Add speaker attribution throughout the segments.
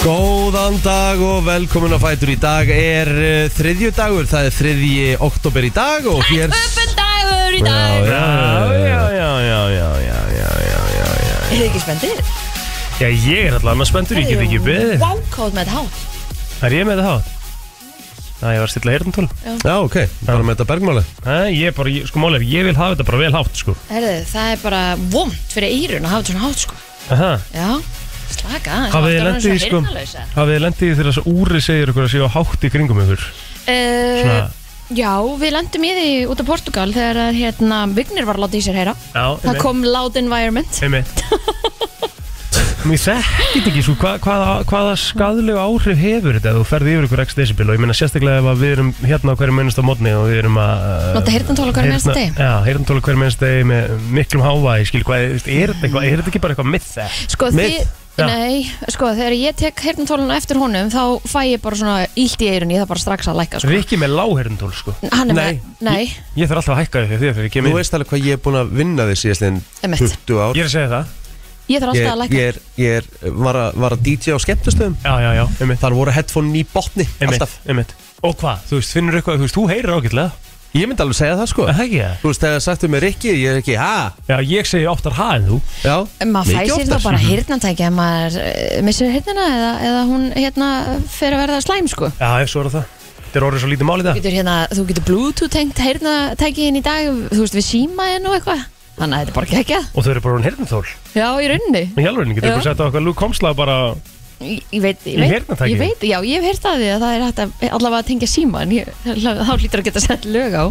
Speaker 1: Góðan dag og velkomin að fætur í dag er uh, þriðju dagur, það er þriðji oktober í dag og hér
Speaker 2: Öppendagur í
Speaker 1: Já,
Speaker 2: dag
Speaker 1: já, já, já, já, já, já, já, já, já.
Speaker 2: Er þið ekki spendir?
Speaker 3: Já, ég er alltaf annars spenntur, ég get ekki beðið.
Speaker 2: Vákáð með þetta hátt
Speaker 3: Það er ég með það hátt? Það ég var að stilla heyrnatól.
Speaker 1: Já, ok, bara með þetta bergmáli
Speaker 3: Nei, ég er bara, ég- sko málið, er, ég vil hafa þetta bara vel hátt, sko.
Speaker 2: Herðu, það er bara vond fyrir eyrun að hafa þetta svona hátt sko
Speaker 3: Aha.
Speaker 2: Já, slaka aðeins,
Speaker 3: Hafið þið
Speaker 2: maður
Speaker 3: lendið í,
Speaker 2: er
Speaker 3: sko,
Speaker 2: orðinn svona heyrnarlaus, eða?
Speaker 3: hafið þið lendið í þegar þess að úri segir ykkur að séu hátt í kringum ykkur? Svona,
Speaker 2: Eh, Já, við lendum í því út af Portugal þegar að, hérna, Vignir var að láta í sér heyra
Speaker 3: já,
Speaker 2: Það kom Loud Environment
Speaker 3: Einmitt. Mér þekkit ekki, sko, hva, hvaða, hvaða skadlegu áhrif hefur þetta ef þú ferði yfir ykkur x decibel og ég meina sérstaklega ef að við erum hérna á hverju mennast á modni og við erum að... eh,
Speaker 2: Nota heyrnartól á hverjum einasta
Speaker 3: heyrna-
Speaker 2: degi.
Speaker 3: Já, heyrnantóla hverju mennast degi með miklum hávæði, skil, hvað, er, er, þetta eitthvað, er þetta ekki bara eitthvað myth það?
Speaker 2: Sko,
Speaker 3: Mitt?
Speaker 2: þið,
Speaker 3: Já.
Speaker 2: nei, sko, þegar ég tek heyrnartólun eftir honum þá fæ ég bara svona ílt í eyrun, ég þarf bara strax að lækka sko.
Speaker 3: Rikki með láherndól, sko.
Speaker 2: Hann er
Speaker 1: Nei.
Speaker 2: með, nei,
Speaker 3: Ég þarf alltaf að hækka því þegar ég kem
Speaker 1: Þú
Speaker 3: inn.
Speaker 1: veist alveg hvað ég er búin að vinna því síðastliðin
Speaker 2: Einmitt.
Speaker 1: 20 ár
Speaker 3: Ég er að segja það.
Speaker 2: ég þarf alltaf að
Speaker 1: Ég,
Speaker 2: lækka
Speaker 1: ég, er, ég er, var, að, var að DJ á skemmtustöðum
Speaker 3: Já, já, já, einmitt.
Speaker 1: Þar voru headphone í botni,
Speaker 3: Einmitt,
Speaker 1: alltaf
Speaker 3: einmitt. Og hvað? Þú veist, finnur eitthvað, þú veist, þú heyrir ágætlega.
Speaker 1: Ég myndi alveg segja það sko
Speaker 3: Er það ekki það?
Speaker 1: Þú veist, þegar sagtu mér Rikki, ég er ekki, ha,
Speaker 3: Já, ég segi oftar ha en þú.
Speaker 1: já
Speaker 2: En maður fæ
Speaker 1: mikið
Speaker 2: sér
Speaker 1: oftar.
Speaker 2: þá bara hirnatæki ef maður eh, missir hirnina eða, eða hún hérna fer að verða slæm sko
Speaker 3: Já, ég svo er það. Þetta er orðið svo lítið mál í
Speaker 2: Þú
Speaker 3: dag.
Speaker 2: getur hérna, þú getur bluetooth tengt hirnatækiðin í dag, þú veist við síma og eitthvað Þannig að þetta er bara geggjað
Speaker 3: Og þau eru bara orðin heyrnartól.
Speaker 2: Já, í rauninni
Speaker 3: Í alveg, getur
Speaker 2: Já.
Speaker 3: ykkur sett á okkar Luke Komsla bara
Speaker 2: Ég, ég veit,
Speaker 3: Í
Speaker 2: ég veit,
Speaker 3: heyrnartæki?
Speaker 2: ég veit, já, ég hef heyrt að því að það er hægt að allavega að tengja síma en ég, þá hlýtur að geta sett lög á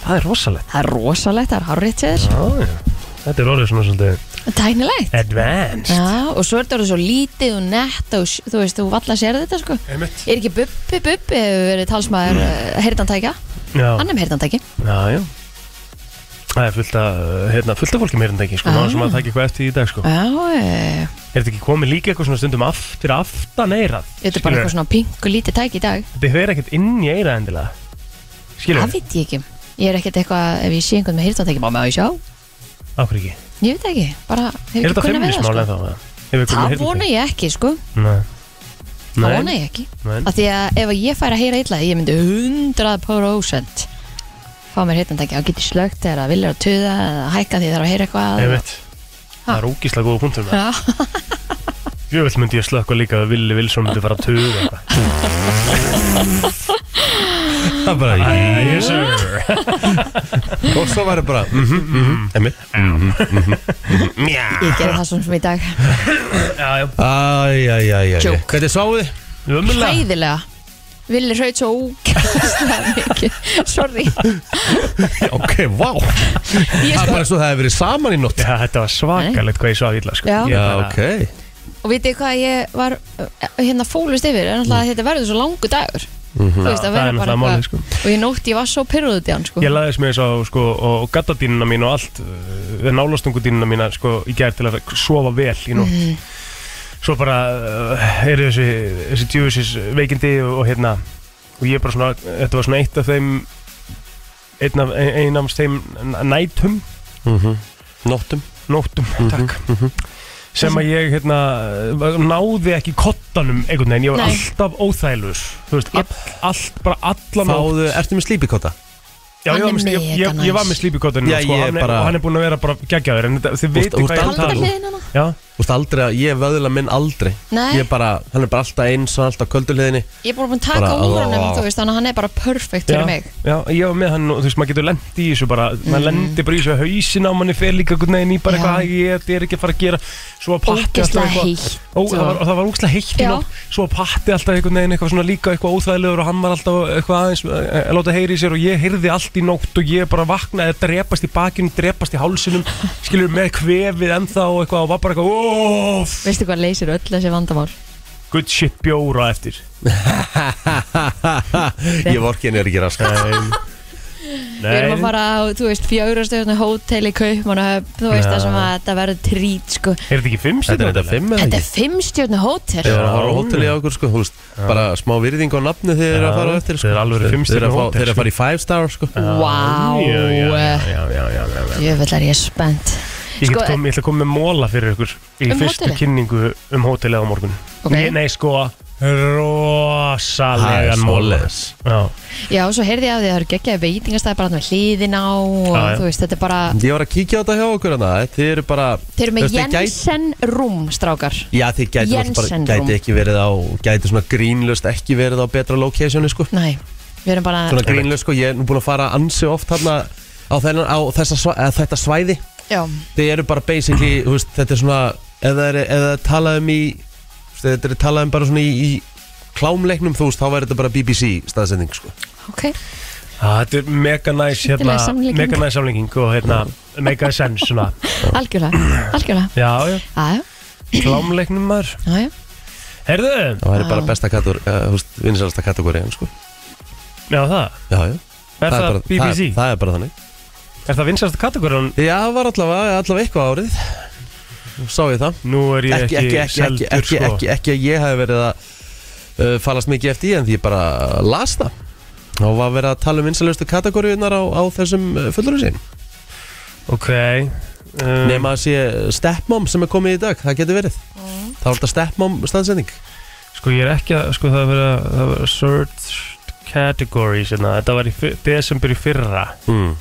Speaker 3: Það er rosalegt.
Speaker 2: Það er rosalegt, það er hárrétt sér
Speaker 3: Já, já. Þetta er orðið svona svolítið
Speaker 2: Tæknilegt
Speaker 3: advanced.
Speaker 2: Já, og svo er þetta orðið svo lítið og nett og s- þú veist, þú valla sér þetta sko
Speaker 3: Einmitt.
Speaker 2: Er ekki Bubbi Bubbi hefur verið talsmaður mm. heyrðantækja?
Speaker 3: Já,
Speaker 2: Hann er með heyrðantæki
Speaker 3: já, já. Það er fullt af, hérna, fullt af fólki meira en það ekki, sko,
Speaker 2: Ah.
Speaker 3: maður sem að taka eitthvað eftir í dag, sko.
Speaker 2: Já, eh,
Speaker 3: Er þetta ekki komið líka eitthvað svona stundum aftur aftan eirað?
Speaker 2: þetta er bara eitthvað svona pingu lítið tæki í dag
Speaker 3: Þetta fer ekkert inn í eirað endilega. Skilur
Speaker 2: Það veit ég ekki Ég er ekkert eitthvað, ef ég sé einhvern með heyrðantæki má með á ég sjá
Speaker 3: Áhver ekki.
Speaker 2: Ég veit það ekki, bara hefur ekki
Speaker 3: Er þetta
Speaker 2: kunna við
Speaker 3: feminismál
Speaker 2: það sko.
Speaker 3: ennþá? eða? Hefur við
Speaker 2: Það
Speaker 3: komið
Speaker 2: vona ég ekki, sko
Speaker 3: Nei.
Speaker 2: Það vona ég ekki
Speaker 3: Nei.
Speaker 2: Af Því að ef ég færi að heyra illa ég myndi 100% fá mér heyrðantæki og geti slögt eða vilja að tuða eða hækka því þarf að heyra eitthvað
Speaker 3: Einmitt. Það er ógíslega góða punktur með það.
Speaker 2: Já,
Speaker 3: Jöfell myndi ég slökka líka að Vili Vilsson myndi fara að tuga eitthvað.
Speaker 1: Það er bara,
Speaker 3: Yes sir.
Speaker 1: og svo væri bara, mhm, mhm, emmi
Speaker 2: Ég gerði það svona sem í dag
Speaker 3: Já, já.
Speaker 1: Æjæjæjæj
Speaker 2: Joke.
Speaker 1: Hvernig sváðu þið?
Speaker 3: Ömulega.
Speaker 2: Hræðilega Vili hraut svo ógæðslega mikið Sorry
Speaker 1: Ok, vá
Speaker 2: Ég
Speaker 1: Það er
Speaker 2: sko,
Speaker 1: bara svo það hefur verið saman í nótt
Speaker 3: Já, þetta var svakalegt hvað ég svaf illa, sko.
Speaker 2: Já.
Speaker 3: Ég
Speaker 1: Já,
Speaker 3: bara-
Speaker 1: ok
Speaker 2: Og vitið hvað ég var uh, hérna fólust yfir er náttúrulega að þetta verður svo langu dagur Þú veist
Speaker 3: Já,
Speaker 2: að
Speaker 3: Mm. Mhm. það
Speaker 2: vera
Speaker 3: er
Speaker 2: bara
Speaker 3: náttúrulega málið,
Speaker 2: eitthvað
Speaker 3: sko.
Speaker 2: Og ég nótti, ég var svo pyrrúðið í hann sko
Speaker 3: Ég laðist mér svo, sko, og gattadínuna mín og allt, uh, nálastungudínuna mína, sko, í gær til að sofa vel í nótt.
Speaker 2: Mhm.
Speaker 3: Svo bara uh, eru þessi, þessi djúvisis veikindi og, og hérna, og ég bara svona, þetta var svona eitt af þeim, einn af, einn af þeim nætum
Speaker 1: Mhm. Nóttum
Speaker 3: nóttum
Speaker 2: Mhm,
Speaker 3: takk, sem að ég hérna, náði ekki kottanum einhvern veginn, ég var
Speaker 2: Nei.
Speaker 3: alltaf óþælur þú veist, all, allt, bara alla nótt
Speaker 1: Fáðu, ertu með slípikota?
Speaker 3: Já, ég
Speaker 2: Hann er
Speaker 3: var með, ég, ég,
Speaker 2: mega
Speaker 3: ég var
Speaker 2: næs.
Speaker 3: með slípikottanum
Speaker 1: Já,
Speaker 3: sko,
Speaker 1: ég
Speaker 3: hann er-
Speaker 1: bara-
Speaker 3: og hann er búin að vera bara geggjaður en þetta- þið veitir
Speaker 1: úr
Speaker 3: hvað ég er að
Speaker 1: dalnum.
Speaker 3: tala
Speaker 2: Haldar
Speaker 3: um.
Speaker 2: hliðin hana?
Speaker 3: Já,
Speaker 1: Þú veist aldrei að ég vöðla minn aldrei
Speaker 2: Nei,
Speaker 1: Ég er bara, hann er bara alltaf eins og alltaf köldulíðinni
Speaker 2: ég er bara búin að taka
Speaker 1: Bara-
Speaker 2: úr honum
Speaker 1: Ó.
Speaker 2: Þú veist, þannig að hann er bara perfect
Speaker 3: já,
Speaker 2: fyrir mig
Speaker 3: já, ég var með hann og þú veist, maður getur lendi í þessu bara maður lendi bara í þessu hausin á manni fer líka einhvern veginn í
Speaker 2: Mm. Já.
Speaker 3: bara eitthvað að ég þetta er ekki að fara að gera svo að patti alltaf
Speaker 2: Ógæslega
Speaker 3: eitthvað
Speaker 2: heitt
Speaker 3: Ó, það var, og það var úkslega heitt í
Speaker 2: Já.
Speaker 3: nótt Svo patti alltaf einhvern veginn eitthvað svona líka eitthvað óþægilegur og hann var alltaf eitthvað aðeins eh, að láta heyri í sér og ég heyrði allt í nótt og ég bara vaknaði að drepast í bakinu, drepast í hálsinum skilur með kvefið ennþá og eitthvað og var bara eitthvað óf,
Speaker 2: Veistu hvað leysir öll þessi vandamál?
Speaker 3: good shit bjóra eftir
Speaker 1: Ég vorki henni er ekki rask
Speaker 3: um
Speaker 2: Við erum að fara á, þú veist, fjárastöðunni hótel í Kaupmannahöfn Þú veist,
Speaker 3: Já.
Speaker 2: það sem að þetta verður trít, sko
Speaker 3: Er þetta ekki fimm
Speaker 1: Þetta er þetta fimm eða
Speaker 2: Þetta
Speaker 1: ekki?
Speaker 2: er fimmstjörnu hótel
Speaker 1: Þegar það er að fara á
Speaker 3: Já.
Speaker 1: hóteli á okkur sko, þú veist Bara smá virðing á nafni þegar þeir eru að fara á
Speaker 3: Já,
Speaker 1: eftir sko.
Speaker 3: þeir eru alveg fimm
Speaker 1: Þeir eru að
Speaker 3: stjörnu
Speaker 1: fá-
Speaker 3: hótel,
Speaker 1: þeir eru að
Speaker 3: sko.
Speaker 1: fara í five star sko
Speaker 2: Vá
Speaker 3: Já, já, já, já, já, já, já.
Speaker 2: Jöfell er ég spennt
Speaker 3: Ég,
Speaker 2: Sko,
Speaker 3: sko, kom, ég ætla að koma með móla fyrir ykkur í
Speaker 2: Um
Speaker 3: fyrstu
Speaker 2: hótelið?
Speaker 3: kynningu um hótelið á morgun
Speaker 2: Ok.
Speaker 3: nei, nei, sko,
Speaker 1: Það er
Speaker 3: rosalegan móla
Speaker 1: svoleiðis.
Speaker 3: Já,
Speaker 2: Já, og svo heyrði ég af því að það eru geggjaði veitingastæði bara þarna við hliðin á og
Speaker 3: Já, já.
Speaker 2: þú veist, þetta er bara
Speaker 1: Ég var að kíkja á þetta hjá okkur hana Þið eru bara
Speaker 2: Þeir eru
Speaker 1: þú
Speaker 2: með
Speaker 1: veist, þið gæti-
Speaker 2: Jensen Room, strákar
Speaker 1: Já, þið gæti, náttúrulega
Speaker 2: Jensen
Speaker 1: bara, gæti
Speaker 2: Room.
Speaker 1: ekki verið á Gæti svona grínlust ekki verið á betra locationi sko.
Speaker 2: Nei, við erum bara
Speaker 1: Svona grínlust, sko, ég er nú búin að fara ansi oft hana á, þennan, á þessa, sva- eða þetta svæði
Speaker 2: Já,
Speaker 1: Þið eru bara basically, þú veist, þetta er svona Eða er, eða er talað um í þú veist, Þetta er talað um bara svona í, í klámleiknum, þú veist, þá væri þetta bara BBC staðsending, sko
Speaker 2: ok
Speaker 3: Ah, Þetta er mega næs hérna,
Speaker 2: Skemmtileg samlíking.
Speaker 3: mega næs samlíking og hérna, mega sens svona.
Speaker 2: Algjörlega, algjörlega
Speaker 3: Já, já,
Speaker 2: Já,
Speaker 3: klámleiknum maður
Speaker 2: já, já, já
Speaker 3: Herðu,
Speaker 1: Það væri bara
Speaker 2: Já.
Speaker 1: besta katur, uh, þú veist, vinsælasta kategóriðan, sko
Speaker 3: já það
Speaker 1: Já, já
Speaker 3: Er það,
Speaker 1: bara,
Speaker 3: BBC?
Speaker 1: Það, það er bara þannig
Speaker 3: Er það vinsast kategóran?
Speaker 1: Já, það var allavega, allavega eitthvað árið Sá ég það
Speaker 3: Nú er ég
Speaker 1: ekki,
Speaker 3: ekki,
Speaker 1: ekki, ekki, ekki,
Speaker 3: seldur
Speaker 1: ekki,
Speaker 3: sko
Speaker 1: ekki, ekki að ég hef verið að uh, falast mikið eftir í en því ég bara las það og var verið að tala um vinsælustu kategóriunar á, á þessum uh, fullurinn sín
Speaker 3: Ok um,
Speaker 1: nema að sé stepmom sem er komið í dag það getur verið það var alltaf stepmom staðsending
Speaker 3: Sko ég er ekki að, sko það verið að það verið að search categories hérna. Þetta var í fyr- desember í fyrra
Speaker 1: mm.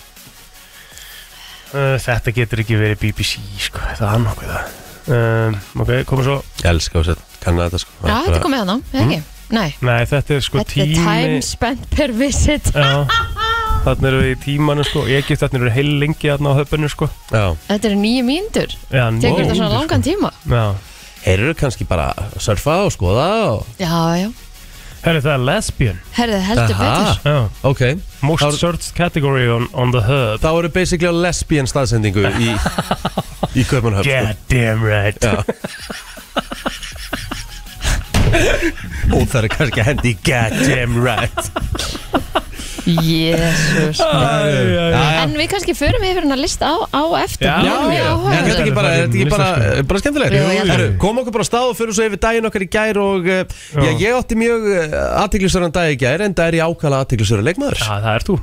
Speaker 3: uh, Þetta getur ekki verið BBC sko, það er nokkuð það um, Ok, komum svo
Speaker 1: elska og sett, kannan þetta sko Það er
Speaker 2: þetta
Speaker 1: bara- Mm.
Speaker 2: komið hann á, ekki? Nei,
Speaker 3: Nei, þetta er sko
Speaker 2: þetta er time
Speaker 3: tími
Speaker 2: spent per visit
Speaker 3: Já, þannig eru við í tímanu sko Ég gift þannig eru heil lengi þarna á höfbunni sko
Speaker 1: Já.
Speaker 2: Þetta eru nýju mínútur
Speaker 3: Já,
Speaker 2: Tekur
Speaker 3: nóg,
Speaker 2: þetta svona
Speaker 3: sko.
Speaker 2: langan tíma
Speaker 3: Já,
Speaker 1: heyrðu kannski bara að surfa og skoða og...
Speaker 2: Já, já,
Speaker 3: herri það er lesbian
Speaker 2: herðið heldur
Speaker 1: Aha.
Speaker 2: betur
Speaker 3: Já,
Speaker 1: ok,
Speaker 3: most
Speaker 1: Þá-
Speaker 3: searched category on, on the hub
Speaker 1: þá eru basically á lesbian staðsendingu í, í sko. Köpenhöfn
Speaker 3: God damn right
Speaker 1: Já Og það er kannski að hendi í goddamn right sko.
Speaker 2: Jésús En við kannski förum yfir hann að lista á, á eftir
Speaker 3: Já,
Speaker 1: Já,
Speaker 2: Mjög
Speaker 1: já,
Speaker 2: áhugavert.
Speaker 1: er þetta ekki bara, er þetta ekki bara, bara
Speaker 2: Jú, ég held
Speaker 1: skemmtilegt
Speaker 2: að.
Speaker 1: Herru, kom okkur bara á stað og fyrir svo yfir daginn okkar í gær og eh, já, ég átti mjög aðtiklisverðan dag í gær en það er ég ákala aðtiklisverðan leikmaður
Speaker 3: Já, það er þú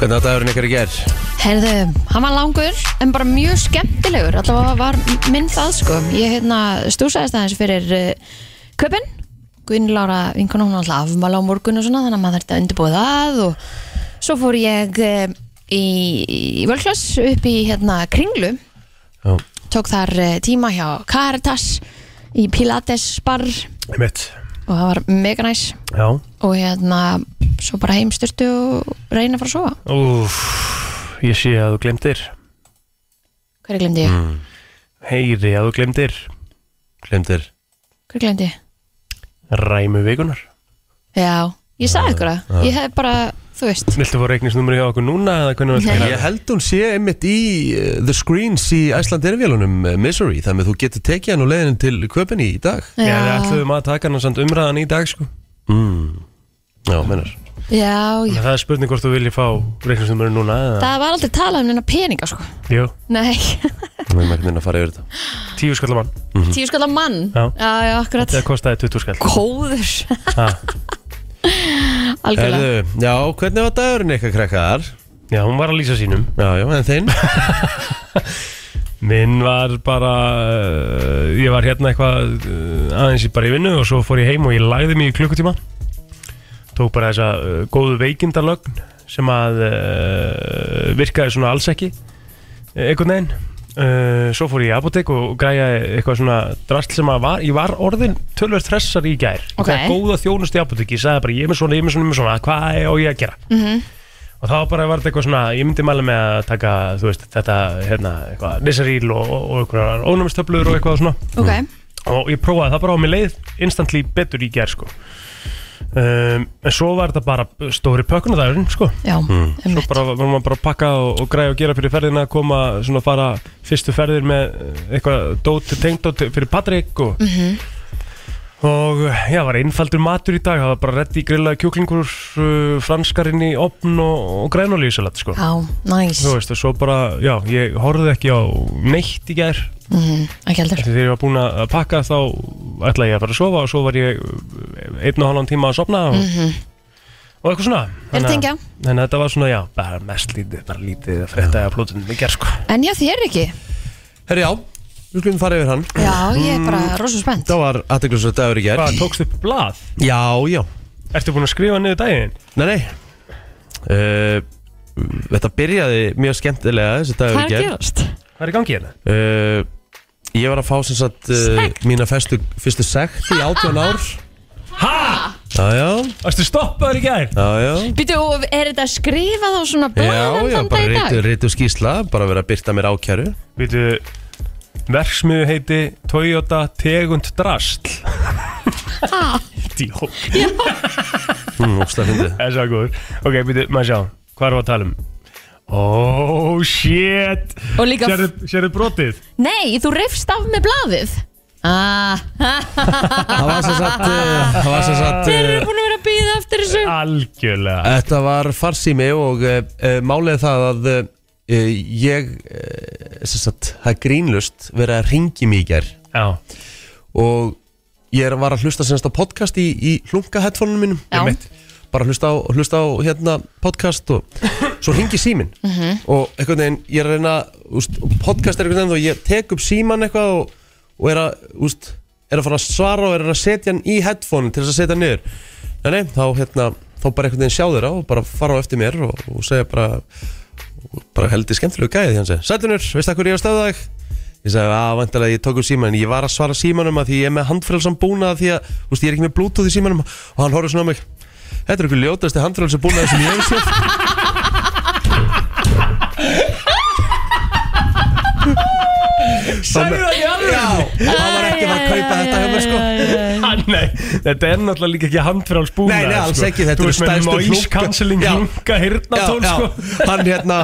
Speaker 1: Hvernig að dagurinn ykkar í gær?
Speaker 2: Herðu, hann var langur en bara mjög skemmtilegur allavega var minn það sko ég hérna stúsaðist aðeins fyrir uh, köpinn Guðin Lára vinkona hún alltaf afmála á morgun og svona þannig að maður þurfti að undirbúa það og svo fór ég uh, í, í völklass upp í hérna kringlu
Speaker 1: Já.
Speaker 2: tók þar uh, tíma hjá Caritas í Pilates bar og
Speaker 3: Mitt
Speaker 2: það var mega næs
Speaker 3: Já
Speaker 2: og hérna svo bara heimstyrtu og reyna að fara að sofa
Speaker 3: Úf, ég sé að þú glemdir
Speaker 2: hverju glemdi ég?
Speaker 3: Heyri að þú glemdir
Speaker 1: Glemdir
Speaker 2: hverju glemdi ég?
Speaker 3: Ræmi vikunar
Speaker 2: Já, ég sagði ykkur það Ég hef bara, þú veist
Speaker 3: Viltu fá reikningsnúmeri hjá okkur núna eða hvernig viltu
Speaker 2: Nei.
Speaker 3: gera
Speaker 1: Ég held hún sé einmitt í eh, The Screens í Æslandirvélunum Misery Þannig að þú getur tekið hann og leiðin til köpinn í dag
Speaker 3: Já, við ætluðum að taka hann samt umræðan í dag sko
Speaker 1: mm. Já, mennar
Speaker 2: já, já.
Speaker 3: En Það er spurning hvort þú viljið fá reikningsnúmeri núna eða
Speaker 2: Það var aldrei talað um neina peninga sko
Speaker 3: Jú,
Speaker 2: Nei,
Speaker 1: Við erum ekkert minna að fara yfir þetta
Speaker 3: tíu skallamann
Speaker 2: tíu skallar mann
Speaker 3: Já.
Speaker 2: já, já akkurat
Speaker 3: Það kostaði 20 skall
Speaker 2: Góður,
Speaker 3: ha,
Speaker 2: algjörlega
Speaker 1: Herðu, já, hvernig var dagurinn ykkar krakkar?
Speaker 3: Já, hún var að lýsa sínum
Speaker 1: Já, já, en þinn?
Speaker 3: Minn var bara uh, Ég var hérna eitthvað uh, aðeins í bara í vinnu og svo fór ég heim og ég lagði mig í klukkutíma Tók bara þessa uh, góðu veikindalögn sem að uh, virkaði svona alls ekki eh, einhvern veginn uh, Svo fór ég í apotek og græjaði eitthvað svona drast sem að var, ég var orðin tölvert stressar í gær
Speaker 2: Ok.
Speaker 3: Það er góða þjónust í apotek, ég sagði bara ég er með svona, ég er með svona, ég er með svona, hvað á ég að gera? og þá bara var þetta eitthvað svona, ég myndi mæla með að taka, þú veist, þetta, hérna, eitthvað, Nisaríl og, og, og einhverjar ónumistöflur og eitthvað svona
Speaker 2: Ok,
Speaker 3: og ég prófaði það bara á mig leið instantly betur í gerð, sko um, en svo var þetta bara stóri pökkunadagurinn, sko
Speaker 2: já, um
Speaker 3: svo bara var maður bara að pakka og, og græja og gera fyrir ferðina koma svona að fara fyrstu ferðir með eh, eitthvað dót, tengdót fyrir Patrik og og eh, já, var einfaldur matur í dag það var bara reddi grillaði kjúklingur uh, franskarinn í opn og, og grænolíusalat sko,
Speaker 2: Já, næs,
Speaker 3: þú veist og svo bara, já, ég horfði ekki á neitt í gær
Speaker 2: Mhm, ekki heldur
Speaker 3: Þegar ég var búinn að pakka þá ætlaði ég að fara að sofa og svo var ég uh, einn og halvan tíma að sofna og, og eitthvað svona
Speaker 2: Er
Speaker 3: Þannig að-
Speaker 2: Mhm. tengja?
Speaker 3: Þannig að þetta var svona, já, bara mest lítið, bara lítið að frétta að plótunum í gerð, sko.
Speaker 2: En já, þér ekki
Speaker 1: Herri já, við skulum fara yfir hann
Speaker 2: Já, ég er bara rosa spennt
Speaker 1: Það var aðteglisur dagur í gerð
Speaker 3: Hvað, tókstu upp blað?
Speaker 1: Já, já,
Speaker 3: Ertu búin að skrifa niður daginn?
Speaker 1: nei, nei uh, Þetta byrjaði mjög skemmtilega þessi
Speaker 2: Hvað
Speaker 1: dagur
Speaker 2: er
Speaker 1: í
Speaker 2: að
Speaker 1: gerð
Speaker 2: gerast?
Speaker 3: Hvað er í gangi hérna?
Speaker 1: uh, Ég var að fá sem sagt uh,
Speaker 2: Sekt?
Speaker 1: mína festu, fyrstu sekt í 18 ár
Speaker 3: Ha?
Speaker 1: Já, já,
Speaker 3: Ertu stoppaður í gær?
Speaker 1: já, já
Speaker 2: Býtu, er þetta skrifað á svona
Speaker 1: Já,
Speaker 2: blaðan
Speaker 1: já,
Speaker 2: þann
Speaker 1: bara
Speaker 2: dag í dag?
Speaker 1: rítu, rítu skísla bara verið að byrta mér ákjæru
Speaker 3: Býtu, verksmiðu heiti Toyota Tegund Drastl
Speaker 2: Ha?
Speaker 3: Idiot.
Speaker 1: mm, ógeðslega fyndið.
Speaker 3: Það er svo góður Ok, býtu, maður sjá, hvað er það að tala um? Oh shit
Speaker 2: Og líka,
Speaker 3: Sérðu sérðu brotið?
Speaker 2: nei, þú reyfst af með blaðið Ah,
Speaker 1: Það var sem sagt uh, Það var sem sagt
Speaker 2: þeir
Speaker 1: uh,
Speaker 2: eru búin að vera að býða eftir þessu
Speaker 3: Algjörlega
Speaker 1: Þetta var farsími og uh, uh, málið er það að uh, ég uh, sem sagt, það er grínlust verið að ringi mig í gær
Speaker 3: Já,
Speaker 1: og ég er- var að hlusta semst á podcast í, í hlunga headphoneinu mínum
Speaker 2: Já.
Speaker 1: Einmitt. bara hlusta á, hlusta á hérna podcast og svo ringi símin og einhvern veginn ég er að reyna úst, podcast er einhvern veginn og ég tek upp síman eitthvað og, og er að úst, er að fara að svara og er að setja hann í headphone til þess að setja hann niður nei, nei, þá hérna þá bara einhvern veginn sjá þeirra og bara fara á eftir mér og, og segja bara og bara heldur skemmtilegu gæði því hann segja Sætunur, veistu hvað ég er að stöða þig? Ég sagði, að vantarlega ég tók upp síman en ég var að svara símanum að því ég er með handfrelsan búnað því að, þú veist, ég er ekki með bluetooth í símanum og hann horfði svona á mig Þetta er ykkur ljótasti handfrelsan búnað sem ég hef séð Sæðu það í alveg Já, hann var ekki að fara að kaupa þetta hjá mér sko
Speaker 3: Ha, Ah, Nei, þetta er náttúrulega líka ekki handfrjáls búna
Speaker 1: Nei, nei, alls ekki, þetta
Speaker 3: Þú
Speaker 1: eru
Speaker 3: veist með
Speaker 1: stærstu
Speaker 3: noise
Speaker 1: hlunka-
Speaker 3: cancelling
Speaker 1: Já.
Speaker 3: hlunga hirnatól
Speaker 1: já,
Speaker 3: sko.
Speaker 1: já, hann hérna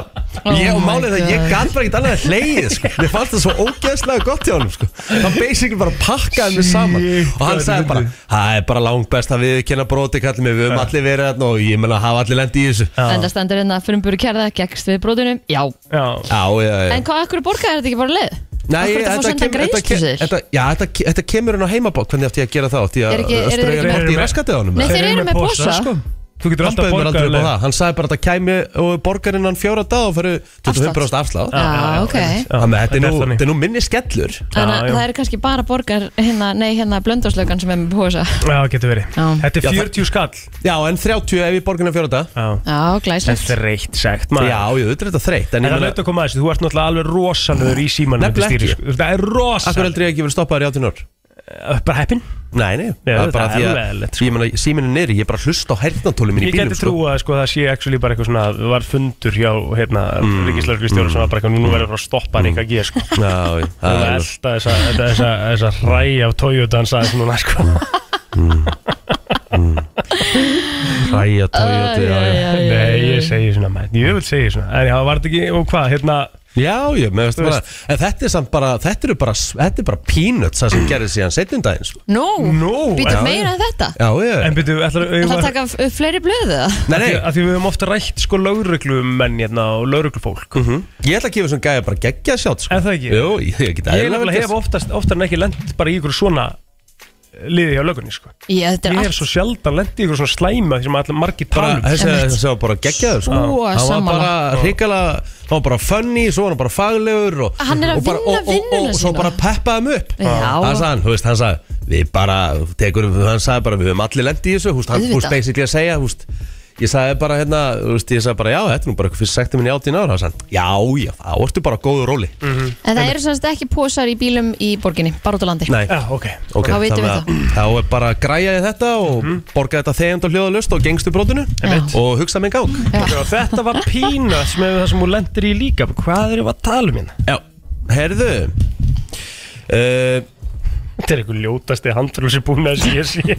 Speaker 2: Oh
Speaker 1: ég, og
Speaker 2: my
Speaker 1: málið það, ég
Speaker 2: God.
Speaker 1: gaf bara ekkert annað að hleyið sko. mér fannst það svo ógeðslega gott hjá hann sko. hann basically bara pakkaði mig saman
Speaker 3: Shit,
Speaker 1: og hann
Speaker 3: hvað
Speaker 1: sagði
Speaker 3: er
Speaker 1: bara
Speaker 3: fyndið.
Speaker 1: það er bara langt best að við kenna broti kallum við höfum allir verið þarna og ég menna hafa allir lendi í þessu já,
Speaker 2: Þetta stendur hérna frumburu kærða gegst við brotunum Já,
Speaker 3: Já,
Speaker 1: já, já
Speaker 2: en hvað, akkur borgaði þetta ekki bara leið?
Speaker 1: Nei,
Speaker 2: Akkur þetta fór senda
Speaker 1: kem- þetta,
Speaker 2: greiðslu
Speaker 1: kem-
Speaker 2: sér?
Speaker 1: þetta, já, þetta, ke- þetta kemur hann á heimabók hvernig átti ég að gera það átti ég að
Speaker 2: Er ekki- eru þeir
Speaker 1: strauja
Speaker 2: ekki með-
Speaker 1: rétt í raskatið á honum
Speaker 2: Nei,
Speaker 1: eða?
Speaker 2: þeir eru með posa
Speaker 3: sko. Þú getur
Speaker 1: hann
Speaker 3: alltaf
Speaker 1: bauð mér aldrei upp
Speaker 3: borgað
Speaker 1: á
Speaker 3: leið.
Speaker 1: það hann sagði bara að þetta kæmi og borgarinn hann fjóra dag og fyrir 25% afslátt
Speaker 2: Já,
Speaker 3: já, já,
Speaker 2: ok
Speaker 3: já.
Speaker 1: þannig að þetta er nú-
Speaker 3: þannig.
Speaker 1: þetta er nú minni skellur
Speaker 2: Þannig að
Speaker 3: já.
Speaker 2: það eru kannski bara borgar hérna, nei, hérna blöndarslaugan sem er með posa
Speaker 3: Já, getur verið
Speaker 2: Já.
Speaker 3: Þetta
Speaker 1: Já,
Speaker 3: er
Speaker 1: það-
Speaker 3: 40 skall
Speaker 1: Já, en 30 ef ég borgin að fjóra þetta
Speaker 3: Já
Speaker 2: Já, glæslegt
Speaker 3: Þetta er reitt sagt
Speaker 1: Já, ég auðvitað er þetta þreytt En ég
Speaker 3: En það er
Speaker 1: meina,
Speaker 3: nöitt að koma að þessu, þú ert náttúrulega alveg rosalegur í símanum
Speaker 1: Nefnilega
Speaker 3: undir stýri,
Speaker 1: ekki.
Speaker 3: sko. Það er
Speaker 1: akkur
Speaker 3: rosalegur
Speaker 1: heldur ég ekki verið stoppaður í 18 ár
Speaker 3: Bara heppin
Speaker 1: Nei, nei, það er bara
Speaker 3: það er
Speaker 1: því
Speaker 3: alveg
Speaker 1: að
Speaker 3: eðlilegt,
Speaker 1: Ég meina, síminn er niðri, ég bara hlusta á hernatóli minn í
Speaker 3: sko. Ég
Speaker 1: bílum
Speaker 3: geti trú að sko, það sé actually bara eitthvað svona það var fundur hjá hérna, mm, Ríkislauglistjóra sem var bara eitthvað nú verður bara að stoppa hann eitthvað að gera sko.
Speaker 1: Já, já,
Speaker 3: Það
Speaker 1: það
Speaker 3: er
Speaker 1: er alveg-
Speaker 3: alltaf þessa, þetta- þessa, þessa ræi af Toyota hann sagði núna sko.
Speaker 1: Hræja,
Speaker 2: Æ,
Speaker 1: tója,
Speaker 2: já,
Speaker 1: já, já
Speaker 2: já, já,
Speaker 3: Nei,
Speaker 2: já.
Speaker 3: ég segi svona menn, ég vil segi svona En já, var þetta ekki, og hvað, hérna
Speaker 1: Já, ég, með veistu
Speaker 3: Þú
Speaker 1: bara En þetta er samt bara, þetta eru bara Þetta er bara peanuts það sem gerði síðan setjum daginn sko.
Speaker 2: Nú,
Speaker 3: Nú,
Speaker 2: býtum
Speaker 3: já.
Speaker 2: meira en þetta
Speaker 1: Já, já,
Speaker 3: En byrju, ætlar
Speaker 2: Er það að taka f- upp fleiri blöðu það?
Speaker 1: nei, nei
Speaker 3: Af því við höfum ofta rætt sko lögreglumenn hérna og lögreglufólk
Speaker 1: mhm. Ég ætla að gefa þessum gæja bara geggja sjátt sko.
Speaker 3: Er það ekki?
Speaker 1: Jú, ég ég get
Speaker 3: Ég er
Speaker 1: eðlilega
Speaker 3: nefnilega
Speaker 1: gert.
Speaker 3: hef oftast, oftar en ekki lent bara í ykkur svona liði hjá lögunni sko
Speaker 2: Já, þetta
Speaker 3: Ég
Speaker 2: er
Speaker 3: hef
Speaker 2: allt
Speaker 3: svo sjaldan lent í ykkur svona slæma því sem allir margir
Speaker 1: bara,
Speaker 3: tala um
Speaker 1: þessi,
Speaker 2: Einmitt.
Speaker 1: þessi var bara geggjaður sko.
Speaker 2: Svo
Speaker 1: hann var
Speaker 2: sammála.
Speaker 1: bara hrikala hann var bara funny, svo var hann bara faglegur og,
Speaker 2: Hann er að
Speaker 1: og bara, og,
Speaker 2: vinna
Speaker 1: og, og,
Speaker 2: vinnuna
Speaker 1: og svo
Speaker 2: sína.
Speaker 1: bara peppaði hann upp
Speaker 2: Já.
Speaker 1: hann sagði, hann, þú veist, hann sagði við bara, tekur, hann sagði bara við höfum allir lendi í þessu, húst, hann
Speaker 2: Auðvitað.
Speaker 1: húst basically að segja húst, ég sagði bara hérna húst, ég sagði bara, já, þetta er nú bara eitthvað fyrst sektum minni áttín ára, hann sagði, já, já, þá ertu bara á góðu róli,
Speaker 2: En það eru semst ekki posar í bílum í borginni, bara út á landi
Speaker 1: nei
Speaker 3: Já, ok
Speaker 1: ok,
Speaker 2: Þá vitum
Speaker 1: þannig
Speaker 2: við
Speaker 1: að þá er bara að græja í þetta og borga þetta þegend og hljóðalust og gengstu brotinu
Speaker 2: Mhm. Einmitt.
Speaker 1: og hugsa minn gák
Speaker 2: Já.
Speaker 3: Já, Þetta var pínas með það sem hún lendir í líka Hvað erum við að tala um hérna?
Speaker 1: Já, herðu uh,
Speaker 3: Þetta er ykkur ljótasti handfrúsi búin að sé sé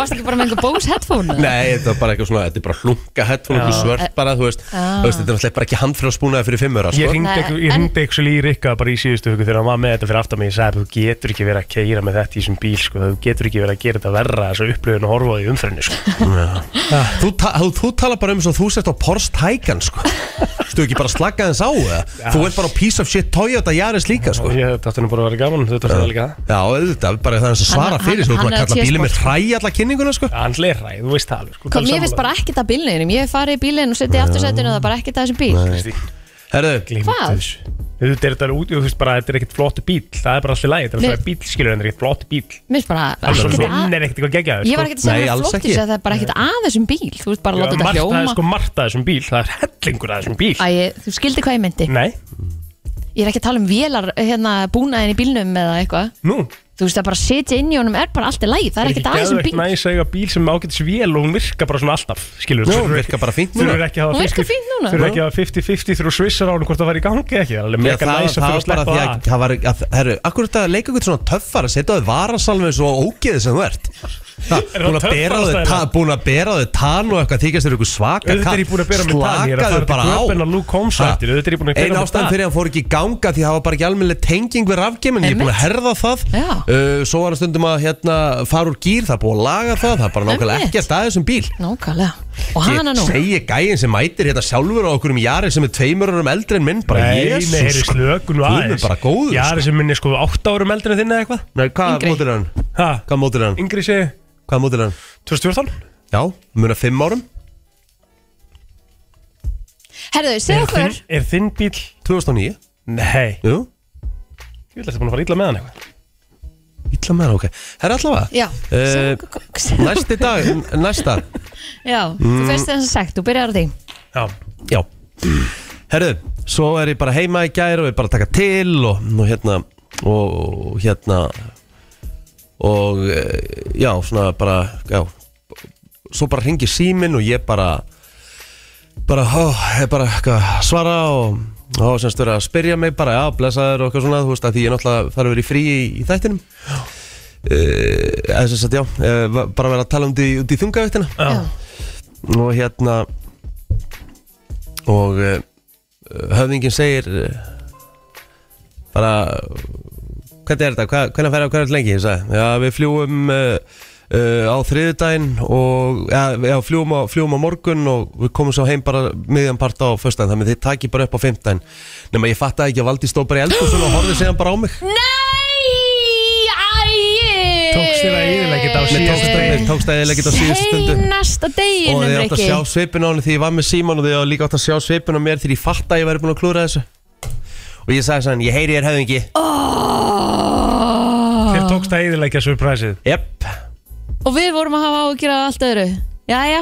Speaker 2: Varst ekki bara með einhver Bose headphone? eða?
Speaker 1: Nei, þetta er bara eitthvað svona Þetta er bara hlunga hett og
Speaker 2: Eh,
Speaker 1: svört bara Þú veist,
Speaker 2: Já.
Speaker 1: þú veist þetta er náttúrulega bara ekki handfrjóðspúnaði fyrir fimmur
Speaker 3: Ég
Speaker 1: sko.
Speaker 3: hringdi
Speaker 2: Nei,
Speaker 3: ekki- ég
Speaker 2: en-
Speaker 3: hringdi ekki í Rikka bara í síðustu hugu þegar hann var með þetta fyrir aftan mig ég sagði þú getur ekki verið að keira með þetta í þessum bíl sko. þú getur ekki verið að gera þetta verra þessu upplöfun og horfa á því umfrenni sko.
Speaker 2: Ah.
Speaker 1: þú, ta þú, þú tala bara um svo þú sért á Porsche Taycan sko. Stu ekki bara slagga þess á eða? Þú ert bara á piece of shit Toyota Yaris líka sko.
Speaker 3: Ég- Þetta átti nú bara að vera gaman þetta var það líka
Speaker 1: Já, auðvitað, bara það er að svara
Speaker 2: Hann-
Speaker 1: fyrir Svo þú ert
Speaker 2: hann-
Speaker 1: bara
Speaker 2: hann
Speaker 1: að
Speaker 2: er
Speaker 1: kalla
Speaker 2: að
Speaker 1: bílum með
Speaker 2: T-sport.
Speaker 1: hræi alla kynninguna sko.
Speaker 3: Hann lerraði, þú veist það alveg sko.
Speaker 2: Kom, ég veist bara ekkert af bílneginum Ég hef farið í bílinn og setið aftur setinu og það er bara ekkert af þessum bíl
Speaker 3: ekki
Speaker 1: Herðu,
Speaker 2: Hvað?
Speaker 3: Þú veist, er þetta út, þú veist bara, þetta er ekkert flott bíl Það er bara allir lægi, þetta er
Speaker 2: Nei.
Speaker 3: alltaf bíl, skilur Þetta er ekkert flott bíl
Speaker 2: Mér finnst bara
Speaker 3: Alveg,
Speaker 2: ekkert
Speaker 3: svo, sko.
Speaker 2: að-
Speaker 3: hún er ekkert eitthvað geggjaður
Speaker 2: Ég var ekkert að segja
Speaker 1: Nei,
Speaker 2: það
Speaker 1: alls
Speaker 2: flott
Speaker 1: ekki.
Speaker 2: Það er bara ekkert að þessum bíl Þú veist bara að láta þetta
Speaker 3: Margt það er
Speaker 2: hljóma
Speaker 3: sko margt að þessum bíl Það er hellingur að þessum bíl
Speaker 2: Æ, þú skildi hvað ég myndi
Speaker 3: Nei,
Speaker 2: Ég er ekki að tala um vélar hérna, búnaðin í bílnum eða eitthvað
Speaker 3: nú
Speaker 2: Þú veist að bara sitja inn í honum er bara allt í lagi Það er ekkert að þessum
Speaker 3: geðveikt
Speaker 2: bíl
Speaker 3: næs að eiga bíl sem ágætis vél og hún virka bara svona alltaf Skilur,
Speaker 1: Nú, hún virkar bara fínt núna.
Speaker 3: Þurfur ekki að hafa
Speaker 2: Hún virkar
Speaker 3: 50
Speaker 2: fínt núna.
Speaker 3: Þurfur ekki að hafa 50-50 þurfur svissar á hún hvort það var í gangi ekki Það er alveg
Speaker 1: Já,
Speaker 3: mega
Speaker 1: það, það
Speaker 3: næs að þurfa
Speaker 1: var
Speaker 3: að
Speaker 1: bara
Speaker 3: sleppa
Speaker 1: því
Speaker 3: það
Speaker 1: að, það var, að herru, akkur er þetta að leika ykkur svona töffar að setja á þið varasalmi svo ógeðið sem þú ert það,
Speaker 3: Er það
Speaker 1: búin að bera á þig
Speaker 3: töffarastæla?
Speaker 1: ta- búin að bera á þig tann og eitthvað þykast þér ykkur svaka
Speaker 3: Auðvitað er ég búin að bera á mig tan, ég er að fara til
Speaker 1: bara á
Speaker 3: Köben að Luke Holmes
Speaker 1: Ha,
Speaker 3: eftir, auðvitað er ég búin að bera á
Speaker 1: ein
Speaker 3: mig
Speaker 1: ástæðan
Speaker 3: tan.
Speaker 1: fyrir að hann fór ekki í ganga því það var bara ekki almennileg tenging við rafgeimin ég er búin að herða það
Speaker 2: Já.
Speaker 1: uh, svo var hann stundum að hérna, fara úr gýr það er búin að laga það, það er bara nákvæmlega
Speaker 2: Einmitt.
Speaker 1: ekki að staði þessum bíl
Speaker 2: Nákvæmlega Og
Speaker 1: Ég
Speaker 2: hana nú
Speaker 1: segi gæin sem mætir hérna sjálfur á okkur um jari sem er tveimur árum eldri en minn bara
Speaker 3: Nei, nei, heyri,
Speaker 1: Jesus
Speaker 3: slöku nú
Speaker 1: Guð minn
Speaker 3: aðeins
Speaker 1: bara góður,
Speaker 3: Já, þessi minni sko 8 árum eldri en þinn eða eitthvað
Speaker 1: Nei, hvað
Speaker 2: Yngri.
Speaker 1: mótir er hann?
Speaker 3: Ha,
Speaker 1: Hvað mótir er hann?
Speaker 3: yngri sé
Speaker 1: Hvað mótir er hann?
Speaker 3: 2014
Speaker 1: Já, muna fimm árum
Speaker 2: Herðu, segja
Speaker 3: Er þinn-
Speaker 2: okkur
Speaker 3: Er þinn bíl
Speaker 1: 2009
Speaker 3: Nei,
Speaker 1: Jú,
Speaker 3: ég vil að þetta búin að fara illa með hann eitthvað
Speaker 1: illa með hann, ok Herra allavega
Speaker 2: Já,
Speaker 1: Eh,
Speaker 2: segðu okkur- segðu okkur-
Speaker 1: Næsti dag, n- næsta
Speaker 2: Já,
Speaker 3: mm.
Speaker 2: þú fyrst þess að sagt, þú byrjar á því
Speaker 3: Já,
Speaker 1: Já Herðu, svo er ég bara heima í gær og ég bara að taka til og, og hérna og hérna og eh, já, svona bara já, svo bara ringi síminn og ég bara bara, ó, ég bara eitthvað, að svara og og semst verið að spyrja mig bara, já, blessaður og eitthvað svona, þú veist, að því ég náttúrulega þarf að vera í frí í, í þættinum uh, eða sem sagt, já, uh, bara vera að tala um því, um því þungavíktina
Speaker 2: Já,
Speaker 1: og hérna og uh, höfðingin segir eh, bara hvernig er þetta, Hva, hvernig fer það, hvernig lengi ég sagði, já við fljúum uh, uh, á þriðudaginn og já, já fljúum, á, fljúum á morgun og við komum svo heim bara miðjan part á föstudaginn, þannig að þið takir bara upp á fimmtaginn nema ég fattaði ekki að Valdi stóð bara í eldhúsun og horfði segjan bara á mig
Speaker 2: Nei, æi
Speaker 3: Tókst þér að eyðileggja þetta á
Speaker 1: Mér tókst-
Speaker 3: Síðasta-
Speaker 1: mér tókst að ég leggja þetta á síðustu stundu
Speaker 2: Seinasta
Speaker 1: og
Speaker 2: deginum,
Speaker 1: þið átt að
Speaker 2: Rikki
Speaker 1: sjá svipin á henni því ég var með síman og þið átt líka átt að sjá svipin á mér því ég fatt að ég væri búin að klúra þessu og ég sagði sann, ég heyri þér höfðingi
Speaker 3: þér
Speaker 2: Ah.
Speaker 3: tókst að eðilegja surprise-ið
Speaker 1: Jep,
Speaker 2: Og við vorum að hafa ágjur af allt öðru Jæja,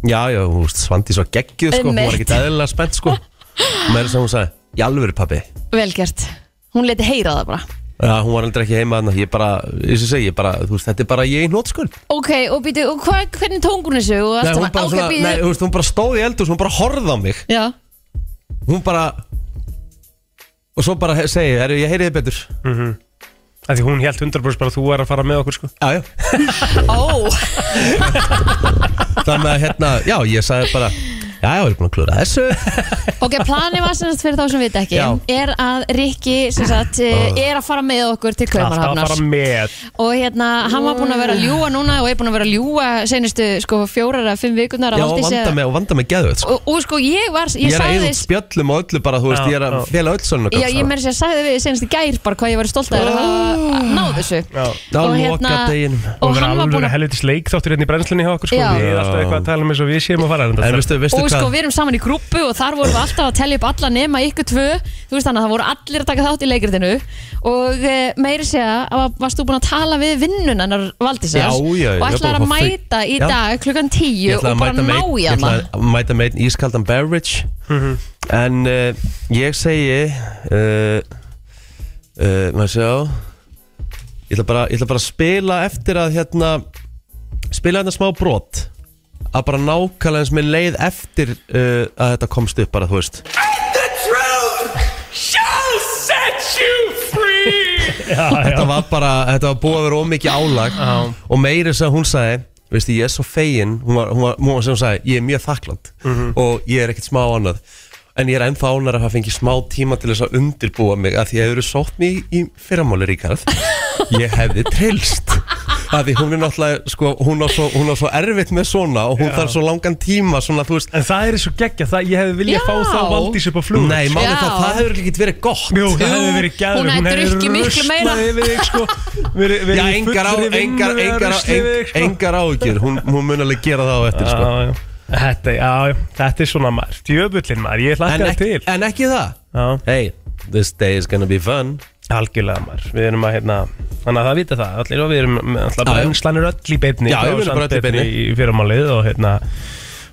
Speaker 1: já, já, þú veist, Svandís var geggjuð sko, hún var
Speaker 2: Einmitt.
Speaker 1: ekkert eðlilega spennt sko Mér sem hún sagði, í alvöru pabbi
Speaker 2: vel gert Hún leti heyra það bara
Speaker 1: Já, hún var aldrei ekki heima þarna, ég bara, ég sem segi, ég bara, þú veist, þetta er bara ég í nótskuld
Speaker 2: Ok, og býtu, og hva, hvernig tóngun þessu og allt
Speaker 1: hún
Speaker 2: saman
Speaker 1: bara,
Speaker 2: Ok,
Speaker 1: svona, nei,
Speaker 2: býtu
Speaker 1: þú veist, hún bara stóð í eldur, hún bara horfði á mig
Speaker 2: Já,
Speaker 1: Hún bara, og svo bara he- segi, herru, ég heyri þið betur
Speaker 3: Af Því hún held 100% bara að þú er að fara með okkur sko
Speaker 1: Já, já
Speaker 2: ó
Speaker 1: Þannig að hérna, já, ég sagði bara Já, ég var búin að klúra þessu
Speaker 2: Ok, planið var sem sagt fyrir þá sem við ekki
Speaker 1: Já.
Speaker 2: er að Rikki sem sagt eh, er að fara með okkur til
Speaker 3: Alltaf að
Speaker 2: Kauparhafnar
Speaker 3: fara með
Speaker 2: og hérna, hann var búinn að vera að ljúa núna og er búinn að vera að ljúa senustu sko fjórar að fimm vikunar
Speaker 1: Já, og vanda mig, og vanda mig geðvöld sko.
Speaker 2: og, og sko ég var,
Speaker 1: Ég
Speaker 2: ég
Speaker 1: er að
Speaker 2: sagði
Speaker 1: eyða út spjöllum og öllu bara, þú veist,
Speaker 3: Já,
Speaker 1: ég er að
Speaker 3: já.
Speaker 1: fela öll svona
Speaker 2: Já, ég meira sér að sagði við senast í gær bara hvað ég var stolt að þér að hafa náð þessu hérna-
Speaker 3: Já.
Speaker 1: Já, lokadeginum.
Speaker 3: Og
Speaker 2: og hann
Speaker 3: vera
Speaker 2: var
Speaker 3: alveg
Speaker 2: búinn
Speaker 3: að
Speaker 2: að
Speaker 3: helvitis leik þáttur hérna í brennslunni hjá okkur sko
Speaker 2: Já.
Speaker 3: Við erum alltaf eitthvað að tala um eins og við séum að fara
Speaker 1: En veistu, veistu
Speaker 2: og
Speaker 1: hvað
Speaker 2: sko við erum saman í grúpu og þar vorum við alltaf að tellja upp alla nema ykkur tvö þú veist þannig að það voru allir að taka þátt í leikritinu og eh, meiri segja að varst þú búin að tala við vinnunarnar Valdísar
Speaker 1: Já, já, já,
Speaker 2: og ætlaði
Speaker 1: bara
Speaker 2: að
Speaker 1: fá þau-
Speaker 2: mæta í
Speaker 1: Já.
Speaker 2: dag klukkan tíu
Speaker 1: Ég
Speaker 2: og
Speaker 1: ætlaði að
Speaker 2: bara
Speaker 1: mæta
Speaker 2: ná
Speaker 1: með einn- ég ætlaði að mæta með
Speaker 2: í hana Mhm.
Speaker 1: einn ískaldan beverage En uh, ég segi uh, uh, Maður sjá ég ætla, bara, ég ætla bara að spila eftir að hérna Spila hérna smá brot Að bara nákvæmlega eins með leið eftir uh, Að þetta komst upp bara, þú veist
Speaker 3: Já,
Speaker 1: þetta var bara, þetta var búið að vera ómikið álag og meiri sem hún sagði veistu, ég er svo fegin, hún var, hún var, hún var sem hún sagði, ég er mjög þakkland og ég er ekkert smá annað en ég er ennþá ánar að hafa fengið smá tíma til þess að undirbúa mig að því að þau eru sótt mér í, í fyrramáli ríkarð ég hefði trillst að því hún er náttúrulega, sko, hún á svo, hún á svo erfitt með svona og hún þarf svo langan tíma svona, þú veist,
Speaker 3: En það er svo geggja, það, ég hefði viljað
Speaker 2: Já.
Speaker 3: fá þá Valdís upp á flug
Speaker 1: nei, máli
Speaker 2: Já.
Speaker 1: það, það hefur ekki verið gott
Speaker 3: Jú, það hefði
Speaker 2: Jú,
Speaker 3: verið gæður
Speaker 2: hún hefði drukkið miklu meira.
Speaker 3: yfir þig sko verið, verið
Speaker 1: Já, engar, á, engar, engar, engar,
Speaker 3: sko.
Speaker 1: engar áhyggjur hún, hún mun alveg gera það á eftir, sko
Speaker 3: Já, já. Þetta, já, já, þetta er svona margt Jöfullin maður, ég
Speaker 1: en
Speaker 3: hlakka það
Speaker 1: ekki,
Speaker 3: til
Speaker 1: en ekki það
Speaker 3: Já.
Speaker 1: Hei, This day is gonna be fun
Speaker 3: Algjörlega maður, við erum að hérna Þannig að það vita það, allir og við erum Þannig
Speaker 1: Já, já.
Speaker 3: að brennslan er öll í beinni
Speaker 1: Já, við erum bara öll í beinni.
Speaker 3: Í fyrramálið og hérna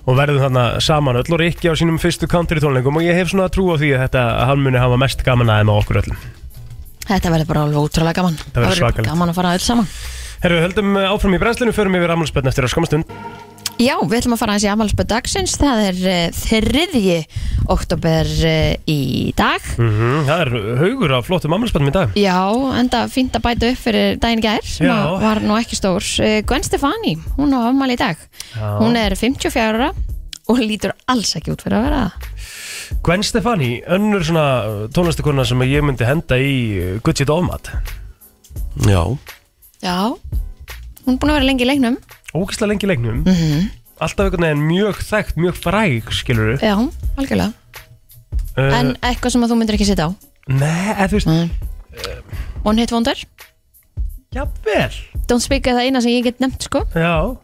Speaker 3: Og verðum þarna saman öll og Rikki á sínum fyrstu country tónleikum Og ég hef svona trú á því að þetta að Hann muni hafa mest gaman aðeim á okkur öllum
Speaker 2: Þetta verður bara alveg útrúlega gaman Það
Speaker 3: verður
Speaker 2: verður
Speaker 3: svakalegt.
Speaker 2: gaman að fara öll saman
Speaker 3: Herru, höldum áfram í brennslinu Förum yfir afmælspötn eftir að skamastund
Speaker 2: Já, við ætlum að fara aðeins í afmælspöð dagsins Það er eh, þriðji oktober eh, í dag
Speaker 3: mm
Speaker 1: Mhm,
Speaker 3: Það er haugur af flottum afmælspötnum í dag
Speaker 2: Já, enda fínt að bæta upp fyrir daginn í gær sem
Speaker 3: Já.
Speaker 2: að var nú ekki stór Eh, Gwen Stefani, hún á afmæli í dag
Speaker 3: Já.
Speaker 2: Hún er 54 ára og lítur alls ekki út fyrir að vera það.
Speaker 3: Gwen Stefani, önnur svona tónlistakona sem ég myndi henda í Gucci Dómat
Speaker 1: Já,
Speaker 2: Já, hún er búin að vera lengi í leiknum
Speaker 3: Ógislega lengi í leiknum mm -hmm. Alltaf einhvern veginn mjög þekkt, mjög fræg skilur
Speaker 2: Já, algjörlega
Speaker 3: Eh.
Speaker 2: En eitthvað sem að þú myndir ekki sitja á
Speaker 3: Nei, eða þú veist,
Speaker 2: Nei. One hit wonder
Speaker 3: jafnvel
Speaker 2: Don't speak er það eina sem ég get nefnt sko
Speaker 3: Já,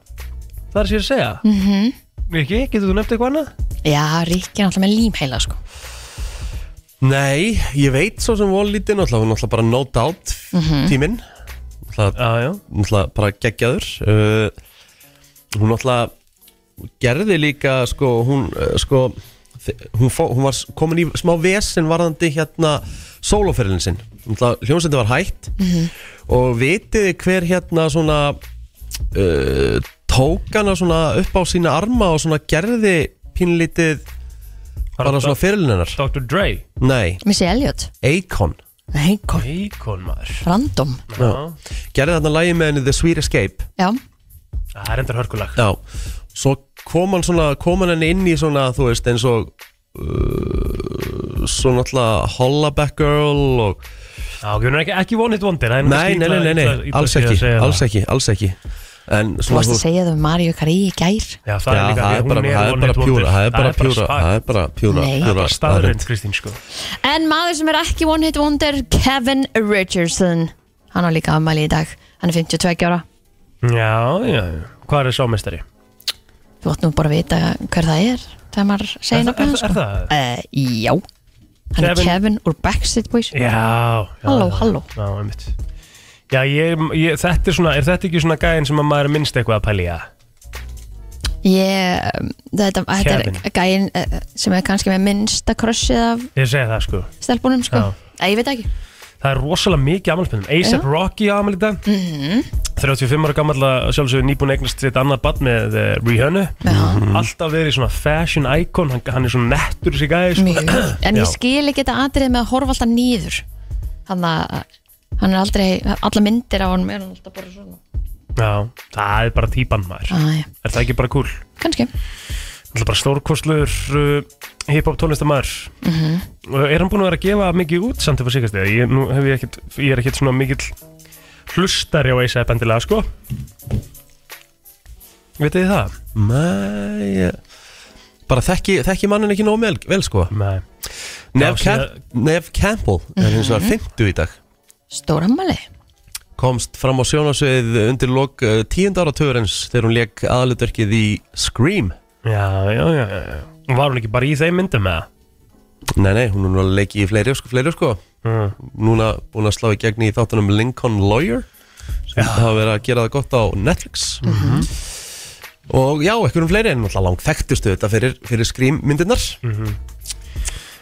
Speaker 3: það er sér að segja mm
Speaker 2: Mhm.
Speaker 3: -hmm. Ekki, getur þú nefnt eitthvað annað?
Speaker 2: Já, Ríkki er alltaf með límheila sko
Speaker 1: nei, ég veit svo sem voru lítið Náttúrulega, hún er náttúrulega bara no doubt mm -hmm. Tíminn Náttúrulega,
Speaker 3: Já, já,
Speaker 1: náttúrulega bara geggjaður uh, Hún náttúrulega gerði líka sko, hún, uh, sko, þi- hún, fó, hún var s- komin í smá vesen varðandi hérna sóloferðin sinn hljómsveiti var hætt og vitið þið hver hérna svona uh, tók hana svona upp á sína arma og svona gerði pínlítið
Speaker 3: Bara
Speaker 1: bara svona fyrirlinnar
Speaker 3: Dr. Dre
Speaker 1: nei,
Speaker 2: Missy Elliot
Speaker 1: Akon
Speaker 2: Nei, kom
Speaker 3: Eikon maður
Speaker 2: Random
Speaker 3: Já,
Speaker 1: gerði þarna lagi með henni The Sweet Escape
Speaker 2: Já,
Speaker 3: það er endar hörkulag
Speaker 1: Já, svo kom hann svona kom hann inn í svona, þú veist, eins og uh, svona alltaf Hollaback Girl og
Speaker 3: Já, ok, hún er ekki, ekki One Hit Wonder það er nú
Speaker 1: Nei, nei,
Speaker 3: kannski
Speaker 1: nei,
Speaker 3: illa-
Speaker 1: nei,
Speaker 3: illa-
Speaker 1: nei
Speaker 3: illa
Speaker 1: alls
Speaker 3: sé að
Speaker 1: ekki,
Speaker 3: segja
Speaker 1: alls
Speaker 3: það.
Speaker 1: ekki, alls ekki En
Speaker 2: þú
Speaker 1: svona
Speaker 2: varst að segja það um Mario Kari í gær
Speaker 3: Já, það er
Speaker 1: Já,
Speaker 3: líka
Speaker 1: það
Speaker 3: því
Speaker 1: er
Speaker 3: að
Speaker 1: bara,
Speaker 3: hún
Speaker 1: það er bara
Speaker 3: One Hit Wonder.
Speaker 1: pjúra, það er bara pjúra,
Speaker 3: svar.
Speaker 1: það er bara pjúra,
Speaker 2: Nei.
Speaker 1: pjúra
Speaker 3: staðrind Kristín sko
Speaker 2: En maður sem er ekki one hit wonder Kevin Richardson Hann á líka afmæli í dag Hann er 52 ára
Speaker 3: Já, já, já. hvað er sá mestari?
Speaker 2: Þú átt nú bara að vita hver það er þegar maður segir
Speaker 3: Er, er,
Speaker 2: nafnið
Speaker 3: er, er það?
Speaker 2: Uh, já, hann er
Speaker 3: Kevin-
Speaker 2: Kevin úr Backstreet Boys
Speaker 3: Já, já
Speaker 2: Halló,
Speaker 3: já,
Speaker 2: halló.
Speaker 3: Já, einmitt Já, ég, ég, þetta er svona, er þetta ekki svona gæðin sem að maður er minnst eitthvað að pæla í að?
Speaker 2: Ég, um, þetta, þetta er
Speaker 3: Kevin.
Speaker 2: gæinn uh, sem er kannski með minnsta krossið af
Speaker 3: Ég segi það sko
Speaker 2: stelpunum sko.
Speaker 3: Já.
Speaker 2: Æ, ég veit ekki
Speaker 3: Það er rosalega mikið amalspennum A$AP Rocky amal í dag mm -hmm. 35 ára gammal að sjálfsögur nýbúin eignast sitt annað badn með uh, Rihanna
Speaker 2: Já,
Speaker 3: Alltaf verið svona fashion icon Hann, hann er svona nettur þessi gæði sko.
Speaker 2: mjög En
Speaker 3: Já.
Speaker 2: ég skil ekki þetta atrið með að horfa alltaf nýður Hann að hann er aldrei, alla myndir á hann er hann alltaf bara svona
Speaker 3: Já, það er bara típan maður
Speaker 2: Æ,
Speaker 3: Er það ekki bara cool?
Speaker 2: kannski
Speaker 3: Það er bara stórkostlur uh, hip-hop tónlistamæður -hmm. Er hann búin að vera að gefa mikið út samt eftir síkast ég, nú hef ég, ekkit, ég er ekkert svona mikill hlustari á A$AP endilega sko Vitið þið það?
Speaker 1: Mæ, bara þekki, þekki mannin ekki nóg vel, vel sko
Speaker 3: Nei
Speaker 1: Nef,
Speaker 3: Já,
Speaker 1: Camp, Nef Campbell er hins
Speaker 2: Mhm.
Speaker 1: vegar 50 í dag
Speaker 2: Stórammali
Speaker 1: komst fram á sjónasvið undir lok uh, tíunda áratugurins þegar hún leik aðlutverkið í Scream
Speaker 3: Já, já, já, já, já. Og Var hún ekki bara í þeim myndum með það?
Speaker 1: Nei, nei, hún er nú að leiki í fleiri, sko, fleiri sko
Speaker 3: Mm.
Speaker 1: Núna búin að slá í gegn í þáttunum Lincoln Lawyer sem hafa verið að gera það gott á Netflix Og já, einhverjum fleiri en náttúrulega langt þekktustu þetta fyrir, fyrir Scream myndirnar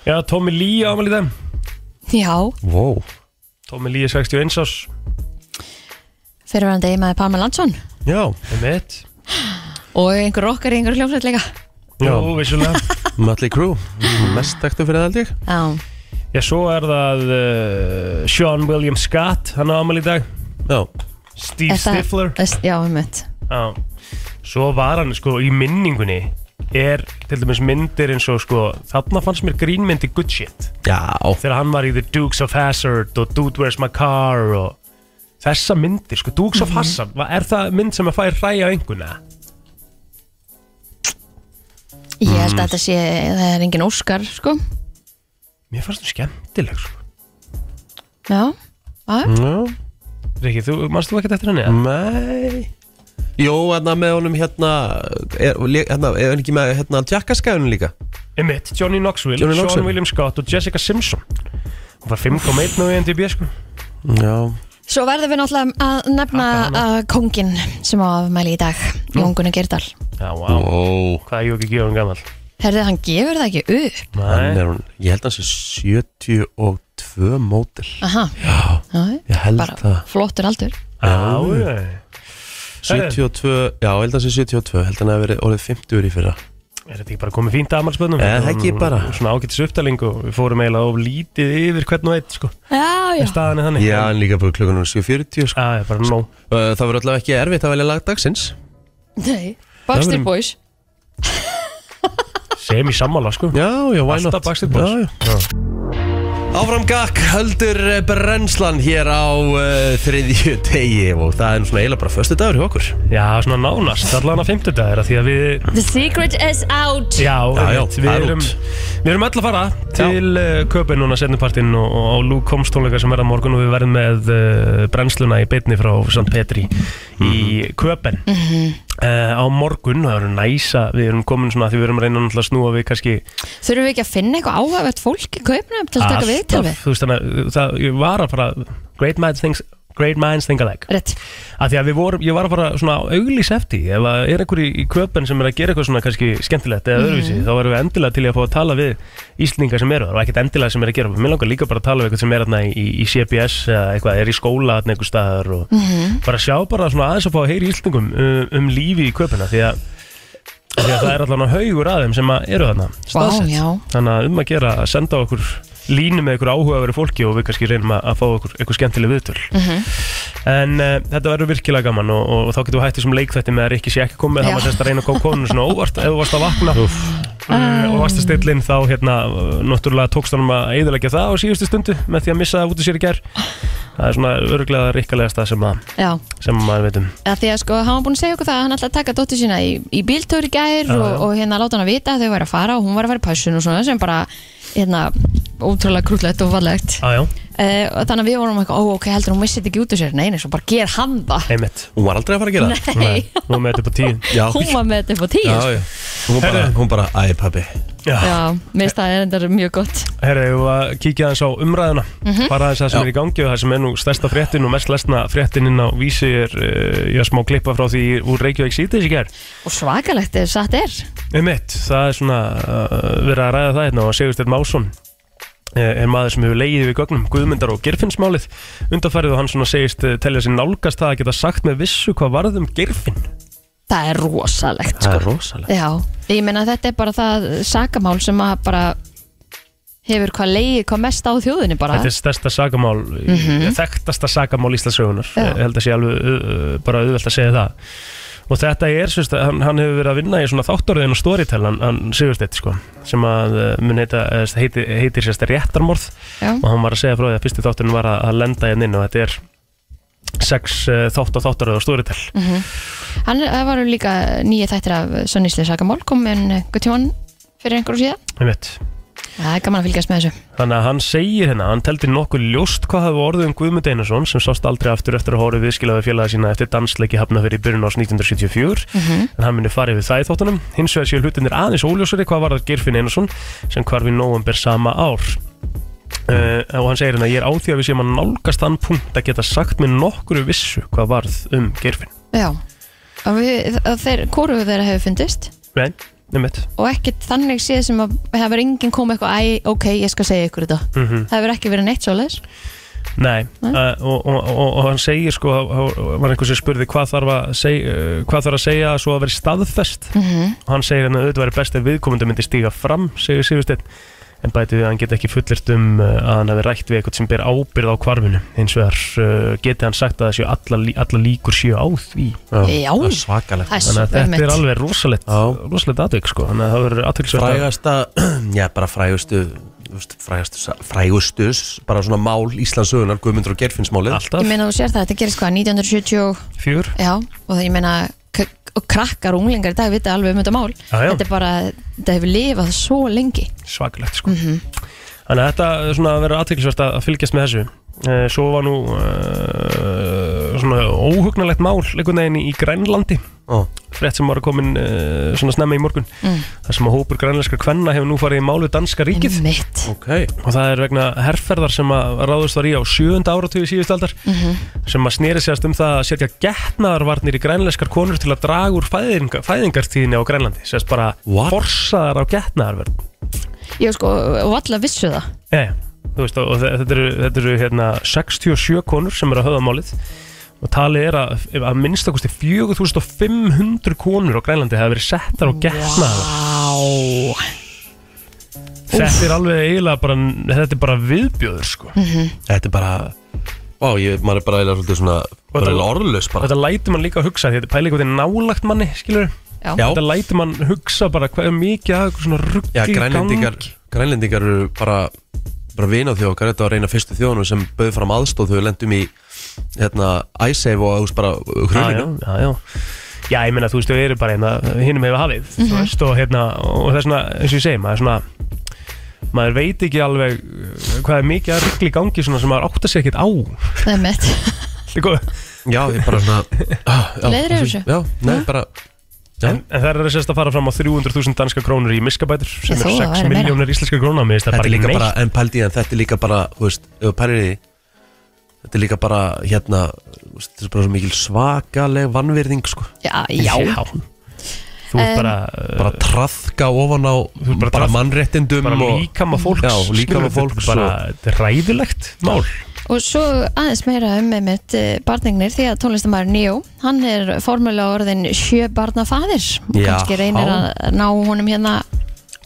Speaker 3: Já, Tommy Lee ámæli þeim
Speaker 2: Já,
Speaker 1: Wow
Speaker 3: Tommy Lee er 61 ás
Speaker 2: fyrirverandi eiginmaður Pamela Landsson
Speaker 1: Já,
Speaker 3: Emmett
Speaker 2: og einhver okkar í einhver hljófsveit líka
Speaker 3: Já,
Speaker 1: Já.
Speaker 3: vissulega
Speaker 1: Mötley Crüe, mest þekktu fyrir það held ég
Speaker 2: Já,
Speaker 3: Já, svo er það uh, Sean William Scott, hann á ámæli í dag
Speaker 1: Já,
Speaker 3: Steve Stifler
Speaker 2: Já, um einmitt
Speaker 3: Já, svo var hann sko í minningunni er til dæmis myndir eins og sko þarna fannst mér grínmyndi good shit
Speaker 1: já
Speaker 3: þegar hann var í The Dukes of Hazzard og Dude Where's My Car og þessa myndir, sko, Dukes of Hazzard er það mynd sem að færi hræja einhverna?
Speaker 2: Ég held að þetta sé, það er engin Óskar sko
Speaker 3: Mér fannst það skemmtileg, sko
Speaker 2: Já, já,
Speaker 1: Já,
Speaker 3: Riki, þú, manst þú ekkert eftir henni? Mm.
Speaker 1: Nei Jó, hérna með honum hérna Er, hérna, er hann ekki með hérna Jackass gæðunum líka?
Speaker 3: Emmett, Mm. Johnny Knoxville,
Speaker 1: Johnny
Speaker 3: Sean
Speaker 1: Knoxville.
Speaker 3: William Scott og Jessica Simpson Það var 5,1 á IMDb sko
Speaker 1: Já,
Speaker 2: Svo verðum við náttúrulega að nefna að kóngin sem á afmæli í dag Jón Gunnar Gerdal
Speaker 3: Já, vá
Speaker 1: wow
Speaker 3: Hvað er ég ekki að gefa um gammal?
Speaker 2: Herðið, hann gefur það ekki upp
Speaker 1: Hann
Speaker 3: Nei,
Speaker 1: er hún, ég held að það sé 72 mótil
Speaker 2: Aha, já,
Speaker 1: Ég held
Speaker 2: bara
Speaker 1: það
Speaker 2: flottur aldur
Speaker 3: já, já
Speaker 1: 72, já, ég held að það sé 72 Held að hann hafi verið orðið 50 í fyrra
Speaker 3: Er þetta ekki bara komið fínt að amalspöðnum?
Speaker 1: Eh, það ekki bara.
Speaker 3: Svona ágættis uppdaling og við fórum eiginlega of lítið yfir hvern og eitt sko
Speaker 2: Já, já
Speaker 3: Staðan er þannig
Speaker 1: Já, en líka bara klukkan er 7.40 sko.
Speaker 3: Já, já, bara nóg
Speaker 1: Uh, Það verður allavega ekki erfitt að velja lag dagsins
Speaker 2: Nei, Baxter
Speaker 1: Það verðum-
Speaker 2: Boys
Speaker 3: Sem í sammála sko
Speaker 1: Já, já, why
Speaker 3: Alltaf
Speaker 1: not
Speaker 3: Backstreet Boys.
Speaker 1: Já, já. Áfram gakk höldur eh, brennslan hér á uh, þriðju degi og það er nú svona eiginlega bara föstu dagur hjá okkur
Speaker 3: Já, svona nánast, allan að fimmtudagur af Því að við
Speaker 2: The secret is out
Speaker 3: Já,
Speaker 1: Já, já,
Speaker 3: einmitt. við,
Speaker 1: það er
Speaker 3: erum,
Speaker 1: út.
Speaker 3: við erum öll að fara til uh, köpinn núna setnupartinn og, og, og Lú komstónleika sem verða á morgun og við verðum með uh, brennsluna í beinni frá St. Petri
Speaker 1: Mhm.
Speaker 3: í köpinn mm
Speaker 2: Mhm.
Speaker 3: á morgun, það verður næsa við erum komin svona því við erum að reyna náttúrulega að snúa við kannski
Speaker 2: Þurfum við ekki að finna eitthvað áhugavert fólk í kaupnum til að taka við til við
Speaker 3: þú veist þannig að það, ég var að fara great minds, things, great minds think alike
Speaker 2: Rétt,
Speaker 3: að því að við vorum, ég var að fara svona auglýs eftir, því. ef að er einhver í, í köpen sem er að gera eitthvað svona kannski skemmtilegt
Speaker 2: Mhm.
Speaker 3: eða öðruvísi, þá erum við endilega til í að fá að tala við Íslendinga sem eru þar og ekkert endilega sem er að gera mér langar líka bara að tala við eitthvað sem er þarna í, í CBS eða eitthvað, er í skóla þarna einhver staðar og
Speaker 2: Mhm.
Speaker 3: bara sjá bara svona aðeins að fá að heyra í Íslendingum um, um lífi í köpuna því að, því að það er allan að haugur aðeim sem að eru þarna
Speaker 2: vá,
Speaker 3: staðsett.
Speaker 2: já
Speaker 3: þannig að um að gera að senda á okkur línu með ykkur áhugaveri fólki og við kannski reynum að, að fá okkur eitthvað skemmtileg viðtöl En uh, þetta verður virkilega gaman og, og, þá getum við hættið sem leikþætti með að Rikki sé ekki komið
Speaker 2: Já.
Speaker 3: þá var sérst að reyna að koma konun svona óvart ef þú varst að vakna uh, og varst að stilla inn þá hérna eh, náttúrulega tókst hann að eiðilegja það á síðustu stundu með því að missa það út í sér í gær það er svona örglega rikkalegasta sem, að,
Speaker 2: Já,
Speaker 3: sem maður veitum
Speaker 2: að því að sko, hann var búin að segja okkur það að hann ætlaði að taka dóttir sína í, í bíltúr í gær
Speaker 3: Já,
Speaker 2: og,
Speaker 3: já.
Speaker 2: og hérna láta hann að vita að þau væri að fara og hún var að fara í pössun og svona sem bara, hérna, ótrúlega krúllegt og fallegt
Speaker 3: aðjá,
Speaker 2: uh, og þannig að við vorum eitthvað, ó, ok, heldur hún missið ekki út úr sér nei, nei, svo bara ger hann það
Speaker 3: heimitt
Speaker 1: Hún var aldrei að fara að gera það
Speaker 2: Nei,
Speaker 3: nú er með þetta upp á tíu
Speaker 1: Já,
Speaker 2: hún var með þetta upp á tíu
Speaker 1: já,
Speaker 2: sko.
Speaker 1: já. Hún bara,
Speaker 3: Herðu.
Speaker 1: hún bara, æ pabbi
Speaker 3: Já.
Speaker 2: Já, mér finnst það er þetta mjög gott
Speaker 3: Herra, ég var að kíkja aðeins á umræðuna bara aðeins það sem er í gangi og það sem er nú stærsta fréttin og mest lesna fréttin inn á vísi er, uh, já, smá klippa frá því úr Reykjavík síðdegis í gær
Speaker 2: og svakalegt ef satt er
Speaker 3: Emitt, það er svona uh, verið að ræða það hérna og Sigursteinn Másson eh, er maður sem hefur leiðið við gögnum Guðmundar og Gerfinnsmálið undarfærið og hann svona segist eh, telja sér nálgast það að geta sagt með vissu hvað varð um Gerfinn
Speaker 2: það er rosalegt
Speaker 1: Það
Speaker 2: sko.
Speaker 1: er rosalega
Speaker 2: Já, ég meina þetta er bara það sakamál sem að bara hefur hvað leiði, hvað mest á þjóðinni bara
Speaker 3: Þetta er stærsta sakamál, mm þekktasta sakamál Íslandsögunar,
Speaker 2: Já.
Speaker 3: ég held að sé alveg uh, uh, bara auðvelt að segja það og þetta er, sérst, hann, hann hefur verið að vinna í svona þáttorðin og storytell, hann, hann Sigursteinn sko, sem að uh, mun heita, eh, heiti, heitir sérst réttarmorð
Speaker 2: Já,
Speaker 3: og hann var að segja frá því að fyrsti þátturinn var að, að lenda hérna inn og þetta er sex uh, þátt og þáttaröð og stóritel
Speaker 2: hann það var líka nýja þættir af Sönnísli sakamál komin einhvern tímann fyrir einhverju síðan
Speaker 3: þannig
Speaker 2: Það er gaman að fylgjast með þessu
Speaker 3: að hann segir hérna hann teldi nokkuð ljóst hvað hafi orðið um Guðmund Einarsson sem sást aldrei aftur eftir að hóru viðskilaði félaga sína eftir dansleiki hafna fyrir byrjun ás 1974 en hann muni farið við það í þáttunum hins vegar séu hlutinir aðeins óljósari hvað var það Girfinn Einarsson sem hvarf í november sama ár Uh, og hann segir hérna, ég er á því að við séum að nálgast þann punkt að geta sagt með nokkru vissu hvað varð um Geirfinn.
Speaker 2: Já, og við, að þeir, hvoru þeirra hefur fundist
Speaker 3: Nei, nefnitt.
Speaker 2: og ekkert þannig séð sem að hefur enginn komið eitthvað, æ, ok, ég skal segja ykkur þetta
Speaker 3: Mm -hmm.
Speaker 2: Það hefur ekki verið neitt svoleiðis
Speaker 3: Nei, uh, og, og, og, og hann segir sko, h- h- var einhver sem spurði hvað þarf að segja, hvað þarf að segja svo að vera staðfest
Speaker 2: Mhm.
Speaker 3: og hann segir hann að auðvitað væri best ef viðkomandi myndi stíga fram, segir Sigursteinn en bætið við að hann geti ekki fullirt um uh, að hann hafi rætt við eitthvað sem ber ábyrð á kvarfinu eins vegar uh, geti hann sagt að þessu alla, lí- alla líkur séu á því
Speaker 2: Já.
Speaker 1: Það er svakalegt
Speaker 2: Það er
Speaker 3: þannig að þetta er
Speaker 2: supermitt.
Speaker 3: alveg rosalegt
Speaker 1: Já.
Speaker 3: rosalegt atvik sko, þannig að það verður aðtöklisvægt að
Speaker 1: Frægasta, já, bara frægustu þú veist, frægustu, sa- frægustu s- bara svona mál Íslandsögunar, Guðmundur og Gerfinnsmálið
Speaker 2: Ég
Speaker 3: alltaf
Speaker 2: meina þú sér það, þetta gerist hvað, 1970 og-
Speaker 3: fjör
Speaker 2: Já, og það ég meina k- og krakkar og unglingar í dag vita alveg um þetta mál
Speaker 3: Já, já.
Speaker 2: Þetta er bara, þetta hefur lifað svo lengi
Speaker 3: svakalegt sko. þannig að þetta er svona að vera aðtækilsvært að að fylgjast með þessu Eh, svo var nú uh, svona óhugnalegt mál einhvern veginn í Grænlandi
Speaker 1: Ó.
Speaker 3: frétt sem var að komin uh, svona snemma í morgun
Speaker 2: Mm.
Speaker 3: þar sem að hópur grænlænskra kvenna hefur nú farið í málu danska ríkið
Speaker 2: Mitt
Speaker 1: Ok
Speaker 3: og það er vegna herrferðar sem að ráðust var í á sjöunda áratugi síðust aldar sem að snýri sérst um það að setja getnaðarvarnir í grænlænskar konur til að draga úr fæðinga, fæðingartíðinni á Grænlandi sérst bara
Speaker 1: What?
Speaker 3: forsaðar á getnaðarverð
Speaker 2: Ég sko, og allar vissu það
Speaker 3: Já, já, þú veist, og og þe- þetta eru, þetta eru hérna, 67 konur sem eru að höfða málið og talið er að, að minnstakosti 4500 konur á Grænlandi hafa verið settar og getnaðar
Speaker 2: Vá
Speaker 3: Þetta er alveg eiginlega bara, þetta er bara viðbjöður sko
Speaker 1: Mhm. Þetta er bara Vá, ég, maður er bara eiginlega svolítið svona Bara
Speaker 3: þetta-
Speaker 1: eiginlega orðlaus
Speaker 3: Og
Speaker 1: bara
Speaker 3: Þetta lætur mann líka að hugsa, þetta pæli eitthvað nálagt manni, skilur
Speaker 2: Já,
Speaker 1: Já.
Speaker 3: Þetta lætur mann hugsa bara hvað er mikið að eitthvað svona
Speaker 1: Já,
Speaker 3: ruggi
Speaker 1: grænlendingar Grænlendingar eru bara bara vinafþjókar, þetta var reyna fyrstu þjóðunum sem bauð fram aðstóð, þau lendum í hérna, æsæf og úst bara
Speaker 3: Ah, Já,
Speaker 1: hruninu.
Speaker 3: já, já, já Já, ég meina, þú veist, þau eru bara hérna, hinum hefur hafið Þú
Speaker 2: Mhm.
Speaker 3: veist, og hérna, og það er svona, eins og ég segi, maður er svona Maður veit ekki alveg uh, hvað er mikið að ruggli gangi svona sem maður áttar sér ekkert á Sko,
Speaker 2: það er mitt
Speaker 3: Líka,
Speaker 1: Já, ég bara svona ah, já,
Speaker 2: Leiðir yfir þessu?
Speaker 1: Já, nei, bara Já.
Speaker 3: en, en það er sérst að fara fram á 300.000 danska krónur í miskabætur
Speaker 2: Ég
Speaker 3: sem er
Speaker 2: þó að
Speaker 3: 6
Speaker 2: væri meira.
Speaker 3: miljónir íslenska krónar Mér finnst það
Speaker 1: Þetta
Speaker 3: bara
Speaker 1: er
Speaker 3: ekki
Speaker 1: líka
Speaker 3: neitt
Speaker 1: bara, en pældi ég en þetta er líka bara, þú veist, ef þú pælir í því Þetta er líka bara, hérna, þú veist, þetta er bara svo mikil svakaleg vannverðing, sko
Speaker 2: Já, já
Speaker 3: Þú ert
Speaker 2: En-
Speaker 3: bara,
Speaker 1: Bara traðka ofan á,
Speaker 3: ert Eh. bara
Speaker 1: bara, bara
Speaker 3: traðka-
Speaker 1: mannréttindum
Speaker 3: bara
Speaker 1: Um og,
Speaker 3: líkama fólks
Speaker 1: Já, líkama
Speaker 3: skilurðu,
Speaker 1: fólks
Speaker 3: Þetta er bara þetta er ræðilegt mál
Speaker 2: Og svo aðeins meira um með mitt barningnir því að tónlistamæður Níó, hann er formulega orðin sjö barnafaðir og
Speaker 1: Já,
Speaker 2: kannski reynir
Speaker 1: há.
Speaker 2: að ná honum hérna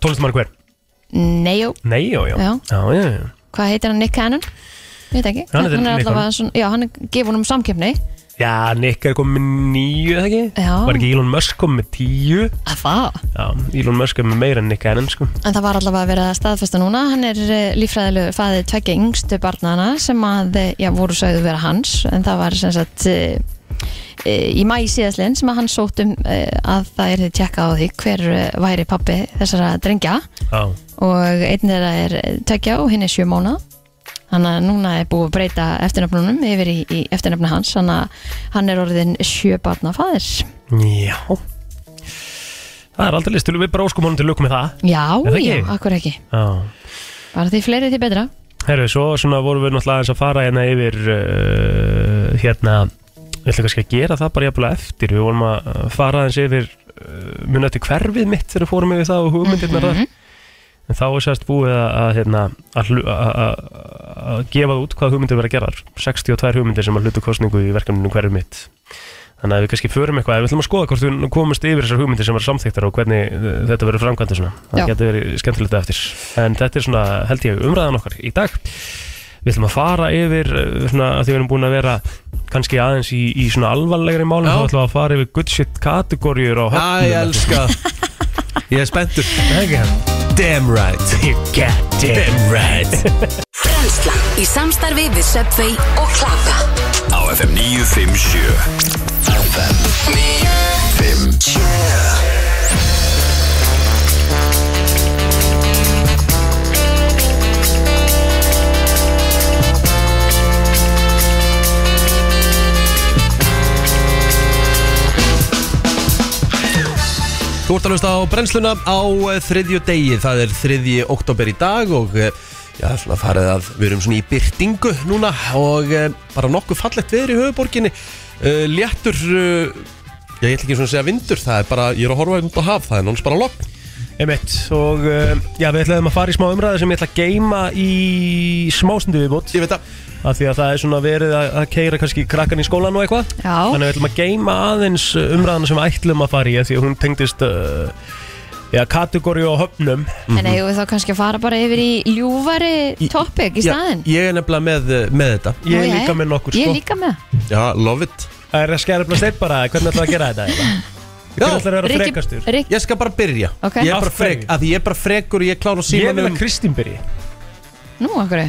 Speaker 3: Tónlistamæri hver?
Speaker 2: Níó,
Speaker 3: Nei, já, já
Speaker 2: Já.
Speaker 3: já, já, já.
Speaker 2: hvað heitir hann Nick Cannon? Veit ekki,
Speaker 3: Hann heitir
Speaker 2: er
Speaker 3: Nick Cannon.
Speaker 2: allavega svona, já, hann er gefur honum samkjöfni
Speaker 3: já Nick er komið með nýju, eða ekki?
Speaker 2: Já.
Speaker 3: Var ekki Elon Musk komið með tíu?
Speaker 2: að það,
Speaker 3: Já, Elon Musk er með meira en Nick Cannon, sko
Speaker 2: en það var allavega að vera að staðfesta núna, hann er lífræðilegu faðið tveggja yngstu barnana sem að, eh, já, voru sögðu vera hans en það var sem sagt eh, eh, í mæ síðastlinn sem að hann sótt um eh, að það er þið tjekka á því hver eh, væri pappi þessara drengja
Speaker 3: Já,
Speaker 2: og einn þeirra er tökja og hinn er sjö mánuða þannig að núna er búið að breyta eftirnafnunum yfir í, í eftirnafni hans þannig að hann er orðin sjö barnafaðir
Speaker 3: já Það er aldrei list, við bara óskum honum til lukku með það
Speaker 2: já,
Speaker 3: Er það
Speaker 2: já,
Speaker 3: ekki?
Speaker 2: akkur ekki
Speaker 3: Já
Speaker 2: bara því fleiri því betra
Speaker 3: Herru, svo svona vorum við náttúrulega aðeins að fara hérna yfir uh, hérna Ég ætla kannski að gera það bara jafnilega eftir Við vorum að uh, fara aðeins yfir uh, muni eftir hverfið mitt þegar við fórum yfir það og hugmyndirnar
Speaker 2: Mhm.
Speaker 3: þar En þá er sérst búið að, að, hérna, að, hlu- að, að, að gefa það út hvað hugmyndir verða gerðar 62 hugmyndir sem að hlutu kostningu í verkefninu um hverfið mitt Þannig að við kannski förum eitthvað Við ætlum að skoða hvort við komumst yfir þessar hugmyndir sem verða samþyktar og hvernig eh, þetta verður framkvæmdi svona
Speaker 2: Já.
Speaker 3: Það getur verið skemmtilegt eftir En þetta er svona, held ég, umræðan okkar í dag Við ætlum að fara yfir eh, svona, að því við erum búin að vera kannski aðeins í, í svona alvarlegri málum
Speaker 1: Já.
Speaker 3: þá ætlum við að fara yfir good shit kategóriur á
Speaker 1: Æ, ég elska Ég er spenntur
Speaker 3: höfnum
Speaker 1: Damn right
Speaker 3: You get it
Speaker 1: Damn right
Speaker 4: Brennslan í samstarfi við Subway og Klaka
Speaker 5: á FM 957 FM 957
Speaker 1: Þú ert að hlusta á brennsluna á eh, þriðju degi, það er þriðji oktober í dag og eh, já, svona farið að við erum svona í byrtingu núna og eh, bara nokkuð fallegt veður í höfuborginni, Eh, léttur, eh, já, ég ætla ekki svona að segja vindur, það er bara, ég er að horfa út á haf, það er náttúrulega bara logg.
Speaker 3: Emitt, og uh, já, við ætlaðum að fara í smá umræðu sem ég ætla að geima í smástundu viðbútt
Speaker 1: Ég veit að,
Speaker 3: af því að það er svona verið að, að keira kannski krakkan í skólan og eitthvað
Speaker 2: já,
Speaker 3: Þannig að við ætlum að geima aðeins umræðan sem við ætlum að fara í af því að hún tengdist uh, já, kategóri og höfnum
Speaker 2: en eigum við þá kannski að fara bara yfir í ljúfari
Speaker 1: Í-
Speaker 2: topic í
Speaker 1: já,
Speaker 2: staðinn
Speaker 1: ég er nefnilega með, eh, með þetta,
Speaker 3: Ég
Speaker 2: Nú,
Speaker 3: er
Speaker 2: jæja.
Speaker 3: líka með nokkur
Speaker 2: ég
Speaker 3: sko
Speaker 2: er líka með,
Speaker 1: já, love it.
Speaker 3: Það er að skæra upp að stein bara, hvernig ætlaðu að gera þetta? eiginlega? Hvernig ætlaðu að vera frekastur?
Speaker 2: Rikki, Rikki
Speaker 1: Ég skal bara byrja,
Speaker 2: Ok.
Speaker 1: ég er bara
Speaker 3: Af hverju?
Speaker 1: frek, að því ég er bara frekur og ég klára
Speaker 3: Ég vil að
Speaker 1: símanum.
Speaker 3: Kristín byrji
Speaker 2: nú okkur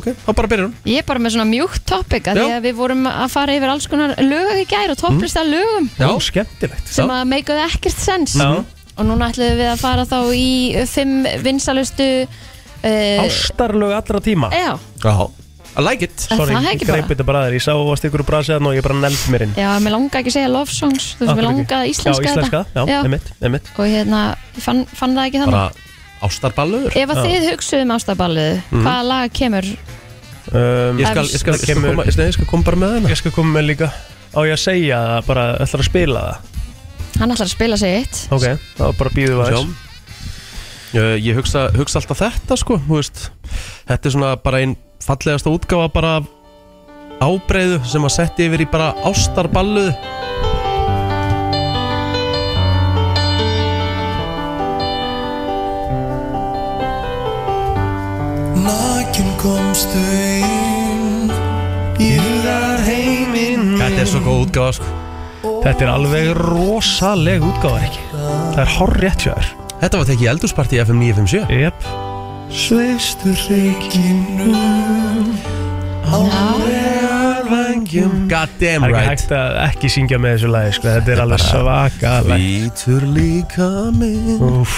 Speaker 1: Ok, þá bara byrjum.
Speaker 2: ég er bara með svona mjúkt topic að
Speaker 1: Já.
Speaker 2: því að við vorum að fara yfir alls konar lög í gær og topplista
Speaker 3: Mhm.
Speaker 2: lögum
Speaker 1: Já.
Speaker 3: Ó, skemmtilegt
Speaker 2: sem að meikaðu ekkert sens
Speaker 3: Já.
Speaker 2: og núna ætlum við að fara þá í fimm vinsalustu uh,
Speaker 3: Ástarlög allra tíma
Speaker 2: já,
Speaker 1: Já, I like it
Speaker 2: Er
Speaker 3: Sorry,
Speaker 2: Eh, það
Speaker 3: ég
Speaker 2: ekki
Speaker 3: greip
Speaker 2: bara?
Speaker 3: þetta bara að þér Ég sá að varst ykkur úr brasi þarna og ég bara neld mér inn
Speaker 2: Já, mér langa ekki að segja love songs Þú veist, mér
Speaker 3: Akkur ekki.
Speaker 2: langa að íslenska,
Speaker 3: Já, íslenska,
Speaker 2: þetta
Speaker 3: já, emitt, emitt
Speaker 2: Og hérna, ég fann, fann það ekki þannig
Speaker 1: Bara ástarballur
Speaker 2: Ef að þið hugsuðu um ástarballið
Speaker 3: Mhm.
Speaker 2: Hvaða lag kemur?
Speaker 3: um,
Speaker 1: Ég skal, ég skal, ég
Speaker 3: Það
Speaker 1: skal,
Speaker 3: kemur-
Speaker 1: koma, ég skal, ég skal koma bara með hana
Speaker 3: Ég skal koma með líka Á ég að segja það, bara ætlar að spila það
Speaker 2: Hann ætlar að spila sig eitt
Speaker 3: Ok, þá bara býðum við
Speaker 1: Sjá
Speaker 3: aðeins
Speaker 1: Ég, ég hugsa, hugsa alltaf þetta sko þú veist. Þetta er svona bara einn fallegasta útgáfa bara af ábreiðu sem að setja yfir í bara ástarballuð
Speaker 6: Nakin komstu inn Írðar heiminn
Speaker 1: Þetta er svo góð útgáfa sko
Speaker 3: Þetta er alveg rosaleg útgáfa ekki Það er hár rétt hjá þér
Speaker 1: Þetta var tekið í eldursparti FM 957
Speaker 3: Jep,
Speaker 6: Sveifstu reikinu
Speaker 1: God damn
Speaker 3: það er ekki
Speaker 1: right
Speaker 3: hægt að ekki syngja með þessu lagi sko. Þetta er alveg svaka
Speaker 1: Ítur líka minn
Speaker 3: Úf,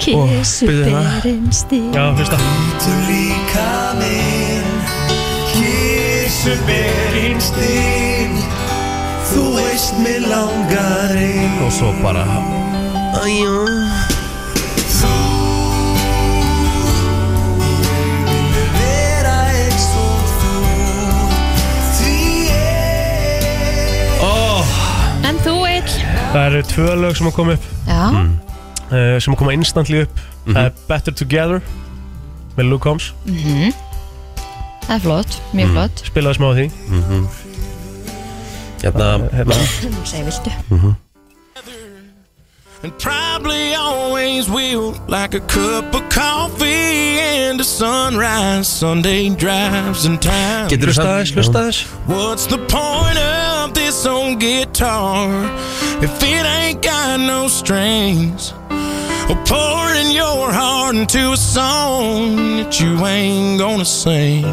Speaker 2: Kissu
Speaker 1: byrjuðu það?
Speaker 2: berinn stíl
Speaker 3: já, hlusta
Speaker 6: Ítur líka minn Kísu berinn stíl Þú veist mig langar inn
Speaker 1: Og svo bara Æjó
Speaker 6: Vera eins og þú Því ég
Speaker 2: En þú, Eil
Speaker 3: Það eru tvö lög sem að koma upp
Speaker 2: Já,
Speaker 1: Mm.
Speaker 3: uh, sem að koma instantly upp Það er
Speaker 1: Mhm.
Speaker 3: Better Together með Luke Holmes,
Speaker 2: það er flott,
Speaker 1: Mm.
Speaker 2: mjög flott
Speaker 3: spilaði smá á því
Speaker 1: Hérna
Speaker 3: hérna,
Speaker 2: Segir viltu
Speaker 6: And probably always will, like a cup of coffee and a sunrise. Sunday drives in time.
Speaker 1: Getur þú
Speaker 3: Hlusta
Speaker 1: samt
Speaker 3: aðeins, hlusta aðeins
Speaker 6: What's the point of this old guitar if it ain't got no strings? Or pouring your heart into a song that you ain't gonna sing.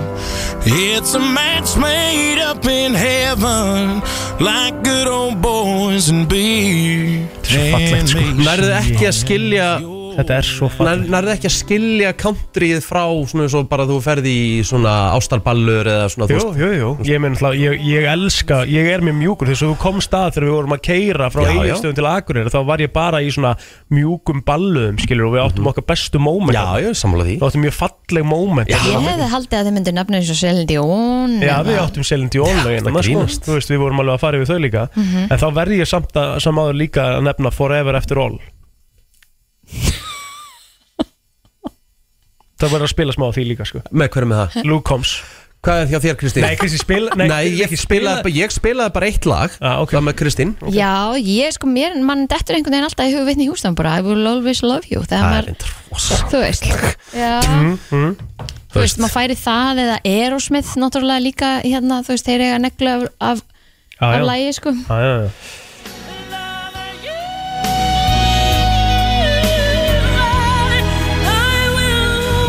Speaker 6: It's a match made up in heaven, like good old boys and beer.
Speaker 3: svo fallegt, sko.
Speaker 6: And me.
Speaker 1: Nærðu ekki að skilja
Speaker 3: Þetta er svo
Speaker 1: nær-
Speaker 3: fallegt
Speaker 1: Nærðu ekki að skilja countryið frá Svona eins og bara þú ferði í svona ástarballur Eða svona þú
Speaker 3: Jú,
Speaker 1: veist
Speaker 3: jú, jú, ég meina alltaf, ég, ég elska, ég er mjög mjúkur þess að þú komst að þegar við vorum að keira frá
Speaker 1: Já, já.
Speaker 3: eiginstöðum til Akureyri þá var ég bara í svona mjúkum balluðum skilur og við áttum okkar bestu moment
Speaker 1: Já, ég er sammála því
Speaker 3: Við áttum mjög falleg moment
Speaker 2: Ég hefði haldið að þið myndu nefna eins og Selin Dion
Speaker 3: Já,
Speaker 2: eða-
Speaker 3: við áttum Celine Dion lögin
Speaker 1: það
Speaker 3: þarna, sko.
Speaker 1: grínast.
Speaker 3: Þú veist, við vorum alveg að fara yfir þau líka En þá verð ég samt að, samáður líka að nefna Forever After All Það verður að spila smá á því líka, sko
Speaker 1: Með hverju með það?
Speaker 3: Luke Combs
Speaker 1: Hvað er hjá þér Kristín?
Speaker 3: Nei, Kristi, spila
Speaker 1: Nei, ég, spilaði, bara- ég spilaði bara eitt lag
Speaker 3: Ah, ok.
Speaker 1: Það með Kristín
Speaker 2: Já, ég sko, mér, mann dettur einhvern veginn alltaf í hug vitni hjústan bara, I will always love you þegar
Speaker 1: Það er Mhm,
Speaker 2: maður,
Speaker 1: einn tross
Speaker 2: þú veist Já, þú veist, maður færi það eða Aerosmith náttúrulega líka hérna, þú veist, þeir eiga neglu af, af,
Speaker 3: Já,
Speaker 2: af
Speaker 3: já.
Speaker 2: lægi, sko
Speaker 3: Já, já, já.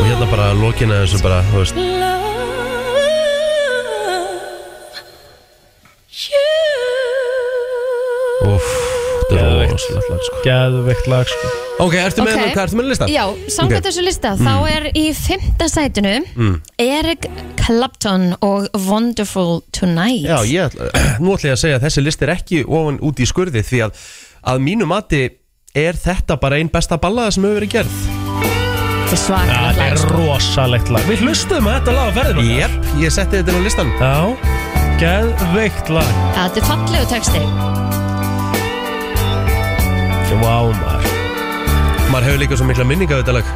Speaker 1: Og hérna bara lokina þessu bara, þú veist Úff, þetta er
Speaker 3: Geðveikt.
Speaker 1: rosalegt lag sko
Speaker 3: Geðveikt lag, sko
Speaker 1: Ok, ertu með, hérna-
Speaker 2: Ok.
Speaker 1: hvað ertu með listan?
Speaker 2: Já,
Speaker 1: Ok.
Speaker 2: samkvæmt
Speaker 1: Mm.
Speaker 2: þessu lista, þá er í fymta sætinu Eric Clapton og Wonderful Tonight
Speaker 1: Já, ég, ætla- nú ætla ég að segja að þessi list er ekki ofan út í skurði því að að mínu mati er þetta bara einn besta ballaða sem hefur verið gerð
Speaker 2: Þetta er svakalega
Speaker 3: Það
Speaker 2: lag,
Speaker 3: er
Speaker 2: sko.
Speaker 3: rosalegt lag Við hlustuðum að þetta lag að ferðum
Speaker 1: Jep, ég setti þetta á listan
Speaker 3: Já, geðveikt lag
Speaker 2: Þetta er fallegu texti
Speaker 3: Vá, maður
Speaker 1: Maður hefur líka svo mikla minninga við þetta lag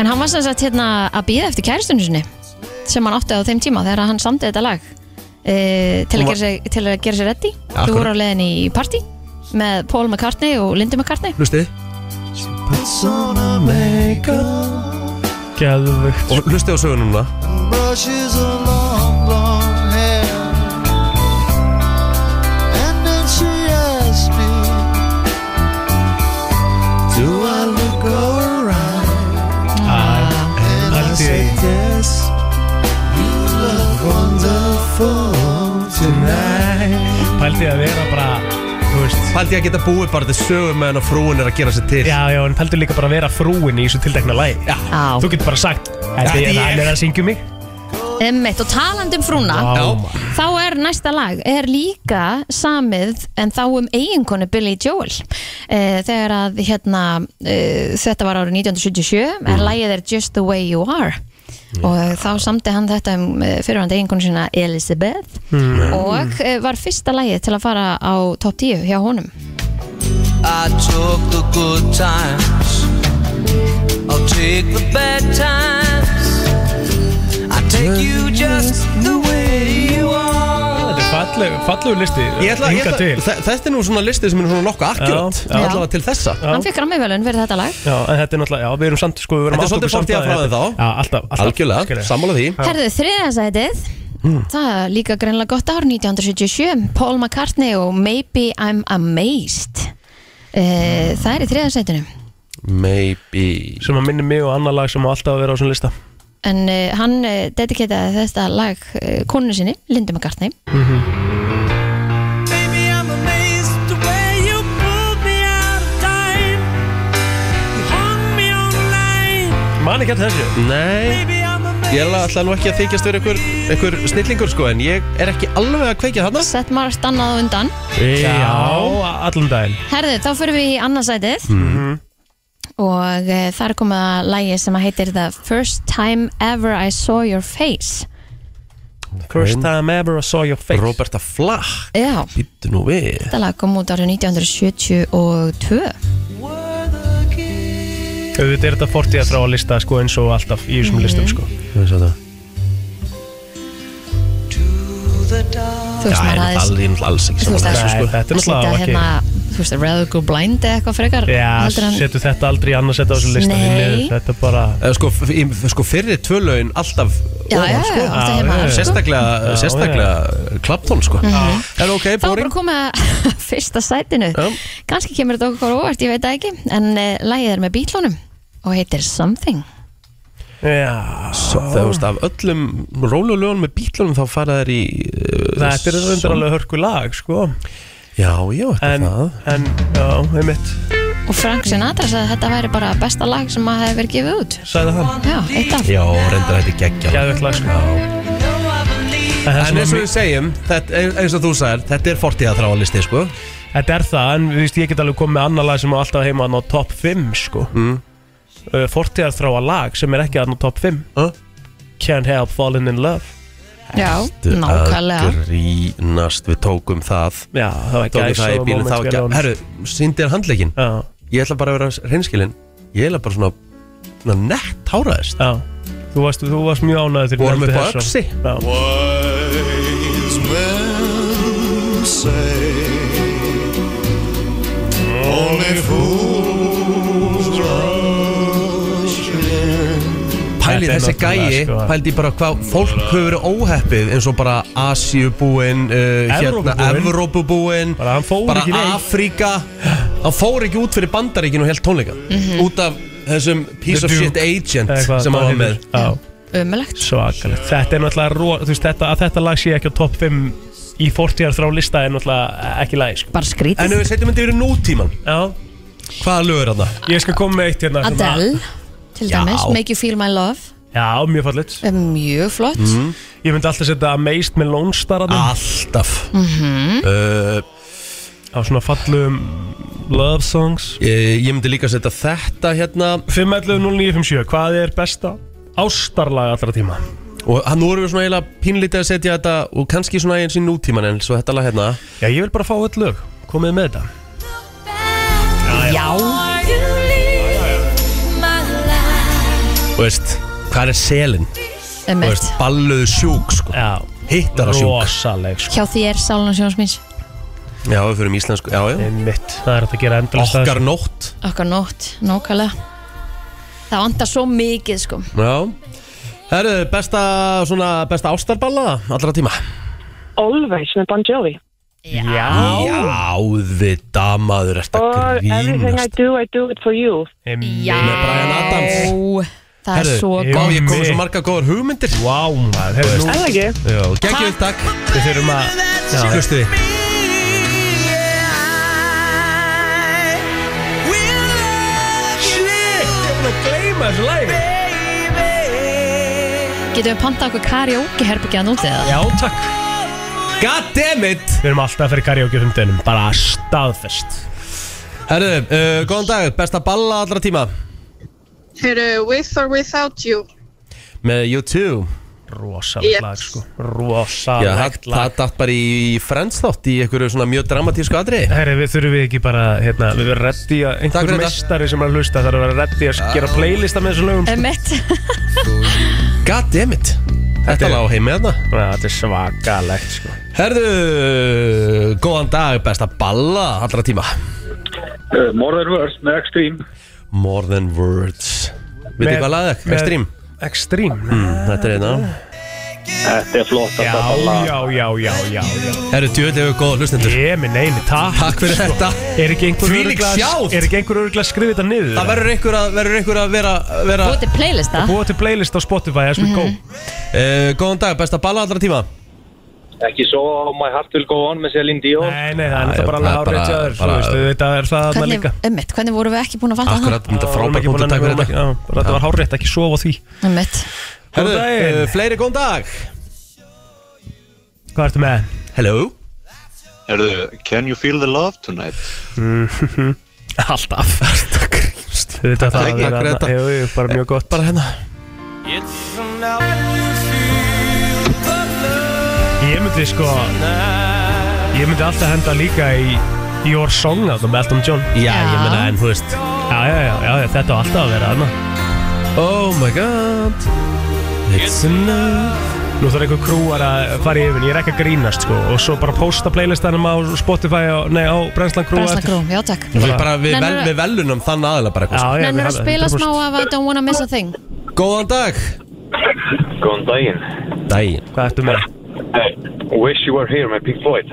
Speaker 2: En hann var sem sagt hérna að býða eftir kæristunni sinni sem hann átti á þeim tíma þegar hann samdi þetta lag e, til, að
Speaker 1: Hún var-
Speaker 2: gera sig, til að gera sér reddi Þú
Speaker 1: akkurat.
Speaker 2: voru á leiðin í partí með Paul McCartney og Lindy McCartney
Speaker 1: Hlustið
Speaker 3: Geðveikt
Speaker 1: Og hlustið á sögunum núna
Speaker 6: Brushes along blonde hair. And then she asks me, Do I look alright?
Speaker 3: Allt í einu.
Speaker 6: Yes, you look wonderful tonight.
Speaker 3: Pældi að vera bara þú veist
Speaker 1: Paldi að geta búið bara þetta sögum meðan að frúin er að gera sér til
Speaker 3: Já, já, en pældur líka bara að vera frúin í þessu tiltekna lægi Já
Speaker 2: Á.
Speaker 3: Þú getur bara sagt Þetta
Speaker 1: Þetta
Speaker 3: er
Speaker 1: er
Speaker 3: hann er að syngja um mig Oh
Speaker 2: Einmitt, og talandi um frúna
Speaker 3: Vá,
Speaker 1: Já.
Speaker 3: maður.
Speaker 2: Þá er næsta lag, er líka samið en þá um eiginkonu Billy Joel e, þegar að hérna, e, þetta var árið 1977 en lagið er Just the Way You Are og þá samti hann þetta um fyrirvænd eiginkonu sína Elizabeth og e, var fyrsta lagið til að fara á top 10 hjá honum
Speaker 7: I took the good times. I'll take the bad times. I take you just
Speaker 6: Mm-hmm.
Speaker 7: the way you are.
Speaker 3: Þetta er fallegu, fallegu listi
Speaker 1: Ég ætla, ég
Speaker 3: Hingað
Speaker 1: ætla,
Speaker 3: til
Speaker 1: þe- þetta er nú svona listi sem er svona nokkuð akkurat
Speaker 3: Já, já.
Speaker 1: allavega til þessa
Speaker 2: hann fikk rammiðvelun fyrir þetta lag
Speaker 3: Já, en þetta er náttúrulega, já, við erum samt, sko, við erum
Speaker 1: Þetta er
Speaker 3: átta okkur
Speaker 1: svolítið
Speaker 3: samt
Speaker 1: fortíða frá
Speaker 3: að-
Speaker 1: þér þá.
Speaker 3: Já, alltaf, alltaf
Speaker 1: Algjörlega,
Speaker 3: skilurðu.
Speaker 1: sammála því
Speaker 2: Herðu þriðasætið
Speaker 1: Hmm.
Speaker 2: Það er líka greinlega gott ár 1977 Paul McCartney og Maybe I'm Amazed uh, Það er í þriðasætinu
Speaker 1: Maybe
Speaker 3: Sem að minni mig og annar lag sem á alltaf að vera á svona lista
Speaker 2: En uh, hann uh, dediketaði þetta lag uh, konu sinni, Lindu McCartney
Speaker 7: Baby, I'm amazed the way you pulled me out of time. You hung me on the line.
Speaker 3: Man ekki alltaf þessu
Speaker 1: Nei,
Speaker 7: Baby, I'm amazed.
Speaker 1: ég ætla nú ekki að þykjast verið ykkur, ykkur snillingur sko En ég er ekki alveg að kveikja þarna
Speaker 2: Sett margt annað á undan
Speaker 3: Já, allan daginn
Speaker 2: Herðu, þá fyrir við í annarsætið
Speaker 1: Hmm.
Speaker 2: Og uh, þar kom að lagi sem að heitir The First Time Ever I Saw Your Face
Speaker 3: First time ever I saw your face
Speaker 1: Roberta Flack,
Speaker 2: Já,
Speaker 1: býttu nú við
Speaker 2: þetta lag kom út árið 1972
Speaker 3: Auðvitað er þetta fortíða frá að lista sko eins og alltaf í þessum listum sko
Speaker 1: Hvað er þetta?
Speaker 2: Þú veist, maður
Speaker 1: Það er
Speaker 2: aðeins
Speaker 1: alveg alls ekki
Speaker 2: Þú
Speaker 1: saman
Speaker 2: veist, það er
Speaker 3: Nei,
Speaker 1: þessu sko
Speaker 3: þetta er
Speaker 2: að setja
Speaker 3: náttúrulega ekki
Speaker 2: hérna þú veist, rather go blind eða eitthvað frekar heldur
Speaker 3: Já,
Speaker 2: en-
Speaker 3: setu þetta aldrei í annars þetta á þessum lista því
Speaker 2: Nei.
Speaker 3: miður. Þetta er bara
Speaker 1: Eh, Sko, f- í- sko fyrri tvölaun alltaf
Speaker 2: já, já,
Speaker 1: ofan sko
Speaker 2: já, átti
Speaker 3: Já,
Speaker 2: heima
Speaker 3: já, já.
Speaker 2: sko.
Speaker 1: Sérstaklega,
Speaker 3: Já,
Speaker 1: sérstaklega klaptón sko En ok,
Speaker 2: þá er bara
Speaker 1: boring
Speaker 2: að koma að fyrsta sætinu
Speaker 1: Já.
Speaker 2: kannski kemur þetta okkur óvart, ég veit það ekki en uh, lagið er með bílónum og heitir Something
Speaker 3: Já,
Speaker 1: Svo- Þegar þú veist, af öllum rólulegunum með bílunum þá fara þær í uh,
Speaker 3: þetta er undir alveg hörku lag sko
Speaker 1: Já, já, þetta er
Speaker 3: En,
Speaker 1: það
Speaker 3: en, já, einmitt
Speaker 2: og Frank Sinatra sagði að þetta væri bara besta lag sem að hefði verið gefið út
Speaker 3: Sæði það
Speaker 2: já, eitt af
Speaker 1: Já, reyndar þetta geggja
Speaker 3: Gæðvegt lag sko En það
Speaker 1: En
Speaker 3: sem
Speaker 1: eins
Speaker 3: að
Speaker 1: og
Speaker 3: mi-
Speaker 1: við segjum, þetta, e- eins og þú sagðir, þetta er fortíða þráalisti sko
Speaker 3: Þetta er það, en þú veist, ég get alveg komið með annar lag sem er alltaf heima hann á top 5 sko mm. Fortíðar þráa lag sem er ekki hann á top 5
Speaker 1: Huh?
Speaker 3: Can't help falling in love
Speaker 2: já, nákvæmlega
Speaker 1: Að Grínast, við tókum það
Speaker 3: Já, það var
Speaker 1: Tókum það í
Speaker 3: gæðsóða
Speaker 1: bílinn,
Speaker 3: moment
Speaker 1: það var
Speaker 3: fyrir
Speaker 1: ekki
Speaker 3: honum.
Speaker 1: Herru, síndir handleikin
Speaker 3: Já,
Speaker 1: Ég ætla bara að vera reynskilin Ég ætla bara svona, svona nett háraðist
Speaker 3: já Þú varst, þú varst mjög ánægður þegar
Speaker 1: Vorum upp á
Speaker 3: ég nefndi þessa.
Speaker 1: öxi.
Speaker 3: Já,
Speaker 5: Wise men say Only fools rush in
Speaker 1: Pæli
Speaker 3: Þetta er
Speaker 1: þessi
Speaker 3: náttúrulega,
Speaker 1: gæi,
Speaker 3: sko.
Speaker 1: pældi bara hvað fólk hefur verið óheppið eins og bara Asíubúin, uh, hérna,
Speaker 3: Evrópubúinn.
Speaker 1: Evrópubúin
Speaker 3: Bara hann fór
Speaker 1: bara
Speaker 3: ekki neitt.
Speaker 1: Afríka hann fór ekki út fyrir bandaríkinu og held tónleika út af þessum piece of
Speaker 3: The Duke.
Speaker 1: shit agent
Speaker 3: eða hvað
Speaker 1: sem hann
Speaker 3: það
Speaker 1: var með
Speaker 3: heitir. Já,
Speaker 2: ömulegt
Speaker 3: svakalegt Þetta er náttúrulega, ro- þú veist, þetta, að þetta lag sé ekki á topp 5 í fortíðar þrá lista er náttúrulega ekki lagi sko
Speaker 2: bara
Speaker 1: en
Speaker 2: skrítið,
Speaker 1: ef við setjum þetta yfir í nútíman
Speaker 3: Já,
Speaker 1: hvaða lög er þetta?
Speaker 3: ég skal koma með eitt hérna sem að-
Speaker 2: Adele til dæmis, Make You Feel My Love
Speaker 3: Já, mjög fallit
Speaker 2: er mjög flott
Speaker 3: Mhm. Ég myndi alltaf setja Amazed með Lone Star að
Speaker 1: alltaf uh,
Speaker 3: Á svona fallum love songs
Speaker 1: ég, ég myndi líka setja þetta hérna
Speaker 3: 5.11.09.57, hvað er besta ástarlag allra tíma?
Speaker 1: og hann nú erum við svona eiginlega pínlítið að setja þetta og kannski svona eins í nútíman en svo þetta lag hérna
Speaker 3: Já, ég vil bara fá öll lög, komið með þetta
Speaker 1: og veist, hvað er selin? Þú
Speaker 2: ömulegt
Speaker 1: veist, balluðu sjúk sko
Speaker 3: Já,
Speaker 1: hittara sjúk
Speaker 3: rosaleg sko
Speaker 2: hjá því er sálun og sjónsmins
Speaker 1: já, við fyrir um íslensku, já, já
Speaker 3: Einmitt, það er hægt að gera sko. endalist
Speaker 1: okkar nótt
Speaker 2: okkar nótt, nákvæmlega það vantar svo mikið sko
Speaker 1: já Herru, besta, svona, besta ástarballa allra tíma
Speaker 8: Always með Bon Jovi
Speaker 3: Já,
Speaker 1: Já, við damaður Þetta
Speaker 8: og Everything I
Speaker 1: grínast
Speaker 8: Do, I Do It For You
Speaker 3: einmitt
Speaker 2: já,
Speaker 1: Með Bryan Adams.
Speaker 2: það er svo
Speaker 3: ég-
Speaker 1: Vá,
Speaker 2: gott
Speaker 1: ég komið
Speaker 3: Gummi.
Speaker 1: svo marga góðar hugmyndir
Speaker 3: Vá, maður, hefur nú
Speaker 8: Það ekki?
Speaker 1: Já, geggjum takk
Speaker 3: Við þurfum að
Speaker 1: Hlustu við
Speaker 3: gleyma þessu lægi
Speaker 2: Getum við pantað okkur karaoke herbyggjaðan út eða?
Speaker 3: Já, takk
Speaker 1: Goddammit
Speaker 3: Við erum alltaf að fyrir karaoke á fimmtugunum Bara staðfest
Speaker 1: Herðu, uh, góðan dag, besta balla allra tíma
Speaker 9: Heru, with or without you
Speaker 1: Með U2
Speaker 3: Rosalegt
Speaker 9: Yep.
Speaker 3: lag, sko
Speaker 1: Já, það,
Speaker 3: Rosalegt
Speaker 1: það
Speaker 3: lag
Speaker 1: datt bara í Friends þátt í einhverju svona mjög dramatísku atriði
Speaker 3: Herri, við þurfum við ekki bara, hérna, við verðum reddi
Speaker 1: Takk
Speaker 3: að einhver
Speaker 1: fyrir þetta. Ah.
Speaker 3: meistari sem er að hlusta þarf að vera reddi að gera playlista með þessum lögum sko.
Speaker 2: Emmett
Speaker 1: Goddammit
Speaker 3: Þetta
Speaker 1: Þetta
Speaker 3: er-
Speaker 1: lág heimi þarna
Speaker 3: Já, Þetta er svakalegt, sko
Speaker 1: Herðu, góðan dag, besta balla allra tíma
Speaker 10: Morðar Vörs með Extreme
Speaker 1: More than words Vitið
Speaker 3: Með-
Speaker 1: hvað lagði ekki?
Speaker 3: með-
Speaker 1: Extreme
Speaker 3: Extreme
Speaker 1: mm, Þetta er eina
Speaker 10: Þetta er flott
Speaker 3: Já, já, já, já, já, já
Speaker 1: Herðu, djúvel hefur góða hlustendur
Speaker 3: Ég minn eini, takk
Speaker 1: Takk fyrir
Speaker 3: sko.
Speaker 1: þetta
Speaker 3: Er ekki einhver
Speaker 1: Þvílík
Speaker 3: örugglega-
Speaker 1: sjáð!
Speaker 3: Er ekki einhver öruglega að skrifa þetta niður?
Speaker 1: Það verður einhver að, verður einhver að vera, vera
Speaker 2: Búið til playlista
Speaker 3: Búa til playlist á Spotify, as we go
Speaker 1: uh, Góðan dag, besta balla allra tíma
Speaker 10: Ekki svo á My Heart Will Go On með Celine Dion
Speaker 3: Nei, nei, það er náttúrulega bara
Speaker 1: það
Speaker 3: alveg
Speaker 1: er bara-
Speaker 3: árið tjáður Þú
Speaker 1: bara-
Speaker 3: veist, þetta er það þarna
Speaker 2: Hvernig,
Speaker 3: líka
Speaker 2: Emmett, hvernig vorum við ekki búin að fanta
Speaker 1: Akkurat, þetta er
Speaker 3: Við vorum
Speaker 1: frábær
Speaker 3: ekki búin
Speaker 1: punktur,
Speaker 3: að-
Speaker 1: takk
Speaker 3: við
Speaker 1: fyrir
Speaker 3: vorum ekki-
Speaker 1: þetta
Speaker 3: já, bara Þetta var hárrétt, ekki sofa á því
Speaker 2: það Emmett
Speaker 1: Herðu,
Speaker 3: Góðan daginn.
Speaker 1: uh, fleiri góðan dag
Speaker 3: Hvað ertu með?
Speaker 1: Hello
Speaker 5: Erðu, can you feel the love tonight?
Speaker 3: Alltaf Þetta er
Speaker 1: Takk
Speaker 3: það
Speaker 1: fyrir
Speaker 3: þarna-
Speaker 1: þetta.
Speaker 3: Jú, jú, bara mjög gott
Speaker 1: Bara hérna
Speaker 3: Ég myndi sko Ég myndi alltaf henda líka í Your Song að það með Elton John
Speaker 1: Já, ég
Speaker 2: Já.
Speaker 1: meina, en þú veist
Speaker 3: Já, já, já, já, já þetta var alltaf að vera þarna
Speaker 1: Oh my god It's enough
Speaker 3: Nú þarf einhver krúar að fara yfir, ég er ekki að grínast sko Og svo bara posta playlistanum á Spotify, á, nei á Brenslan Krú
Speaker 2: Brænslan Grú, já takk
Speaker 1: Við bara, við,
Speaker 2: Nei,
Speaker 1: vel,
Speaker 2: nei, nei.
Speaker 1: við velunum þann aðila bara eitthvað
Speaker 3: Já, já,
Speaker 2: Nennir að spila smá af I don't wanna miss a thing
Speaker 1: sko. Góðan dag
Speaker 10: Góðan daginn
Speaker 1: Dæin
Speaker 3: Hvað ertu með?
Speaker 10: Wish You Were Here með Pink Floyd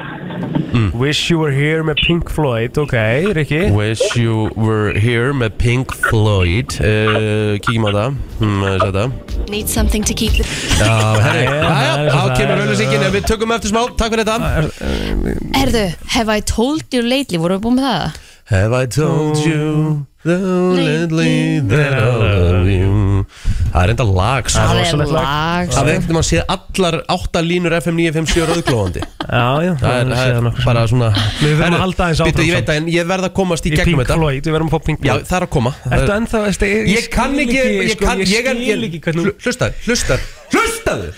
Speaker 3: Mm. Wish You Were Here með Pink Floyd, ok, Rikki
Speaker 1: Wish you were here með Pink Floyd uh, Kíkjum á það mm, Sæta
Speaker 4: Need something to keep the
Speaker 1: Já, herri
Speaker 3: Já,
Speaker 1: Jæja,
Speaker 3: það er
Speaker 1: Þá
Speaker 3: það,
Speaker 1: kemur
Speaker 3: það er
Speaker 1: auðlýsingin
Speaker 3: það.
Speaker 1: Við tökum eftir smá Takk fyrir þetta
Speaker 2: Erðu, have I told you lately, vorum við búin með það?
Speaker 1: Have I told you Lonely that I love you Það er enda lag sko.
Speaker 2: Það er
Speaker 3: rosalegt lag.
Speaker 2: lag sko.
Speaker 1: Það veitum að sé allar átta línur FM 957 rauðglóðandi
Speaker 3: Já, já,
Speaker 1: Það er,
Speaker 3: séð
Speaker 1: það er
Speaker 3: nokkrum
Speaker 1: bara
Speaker 3: sinnum.
Speaker 1: svona
Speaker 3: Við verðum
Speaker 1: Herru,
Speaker 3: að halda aðeins
Speaker 1: bíddu,
Speaker 3: áfram sko.
Speaker 1: Ég veit að en ég verð að komast í
Speaker 3: Í
Speaker 1: gegnum
Speaker 3: Pink
Speaker 1: þetta
Speaker 3: Floyd, við verðum að fá Pink
Speaker 1: Já,
Speaker 3: Floyd
Speaker 1: það er að koma Það
Speaker 3: Ertu
Speaker 1: er-
Speaker 3: ennþá, veist,
Speaker 1: Ég, kann
Speaker 3: skil
Speaker 1: ekki, ég,
Speaker 3: sko,
Speaker 1: kann, ég,
Speaker 3: skil
Speaker 1: er,
Speaker 3: ekki
Speaker 1: ég
Speaker 3: hvernig
Speaker 1: Hlustaðu, hlustaðu, hlustaðu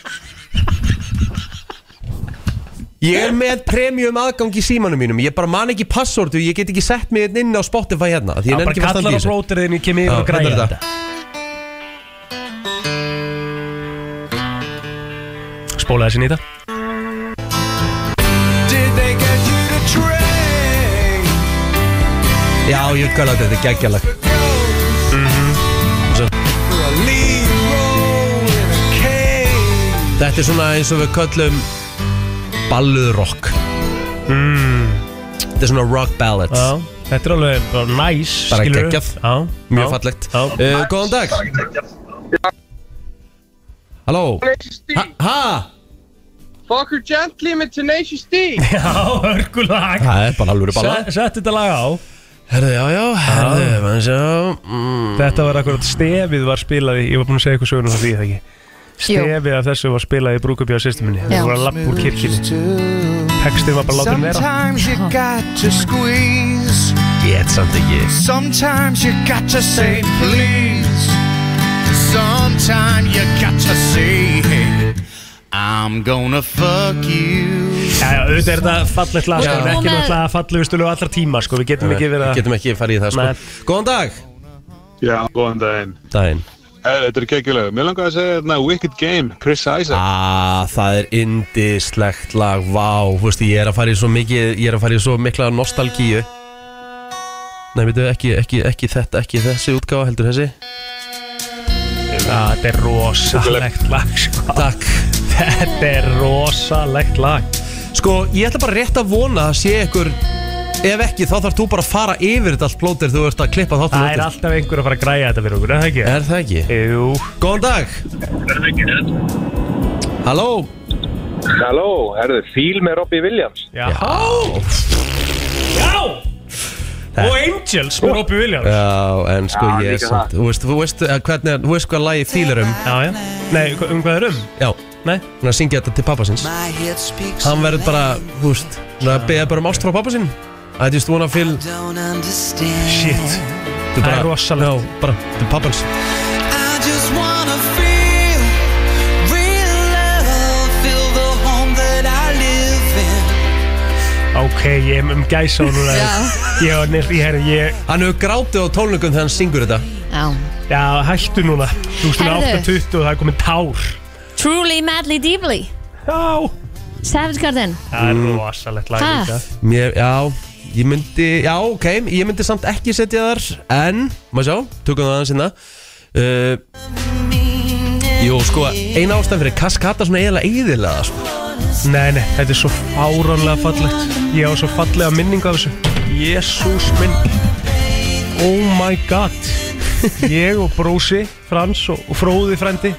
Speaker 1: Ég er með premium aðgang í símanum mínum Ég bara man ekki passordu, ég get ekki sett mig inn á Spotify hérna Því ég
Speaker 3: Já,
Speaker 1: nenni
Speaker 3: bara
Speaker 1: ekki að
Speaker 3: kallar
Speaker 1: standa í
Speaker 3: á
Speaker 1: þessu
Speaker 3: blóterinn, ég kem yfir
Speaker 1: Já,
Speaker 3: og græja
Speaker 1: hérna er
Speaker 3: þetta Spóla þessi nýta
Speaker 1: Já, ég veit hvað að þetta er geggjalag
Speaker 3: Mhm.
Speaker 1: Þetta er svona eins og við köllum balluðrokk mm. Þetta er svona rock ballads
Speaker 3: Mhm. Já, þetta er alveg bara næs
Speaker 1: Bara
Speaker 3: skilurðu.
Speaker 1: geggjað.
Speaker 3: Já,
Speaker 1: Mjög
Speaker 3: já.
Speaker 1: fallegt
Speaker 3: Já.
Speaker 1: uh, Góðan dag Halló Ha? ha?
Speaker 11: Fuck her gently með Tenacious D
Speaker 3: Já, hörgulag
Speaker 1: Það er bara alveg balla
Speaker 3: Se- Sett þetta lag á
Speaker 1: Herðu, já, já, herðu, mann sjá mm.
Speaker 3: Þetta var akkurat stefið var spilað í Ég var búinn að segja eitthvað söguna frá því, það ekki Stefið af þessu var spilað í brúkabíða sýstuminni
Speaker 2: Já.
Speaker 3: Það voru að lappa úr kirkini Textið var bara látin vera
Speaker 7: Sometimes you got to squeeze.
Speaker 1: Ég er samt ekki
Speaker 7: Sometimes you got to say please. Sometimes you got to say hey. I'm gonna fuck you.
Speaker 3: Já, já, auðvitað er þetta fallegt lag sko,
Speaker 2: Já.
Speaker 3: en Ekki
Speaker 2: Komið-
Speaker 3: náttúrulega fallegustu lög allra tíma sko. Við getum ekki verið að
Speaker 1: Getum ekki farið í það,
Speaker 3: Nei.
Speaker 1: sko Góðan dag
Speaker 10: Já, góðan daginn
Speaker 1: Daginn
Speaker 10: Hey, Þetta er kekkjulega Mér langar að segja þarna Wicked Game, Chris Isaac
Speaker 1: Ah, það er indislegt lag, vá, þú veist, ég er að fara í svo mikið, ég er að fara í svo mikla nostalgíu Nei, veitu, ekki, ekki, ekki þetta, ekki þessi útgáfa, heldur þessi
Speaker 3: Já, Þetta er rosalegt lag sko.
Speaker 1: Takk
Speaker 3: Þetta er rosalegt lag
Speaker 1: Sko, ég ætla bara rétt að vona að sé ykkur, ef ekki, þá þarf þú bara að fara yfir þetta allt blótir þegar þú ert að klippa þáttum
Speaker 3: Það er alltaf einhver að fara að græja þetta fyrir okkur, er það ekki?
Speaker 1: Er það ekki?
Speaker 3: Jú,
Speaker 1: Góðan dag Halló
Speaker 10: Halló, herðu, Fíl með Robbie Williams
Speaker 3: já Já, Og Angel, sko Robbie Williams
Speaker 1: Já, en sko
Speaker 3: Já,
Speaker 1: ég er
Speaker 3: líka
Speaker 1: samt Þú veist, þú veist, eh, hvernig, þú veist hvað lagi fíl er um
Speaker 3: Já, já Nei, hva- um hvað er um?
Speaker 1: Já
Speaker 3: Nei
Speaker 1: Hún er að syngja þetta til pappasins Hann verður bara, þú veist Hún er að beða bara um ást frá pappasinn I just wanna feel Shit Þetta
Speaker 3: Það er
Speaker 1: rosalegt Já, bara, þetta er pappans
Speaker 7: I just wanna feel real love, feel the home that I live in.
Speaker 3: Ok, ég er um gæsa og núna
Speaker 7: Já.
Speaker 3: Ég var nefnir, ég herri, ég
Speaker 1: Hann hefur grátið á tólningum þegar hann syngur þetta
Speaker 2: Já
Speaker 3: Já, hættu núna Þú veist, hún er
Speaker 2: Herðu.
Speaker 3: 8.20 og það er komið tár
Speaker 2: Truly, madly, deeply
Speaker 3: Já
Speaker 2: Savage Garden
Speaker 3: Það er rosalegt lag
Speaker 2: Ha?
Speaker 3: líka
Speaker 1: Mér, já Ég myndi, já, ok Ég myndi samt ekki setja þar En, maður sjá, tökum það aðeins hérna uh, Jú, sko, eina ástæðan fyrir Kaskata svona eiginlega eiginlega sko.
Speaker 3: Nei, nei, þetta er svo fáránlega fallegt Ég á svo fallega minningu af þessu Jésús minn Oh my god Ég og brósi, Frans og, og fróði frendi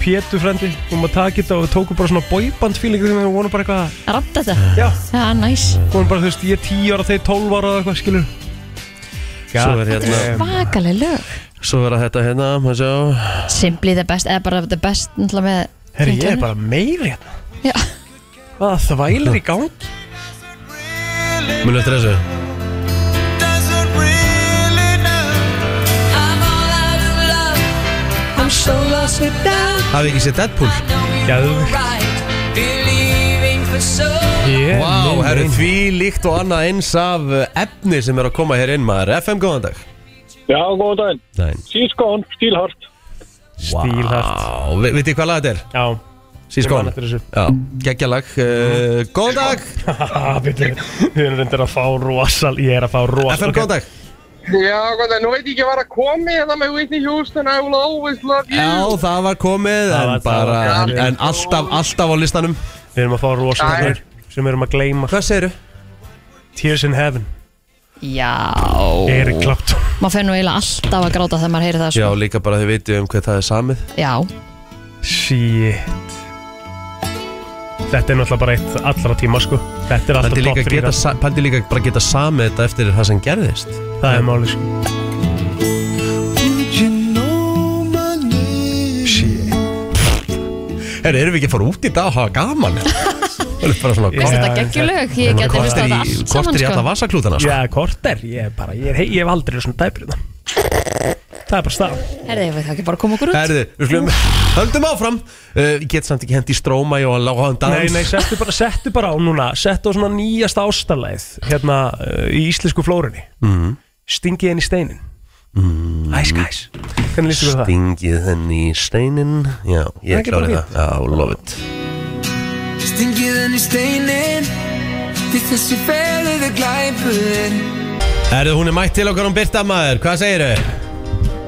Speaker 3: Pétur frendi Við maður takið þetta og við tókum bara svona boyband feeling þegar við vonum bara eitthvað
Speaker 2: Rapp þetta
Speaker 3: Já
Speaker 2: Já, næs
Speaker 3: Vonum bara, þú veist, ég er 10 ára, þeir 12 ára eða eitthvað, skilur
Speaker 1: Svo er
Speaker 2: Þetta er
Speaker 1: hérna
Speaker 2: svakaleg lög
Speaker 1: Svo er þetta hérna, maður sjá
Speaker 2: Simply the best, eða bara the best náttúrulega með
Speaker 3: Herri, ég
Speaker 2: Hringtornið.
Speaker 3: er bara meiri hérna
Speaker 2: Já.
Speaker 3: Hvaða þvælir í gang?
Speaker 1: Munu eftir þessu
Speaker 7: I'm so lost without
Speaker 1: Hafið ekki séð Deadpool?
Speaker 3: Gæðvig
Speaker 7: right, believing for so
Speaker 1: Vá,
Speaker 7: long.
Speaker 1: wow, herru, því líkt og annað eins af uh, efni sem er að koma hér inn maður FM, góðan dag
Speaker 12: Já, góðan daginn.
Speaker 1: Daginn.
Speaker 12: She's gone, still hurt.
Speaker 1: Stílhært Ve Vitið hvað lag þetta er?
Speaker 3: Já
Speaker 1: Sís
Speaker 3: Ég man
Speaker 1: góðan
Speaker 3: eftir þessu.
Speaker 1: Já, geggja lag uh, Góðan dag
Speaker 3: Við erum reyndir að fá rosal Ég er að fá rosal
Speaker 1: FM, góðan dag
Speaker 11: Já, góðan daginn. Nú veit ég ekki hvað er að komi hérna með Whitney Houston. I will always love you.
Speaker 1: Já, það var komið
Speaker 3: Það
Speaker 1: en,
Speaker 3: var- það
Speaker 1: bara,
Speaker 3: var-
Speaker 1: en, en alltaf, alltaf á listanum
Speaker 3: Við erum að fá rosa
Speaker 1: Æ.
Speaker 3: þarna sem við erum að gleyma
Speaker 1: Hvað segirðu?
Speaker 3: Tears in Heaven
Speaker 2: Já
Speaker 3: Eric Clapton
Speaker 2: Maður fer nú eiginlega alltaf að gráta þegar maður heyri það
Speaker 1: Já,
Speaker 2: sko.
Speaker 1: líka bara þið vitið um hvað það er samið
Speaker 2: Já,
Speaker 3: Shit Þetta er náttúrulega bara eitt allra tíma sko Þetta er
Speaker 1: Pældi
Speaker 3: alltaf
Speaker 1: líka,
Speaker 3: topp
Speaker 1: geta,
Speaker 3: þrýra
Speaker 1: sa- pældi líka bara geta samið þetta eftir það sem gerðist
Speaker 3: Það er máli sko Shit
Speaker 1: Herru, erum við ekki að fara út í dag og hafa gaman? Það er bara svona
Speaker 2: veist þetta geggjulög Ég
Speaker 1: Ég
Speaker 2: geti
Speaker 1: meina,
Speaker 2: hlustað á
Speaker 1: korter
Speaker 2: þetta
Speaker 1: í-
Speaker 2: allt
Speaker 1: korter
Speaker 2: saman
Speaker 1: í alla
Speaker 2: sko.
Speaker 1: vasaklútana sko.
Speaker 3: Já, korter Ég er bara, ég, er, ég hef aldrei verið svona dæpur í það Það er bara stað
Speaker 2: Herði, ég veit það ekki bara koma okkur út
Speaker 1: Herðu, við skulum Höldum áfram uh, Ég get samt ekki hendi í stróma og að lága hann dans
Speaker 3: Nei, nei, settu bara, settu bara á núna Settu á svona nýjasta ástalæð Hérna uh, í íslensku flórunni
Speaker 1: mm.
Speaker 3: Stingið henni í steinin Ice guys Hvernig lýstu við það?
Speaker 1: Stingið henni í steinin Já,
Speaker 3: Það er
Speaker 1: ég
Speaker 3: ekki bara
Speaker 1: klári það Já, love it
Speaker 7: Stingið henni steinin Til þessi feliði glæpurinn
Speaker 1: Herðu, hún er mætt til okkar um Birta maður Hvað segirðu?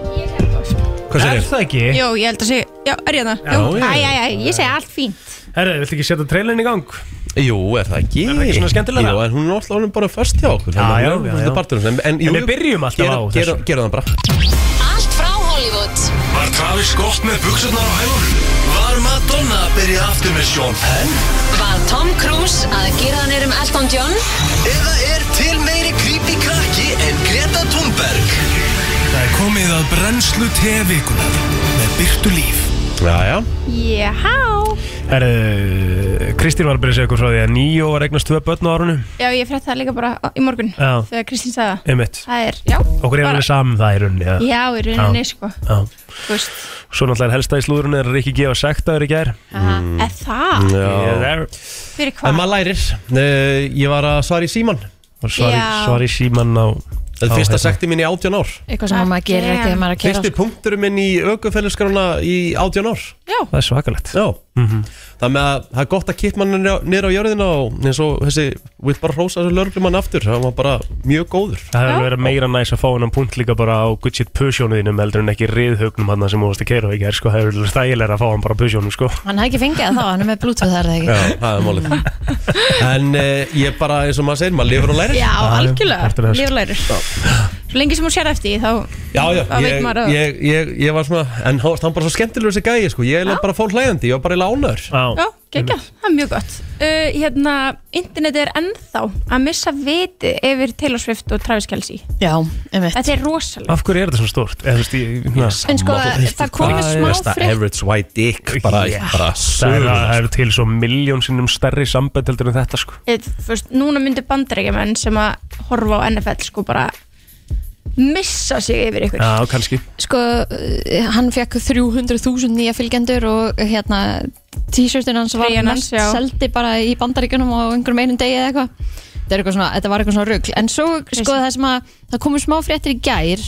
Speaker 1: Hvað segirðu?
Speaker 3: Er það ekki?
Speaker 13: Jó, ég held að segja, já, er ég
Speaker 3: Já,
Speaker 13: það?
Speaker 3: já.
Speaker 13: Æ, æ, æ, ég segi allt fínt
Speaker 3: Herra, viltu ekki setja trailerin í gang?
Speaker 1: Jú, er það ekki?
Speaker 3: Er það ekki svona skemmtilegra?
Speaker 1: Jú, en hún er alltaf orðin bara först hjá okkur
Speaker 3: Já, já, já, já.
Speaker 1: já En
Speaker 3: En við byrjum alltaf á
Speaker 1: þessu Gerðu það bara
Speaker 4: Allt frá Hollywood
Speaker 14: Var Travis Scott með buksurnar á hægur? Var Madonna að byrja aftur með Sean Penn?
Speaker 4: Var Tom Cruise að gera hann erum Elton John
Speaker 14: Eða er til meiri creepy krakki en Greta Thunberg?
Speaker 15: Það er komið að brennslu tevikunar með byrtu líf.
Speaker 1: Já, já
Speaker 13: Jéhá
Speaker 3: Herra, Kristín var að byrja að segja okkur frá því að Níó var eignast tvö börn á árunum
Speaker 13: Já, ég frétt það líka bara á- í morgun
Speaker 3: Já.
Speaker 13: Þegar Kristín sagði það
Speaker 3: Einmitt
Speaker 13: Það er, já,
Speaker 3: Okkur er
Speaker 13: bara-
Speaker 3: alveg saman það í rauninni eða?
Speaker 13: Já, í rauninni,
Speaker 3: Já.
Speaker 13: sko
Speaker 3: Já
Speaker 13: Þú veist,
Speaker 3: Svo náttúrulega er helsta í slúðurinn er Rikki G. og sektaður í gær
Speaker 13: eða
Speaker 3: Ah,
Speaker 13: það
Speaker 1: Já
Speaker 13: Fyrir
Speaker 1: En
Speaker 13: hvað?
Speaker 1: maður lærir Eh, Ég var að svara í síman
Speaker 3: Og svar í,
Speaker 13: Já.
Speaker 3: svar í síman á
Speaker 1: Það
Speaker 3: á
Speaker 1: er fyrsta
Speaker 3: hérna.
Speaker 1: sekti mín í 18 ár
Speaker 2: Eitthvað sem maður gerir ekki þegar maður er að sko. kera
Speaker 1: Fyrsti
Speaker 13: sko.
Speaker 1: punkturum minn í aukufélagsgrána í 18 ár
Speaker 13: Já.
Speaker 3: Það er svakalegt
Speaker 1: Já Það með að það er gott að kippa mann nýra á jörðina og eins og þessi vill bara hrósa þessu lögreglumann aftur það var bara mjög góður
Speaker 3: Það hefur verið meira næs að fá hennan punkt líka bara á good shit pusjónuðinum heldur en ekki riðhaugnum hann sem þú varst að keira á í gær sko, það hefur verið þægilega að fá hann bara á pusjónum sko
Speaker 2: Hann hefði ekki fengið það þá, hann er með bluetooth það er það
Speaker 1: Já,
Speaker 2: ekki
Speaker 1: það er málið eh, En uh, ég bara, eins og maður segir, maður lifur og lærir
Speaker 13: Já, algjörlega,
Speaker 3: partur af þessu.
Speaker 13: líflærir Svo lengi sem hún sér eftir því, þá
Speaker 1: Já, já,
Speaker 13: Hvað veit
Speaker 1: ég,
Speaker 13: maður að-
Speaker 1: ég, ég, ég var svona En hann var- hann bara svo skemmtilegur þessi gæi sko. Ég er bara fólk hlægandi, ég var bara í lánar
Speaker 13: Já, geggja, það er mjög gott uh, Hérna, internetið er ennþá að missa viti yfir Taylor Swift og Travis Kelsey
Speaker 2: Já, einmitt
Speaker 13: Þetta er rosalega
Speaker 3: Af hverju er þetta svona stórt? Eða, þú veist, hérna. ég, na,
Speaker 13: En sko, það komu smá frétt-
Speaker 1: average white dick bara,
Speaker 3: Yes.
Speaker 1: bara
Speaker 3: Það er,
Speaker 1: sögulega,
Speaker 3: það eru til svo miljón sinnum stærri sambönd heldur en þetta sko
Speaker 13: Eð, fyrst, Núna myndu bandarækjumenn sem að horfa á NFL sko bara missa sig yfir ykkur
Speaker 3: Já, kannski
Speaker 2: sko, eh, hann fekk 300.000 nýja fylgjendur og hérna t-shirtin hans var
Speaker 13: Treyjan hans,
Speaker 2: mest
Speaker 13: já.
Speaker 2: seldi bara í bandaríkunum á einhverjum einum degi eða eitthvað þetta, er eitthvað svona, þetta var eitthvað svona rugl en svo sko það sem að það komu smá fréttir í gær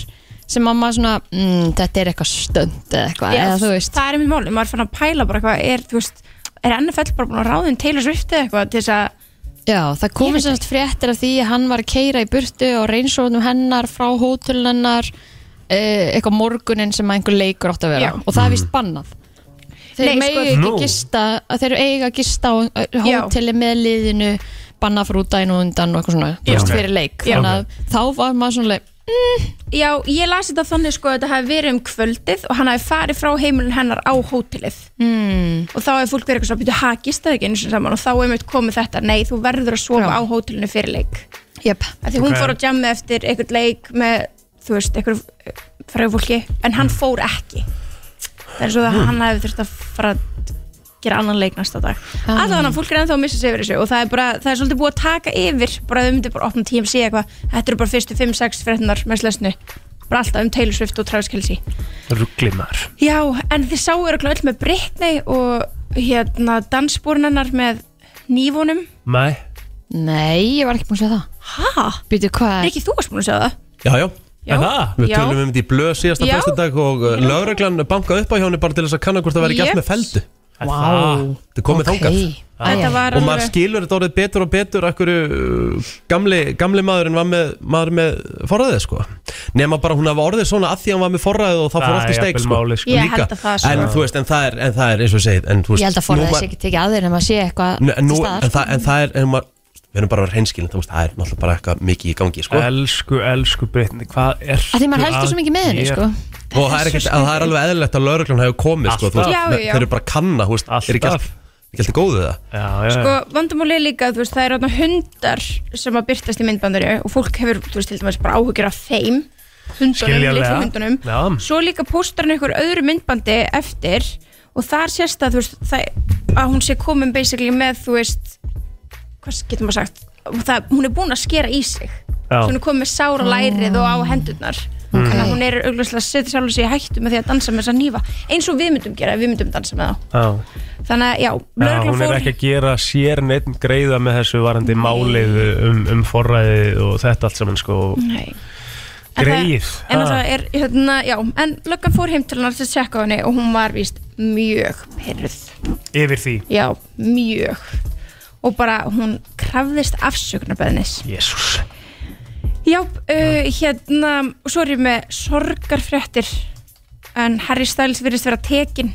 Speaker 2: sem að maður svona mm, þetta er eitthvað stönd eða eitthvað
Speaker 13: Já,
Speaker 2: eða þú veist
Speaker 13: Það er mér máli, maður er fann að pæla bara hvað er, þú veist, er NFL bara búin að ráðin Taylor Swift eða eitthvað til þess að
Speaker 2: Já, það komið semst fréttir af því að hann var að keira í burtu og reynsóðnum hennar frá hóteln hennar eh, eitthvað morgunin sem að einhver leikur átt að vera
Speaker 13: Já.
Speaker 2: og
Speaker 1: Mhm.
Speaker 2: það er vist bannað Þeir
Speaker 13: Nei,
Speaker 2: megi
Speaker 13: sko-
Speaker 2: ekki
Speaker 13: Nú.
Speaker 2: gista að þeir eiga að gista á eh,
Speaker 13: Já.
Speaker 2: hóteli með liðinu bannað fyrir út dæn og undan og eitthvað svona þú
Speaker 13: Já.
Speaker 2: veist,
Speaker 13: Ok.
Speaker 2: fyrir leik,
Speaker 13: Já.
Speaker 2: þannig að þá var maður svona leik,
Speaker 13: Já, ég las þetta þannig sko að þetta hafi verið um kvöldið og hann hafi farið frá heimilin hennar á hótelið
Speaker 2: mm,
Speaker 13: og þá hefur fólk verið eitthvað svona að byrja hakist það ekki eins og saman og þá er meitt komið þetta nei, þú verður að sofa á hótelinu fyrir leik
Speaker 2: Jöp
Speaker 13: Af því hún
Speaker 2: Ok.
Speaker 13: fór á jammi eftir einhvern leik með, þú veist, einhverjum fræðu fólki en hann fór ekki það er svo að
Speaker 2: Mm.
Speaker 13: hann hefði þurft að fara að gera annan leik næsta dag allavega hann fólk er ennþá að missa sig yfir þessu og það er bara, það er svolítið búið að taka yfir bara þau myndir bara opna TMC eitthvað þetta eru bara fyrstu 5-6 fréttinar með slesnu bara alltaf um Taylor Swift og Travis Kelsey
Speaker 3: Rugglimar
Speaker 13: Já, en þið sáu eru öll með Britney og hérna dansbúrnennar með nývónum.
Speaker 3: Nei
Speaker 2: Nei, ég var ekki búin að segja það
Speaker 13: Hæ?
Speaker 2: Býtu hvað
Speaker 13: Er ekki þú að spúin að segja það?
Speaker 1: Já, já,
Speaker 13: Já.
Speaker 1: En það? Við
Speaker 13: Já.
Speaker 1: tölum um þetta í blöð síðasta
Speaker 13: Já.
Speaker 1: fyrstudag og uh, lögreglan bankaði upp á hjá henni bara til þess að kanna hvort það væri gert
Speaker 13: Jeps.
Speaker 1: með feldu
Speaker 3: Er það?
Speaker 1: Þetta er komið
Speaker 3: Ok.
Speaker 1: þangað
Speaker 13: Æ. Þetta var
Speaker 1: Og maður
Speaker 13: alveg-
Speaker 1: skilur þetta orðið betur og betur akkur uh, gamli, gamli maðurinn var með, maður með forræðið sko Nefna bara hún hafa orðið svona að því hann var með forræðið og þá fór
Speaker 3: Það
Speaker 1: allt í
Speaker 3: er
Speaker 1: steik sko,
Speaker 3: jafnvel málið, sko. Ég
Speaker 1: líka
Speaker 13: held að það sé
Speaker 1: en,
Speaker 13: það.
Speaker 1: þú veist, en, það er, en það er eins og ég segið en, þú veist,
Speaker 2: Ég held
Speaker 1: nú
Speaker 2: að forðaði
Speaker 1: maður-
Speaker 2: sig ekki tekið að þeir en maður sé eitthvað
Speaker 1: Nei, en,
Speaker 2: til
Speaker 1: nú,
Speaker 2: staðar.
Speaker 1: en, það, en það er, en maður, við erum bara reynskilin það, það er náttúrulega bara eitthvað mikið í gangi sko.
Speaker 3: Elsku, elsku Brittany, hvað er
Speaker 2: Af því maður heldur svo mikið með henni, sko.
Speaker 1: og það er, ekkert, að það er alveg eðlilegt að lauruglan hefur komið sko, þú veist,
Speaker 13: Alltaf. Já, já, já.
Speaker 1: þeir eru bara að kanna þú veist, er ekki allt ekki allt í góðu það
Speaker 3: já, já,
Speaker 13: Sko, vandamálið er líka, þú veist, það eru þarna hundar sem að byrtast í myndbandinu og fólk hefur, þú veist, til dæmis bara áhyggjur af þeim hundunum,
Speaker 3: Skiljanlega.
Speaker 13: litlu hundunum
Speaker 3: Já.
Speaker 13: svo líka póstar hann einhver öðru myndbandi eftir og þar sést að, þú veist, það, að hún sé komin basically með, þú veist hvað getur maður sagt Og það, hún er búin að skera í sig
Speaker 3: Já.
Speaker 13: Svo hún er komin með sára lærið og á hendurnar
Speaker 3: Mm.
Speaker 13: þannig að hún er augljóslega að setja sjálf sig í hættu með því að dansa með þess að nýfa eins og við myndum gera, ef við myndum dansa með þá
Speaker 3: Já.
Speaker 13: þannig að já,
Speaker 3: Já,
Speaker 13: lögreglan
Speaker 3: hún er
Speaker 13: fór-
Speaker 3: ekki að gera sér neitt greiða með þessu varandi málið um, um forræðið og þetta allt saman sko
Speaker 13: Nei. En það-
Speaker 3: Greið
Speaker 13: En það er, hérna, já, en löggan fór heim til hennar til að tjekka á henni og hún var víst mjög pyrruð,
Speaker 3: ah, Yfir því
Speaker 13: já, mjög og bara hún krafðist afsöknarbeðnis.
Speaker 3: Jésús
Speaker 13: Já, uh, hérna, og svo er ég með sorgarfréttir en Harry Styles virðist vera tekin,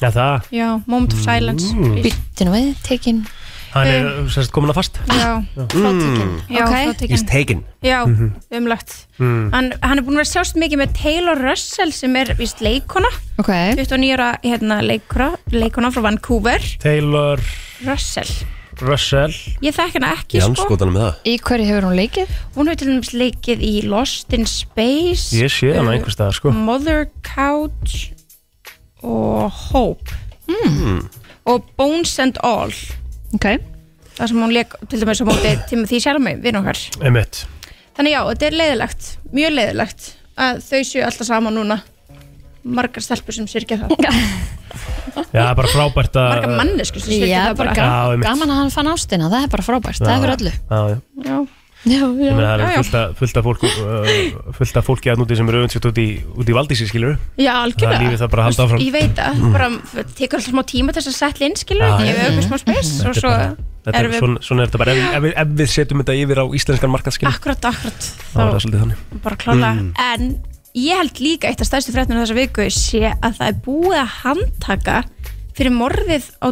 Speaker 3: Já, það
Speaker 13: já, moment of silence.
Speaker 3: Mm.
Speaker 2: Býttu nú við, tekin
Speaker 13: Eh.
Speaker 3: Hann er sérst komin að fast
Speaker 13: Já,
Speaker 3: Mm.
Speaker 13: já,
Speaker 2: Ok.
Speaker 13: okay.
Speaker 3: He's taken.
Speaker 13: Já,
Speaker 3: Mhm.
Speaker 13: umlagt.
Speaker 3: Mm.
Speaker 13: Hann, hann er búin að vera sjást mikið með Taylor Russell sem er víst leikona.
Speaker 2: Okay.
Speaker 13: 29 ára hérna, leikra, leikona frá Vancouver
Speaker 3: Taylor
Speaker 13: Russell
Speaker 3: Russell
Speaker 13: ég þekk hana ekki
Speaker 1: Í
Speaker 13: sko
Speaker 1: anskotanum með það
Speaker 2: Í hverju hefur hún leikið?
Speaker 13: hún hefur til dæmis leikið í Lost in Space
Speaker 3: Ég sé hana einhvers staðar, sko.
Speaker 13: Mother Couch og Hope
Speaker 3: mm.
Speaker 13: og Bones and All
Speaker 2: okay.
Speaker 13: það sem hún leik til dæmis á móti Timothy Chalamet vinn okkar
Speaker 3: Emmett
Speaker 13: þannig já, þetta er leiðilegt, mjög leiðilegt að þau séu alltaf saman núna margar stelpur sem syrkja það
Speaker 3: Já, það er bara frábært að
Speaker 13: margar manneskur sem syrkja
Speaker 2: Já,
Speaker 13: það
Speaker 2: bara
Speaker 13: bara
Speaker 3: Já,
Speaker 2: gaman,
Speaker 3: einmitt.
Speaker 2: gaman að hann fann ástina Það er bara frábært, það er fyrir öllu
Speaker 3: Já, já
Speaker 13: já,
Speaker 2: já,
Speaker 3: Ég meina það
Speaker 13: já,
Speaker 3: er
Speaker 13: já.
Speaker 3: fullt af- fullt af fólku uh, fullt af fólki að núti sem eru öðvinsett út í, út í valdísi skilur
Speaker 13: Já, algjörlega.
Speaker 3: Það er lífið það bara að halda áfram Mm.
Speaker 13: Ég veit að, bara, það tekur alltaf smá tíma til þess að setla inn, skilur,
Speaker 3: Já,
Speaker 13: ah,
Speaker 3: já.
Speaker 13: ég hefur smá spes
Speaker 3: Þetta
Speaker 13: og
Speaker 3: er
Speaker 13: svo
Speaker 3: bara- þetta er
Speaker 13: erum við
Speaker 3: svona, svona er þetta bara ef, ef, við- ef við setjum þetta yfir á íslenskan markaðskil
Speaker 13: akkurat, akkurat,
Speaker 3: þá er það svolítið þannig
Speaker 13: bara klála.
Speaker 3: Mm.
Speaker 13: En ég held líka eitt af stærstu fréttunum þessa viku sé að það er búið að handtaka fyrir morðið á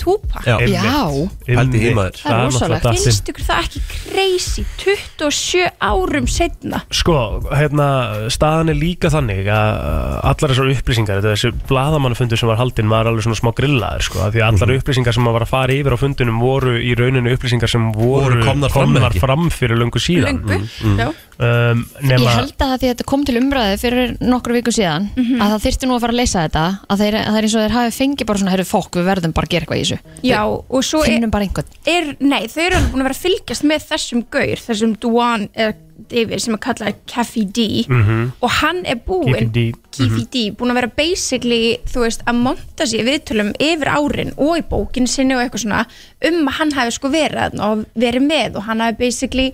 Speaker 13: Tupac
Speaker 1: Já. Einmitt. Já. Pældi í því, maður.
Speaker 13: Það
Speaker 1: Það
Speaker 13: er
Speaker 1: er náttúrulega
Speaker 13: rosalegt
Speaker 1: dansinn.
Speaker 13: Finnst ykkur það ekki crazy 27 árum setna
Speaker 3: Sko, hérna, staðan er líka þannig að allar þessar upplýsingar, þetta þessi bladamannafundur sem var haldinn var alveg svona smá grillaður, sko, af því að allar
Speaker 1: Mhm.
Speaker 3: upplýsingar sem maður var að fara yfir á fundunum voru í rauninu upplýsingar sem voru,
Speaker 1: Voru komnar fram, ekki?
Speaker 3: fram fyrir löngu síðan. Mhm.
Speaker 13: Löngu, já.
Speaker 3: Um,
Speaker 2: Ég
Speaker 3: nema,
Speaker 2: held að það því að þetta kom til umræði fyrir nokkru viku síðan
Speaker 13: Mhm.
Speaker 2: að það þyrfti nú að fara að leysa þetta að þeir, að þeir eins og þeir hafi fengið bara svona herru fólk, við verðum bara að gera eitthvað í þessu
Speaker 13: Já, og e- svo
Speaker 2: Finnum bara einhvern
Speaker 13: er, Nei, þau eru alveg búin að vera að fylgjast með þessum gaur Þessum Duan eða David sem er kallað Kaffi D
Speaker 3: Mhm.
Speaker 13: Og hann er búinn
Speaker 3: KPD.
Speaker 13: Kifi
Speaker 3: Mhm.
Speaker 13: D búin að vera basically þú veist, að monta sér viðtölum yfir árin og í bókin sinni og eitthvað svona um að hann hafi sko verið þarna og verið með og hann hafi basically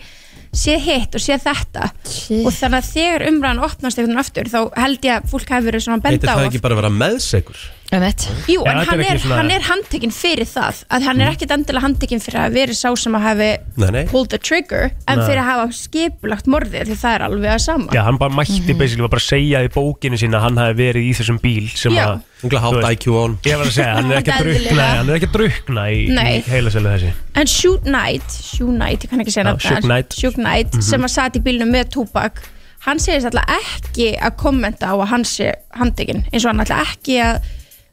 Speaker 13: séð hitt og séð þetta og þannig að þegar umræðan opnast einhvern veginn aftur þá held ég að fólk hafi verið svona að
Speaker 1: Heitir
Speaker 13: benda á
Speaker 1: það
Speaker 13: að-
Speaker 1: ekki bara að vera meðsegur?
Speaker 2: Um
Speaker 13: Jú,
Speaker 1: Já,
Speaker 13: en
Speaker 1: þetta er
Speaker 13: hann
Speaker 1: ekki
Speaker 13: er,
Speaker 1: svona- Mm.
Speaker 13: hann er handtekinn fyrir það að hann er ekkit endilega handtekinn fyrir að verið sá sem að hafi
Speaker 3: Nei, nei.
Speaker 13: pulled the trigger en
Speaker 3: Nei.
Speaker 13: fyrir að hafa skipulagt morðið því það er alveg að sama
Speaker 3: já, hann bara mætti basically var bara að segja í bókinu sína að hann hafi verið í þessum bíl sem
Speaker 13: Já.
Speaker 3: að... Ungla hátt IQ on. Ég var að segja, hann er ekki að
Speaker 13: Eðlilega.
Speaker 3: drukna, hann er ekki að drukna í,
Speaker 13: Nei.
Speaker 3: í heila þessi.
Speaker 13: En Shoot Knight, Shoot Knight, ég kann ekki segja
Speaker 3: Já,
Speaker 13: nafnið hans.
Speaker 3: Suge Knight.
Speaker 13: Suge Knight
Speaker 3: Mhm.
Speaker 13: sem að sat í bílnum með Tupac hann segist alltaf ekki að kommenta á að hann sé handekinn eins og hann alltaf ekki að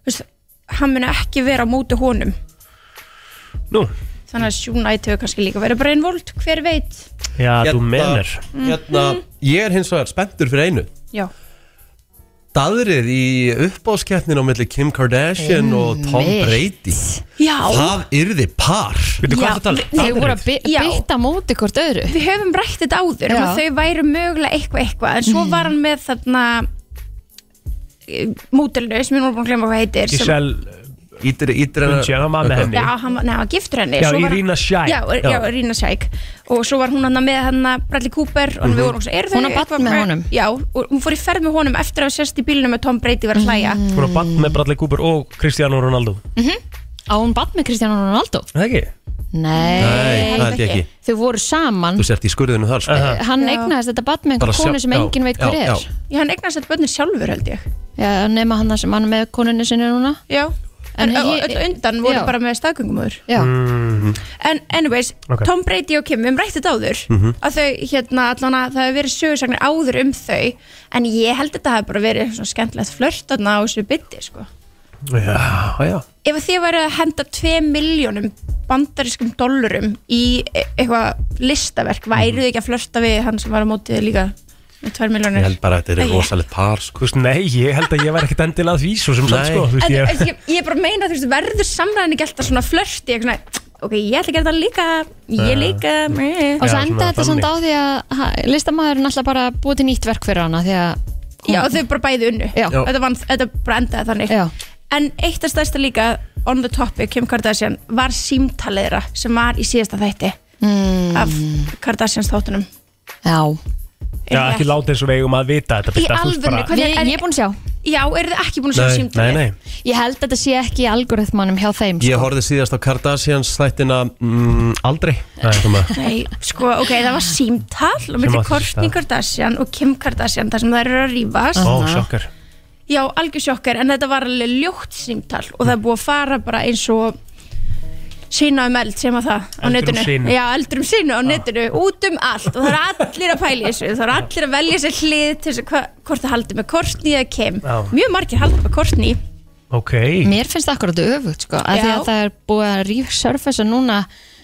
Speaker 13: þú veist, hann muni ekki vera á móti honum
Speaker 3: Nú.
Speaker 13: þannig að Shoot Knight hefur kannski líka verið bara einvold, hver veit
Speaker 3: Já, þú menar.
Speaker 1: Hérna, ég er hins vegar spenntur fyrir einu
Speaker 13: Já,
Speaker 1: Daðrið í uppáskeppnin á milli Kim Kardashian og Tom
Speaker 2: Einmitt.
Speaker 1: Brady
Speaker 13: Já.
Speaker 1: Það yrði par Veitu
Speaker 13: hvað Já, ertu að tala um?
Speaker 2: Þeir voru að by-
Speaker 13: Já.
Speaker 2: bytta móti hvort öðru
Speaker 13: við höfum rætt þetta áður um
Speaker 2: Já. Mm.
Speaker 13: að þau væru mögulega eitthvað eitthvað en svo var hann með þarna mótelinu sem ég nú er búin að glemma hvað heitir sem-
Speaker 1: Ítir, ítir
Speaker 3: Bunch, já, hann var með henni.
Speaker 13: Já, hann, var- nei, hann var giftur henni
Speaker 3: Já,
Speaker 13: svo var-
Speaker 3: Irina Shayk.
Speaker 13: Já, já,
Speaker 3: Já.
Speaker 13: Irina Shayk Og svo var hún hann með hann Bradley Cooper Og
Speaker 2: Mhm.
Speaker 13: við vorum svona, eru þau
Speaker 2: Hún á barn
Speaker 13: eitthvað
Speaker 2: með
Speaker 13: með-
Speaker 2: honum.
Speaker 13: Já, og hún fór í ferð með honum eftir að hafa sérst í bílunum með Tom Brady var að hlæja
Speaker 2: Mhm.
Speaker 3: Hún var bann með Bradley Cooper og Cristiano Ronaldo.
Speaker 2: Á hún bann með Kristján Ronaldo?
Speaker 3: Það ekki?
Speaker 2: Nei,
Speaker 1: Nei, það held ég ekki.
Speaker 2: Þau voru saman
Speaker 1: Þú sért í skurðinu þar sko.
Speaker 2: Hann eignaðist þetta bann með
Speaker 1: Bara
Speaker 2: einhver
Speaker 1: sjá-
Speaker 2: konu sem
Speaker 1: já,
Speaker 2: enginn veit hver
Speaker 1: já,
Speaker 2: er
Speaker 1: já.
Speaker 13: Já, hann eignast þetta börnir sjálfur held ég
Speaker 2: Já, nema hann sem hann er með konunni sinni núna
Speaker 13: Já, en,
Speaker 2: En
Speaker 13: öll
Speaker 2: ég-
Speaker 13: undan voru
Speaker 2: já.
Speaker 13: bara með staðgöngumöður
Speaker 2: Já
Speaker 1: mm.
Speaker 13: En anyways,
Speaker 1: Ok.
Speaker 13: Tom Brady og Kim, við höfum rætt þetta áður
Speaker 1: Mhm.
Speaker 13: að þau, hérna, allan að það hefur verið sögursagnir áður um þau en ég held að þetta hafi bara verið svona skemmtilegt flört þarna á þessu bytti, sko
Speaker 3: Já, já.
Speaker 13: ef að þið væri að henda 2 miljónum bandarískum dollurum í e- eitthvað
Speaker 1: Mhm.
Speaker 13: listaverk væru þið ekki að flörta við hann sem var á mótið líka með 2
Speaker 1: Ég
Speaker 13: miljónir
Speaker 1: held bara að þetta er
Speaker 13: Nei.
Speaker 1: rosalegt par sko.
Speaker 3: Nei, ég held að ég væri ekkert endilega því svo sem sagt
Speaker 1: Nei.
Speaker 3: sko. þú veist,
Speaker 13: En,
Speaker 3: ég-
Speaker 13: ég, ég er bara að meina þú veist, verður samræðin ekki alltaf svona flörti eitthvað svona, ok, ég ætla að gera það
Speaker 3: Já.
Speaker 13: líka
Speaker 1: Eh.
Speaker 13: ég líka meh.
Speaker 2: Og svo enda þetta samt á því að ha- listamaðurinn alltaf bara búið til nýtt verk fyrir hana því að
Speaker 13: Já, þau bara bæði unnu
Speaker 2: Já. Já.
Speaker 13: Þetta, vann, þetta bara endaði þannig
Speaker 2: Já.
Speaker 13: En eitt af stærsta líka on the topic Kim Kardashian var símtaliðra sem var í síðasta þætti
Speaker 2: mm,
Speaker 13: af Kardashians þáttunum
Speaker 2: Já,
Speaker 3: Já, ekki láta eins og við eigum að vita þetta Birta, þú veist bara-
Speaker 2: Við- ég er búin að sjá
Speaker 13: Já, eru þið ekki búin að
Speaker 1: Nei,
Speaker 13: sjá
Speaker 1: nei,
Speaker 13: símtalið?
Speaker 1: nei.
Speaker 2: Ég held að þetta sé ekki í algoritmanum hjá þeim
Speaker 1: Ég
Speaker 2: sko.
Speaker 1: horfði síðast á Kardashians þættina mm, aldrei Nei,
Speaker 13: Nei, sko, ok, það var símtal og myndi
Speaker 1: átti sér
Speaker 13: Kourtney
Speaker 1: stað.
Speaker 13: Kardashian og Kim Kardashian þar sem þær eru að rífast
Speaker 3: Ó, sjokkar
Speaker 13: Já, algjör sjokkar, en þetta var alveg ljótt símtal og það er búið að fara bara eins og sína um eld sem að það á
Speaker 3: Eldur um
Speaker 13: netinu
Speaker 3: sinu.
Speaker 13: Já, eldur um sínu á netinu, út um allt og það eru allir að pæla í þessu það eru allir að velja sér hlið til þess að hva- hvort það haldi með Kourtney eða Kim
Speaker 3: Já.
Speaker 13: Mjög margir haldi með Kourtney
Speaker 3: Ok
Speaker 2: Mér finnst það akkurat öfugt sko, að því
Speaker 13: Já.
Speaker 2: að það er búið að rífsurfessa núna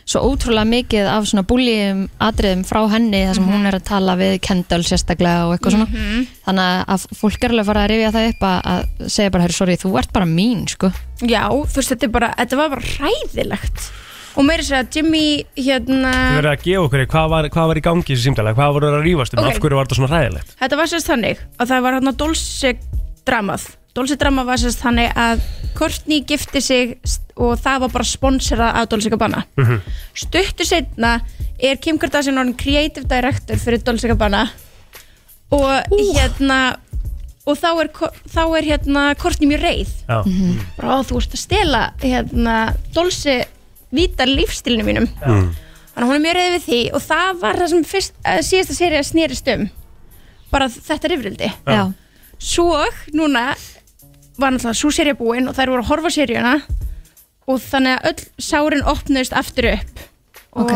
Speaker 2: svo ótrúlega mikið af svona búljum atriðum frá henni þar sem hún er að tala við Kendall sérstaklega og eitthvað
Speaker 13: Mhm.
Speaker 2: svona þannig að fólk er alveg að fara að rifja það upp að, að segja bara, herri, sorry, þú ert bara mín sko.
Speaker 13: Já, þú veist, þetta, er bara, þetta var bara ræðilegt og meira sér að Jimmy hérna
Speaker 3: Þú verður að gefa okkur, hvað var, hvað var í gangi í þessu símtala Hvað voru þeir að rífast um,
Speaker 13: Ok.
Speaker 3: af hverju var þetta svona ræðilegt
Speaker 13: Þetta var sérst þannig að það var hann að Dolce dramað Dolce drama var sérst þannig að Courtney gifti sig st- og það var bara sponsorað af Dolce Gabbana Stuttu setna er Kim Kardashian orðin creative director fyrir Dolce Gabbana og hérna og þá er, Ko- þá er hérna Courtney mjög reið
Speaker 3: Já. Mhm.
Speaker 13: bara "Ó, þú ert að stela hérna Dolce vítar lífstilinu mínum
Speaker 3: Mm.
Speaker 13: þannig að hún er mjög reið við því og það var það sem fyrst, eh, síðasta serið snerist um bara þetta rifrildi
Speaker 2: Já.
Speaker 13: svo núna var náttúrulega svo serið búin og þær voru að horfa á seriðuna og þannig að öll sárin opnust aftur upp og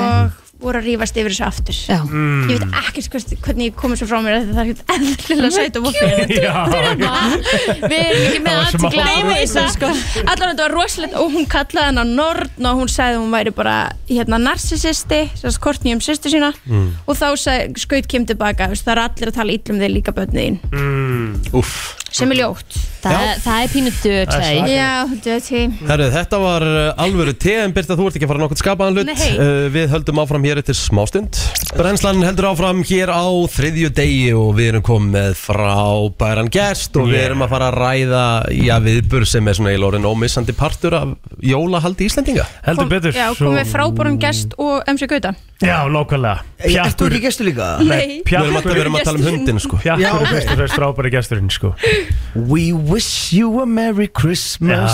Speaker 13: voru að rífast yfir þessu aftur
Speaker 2: Já.
Speaker 3: Mm.
Speaker 13: ég veit ekkert hvers- hvernig ég komið svo frá mér af því það er ekkert eðlilega sæt og voffið við erum ekki með
Speaker 2: Það var smá
Speaker 13: aðtikla á
Speaker 2: rugl,
Speaker 13: þessu sko allan þetta var rosalegt og hún kallaði hann á Nordn og hún sagði að hún væri bara hérna narsisisti, sérst Kortni um sýstu sína
Speaker 1: Mm.
Speaker 13: og þá sagði, skaut kem tilbaka veist, það er allir að tala illum þig líka börnið þín
Speaker 1: mm. Uff
Speaker 13: sem er ljótt
Speaker 1: Það- Já.
Speaker 13: það er pínu
Speaker 1: Það er
Speaker 13: döðtæg
Speaker 1: svakalegt.
Speaker 13: já, döðtæg
Speaker 1: Herru, þetta var uh, alvöru TM Birta, þú ert ekki að fara nokkuð skapaðan hlut
Speaker 13: Nei.
Speaker 1: uh, Við höldum áfram hér eftir smástund Brennslan heldur áfram hér á þriðju degi og við erum komið með frábæran gest og við
Speaker 3: Yeah.
Speaker 1: erum að fara að ræða já, viðbur sem er svona í lórin ómissandi partur af jólahaldi Íslendinga
Speaker 3: Heldur betur
Speaker 13: já, komið frábærum gest og MC Gauta
Speaker 3: Já, nákvæmlega
Speaker 6: Ertu ekki gestur líka?
Speaker 13: Nei.
Speaker 3: pjakkur-
Speaker 13: Við erum alltaf- við erum að tala um hundinn, sko.
Speaker 3: Pjakkur
Speaker 6: Já,
Speaker 3: er
Speaker 6: ok.
Speaker 3: fyrst og fremst frábæri gesturinn sko.
Speaker 6: We wish you a merry Christmas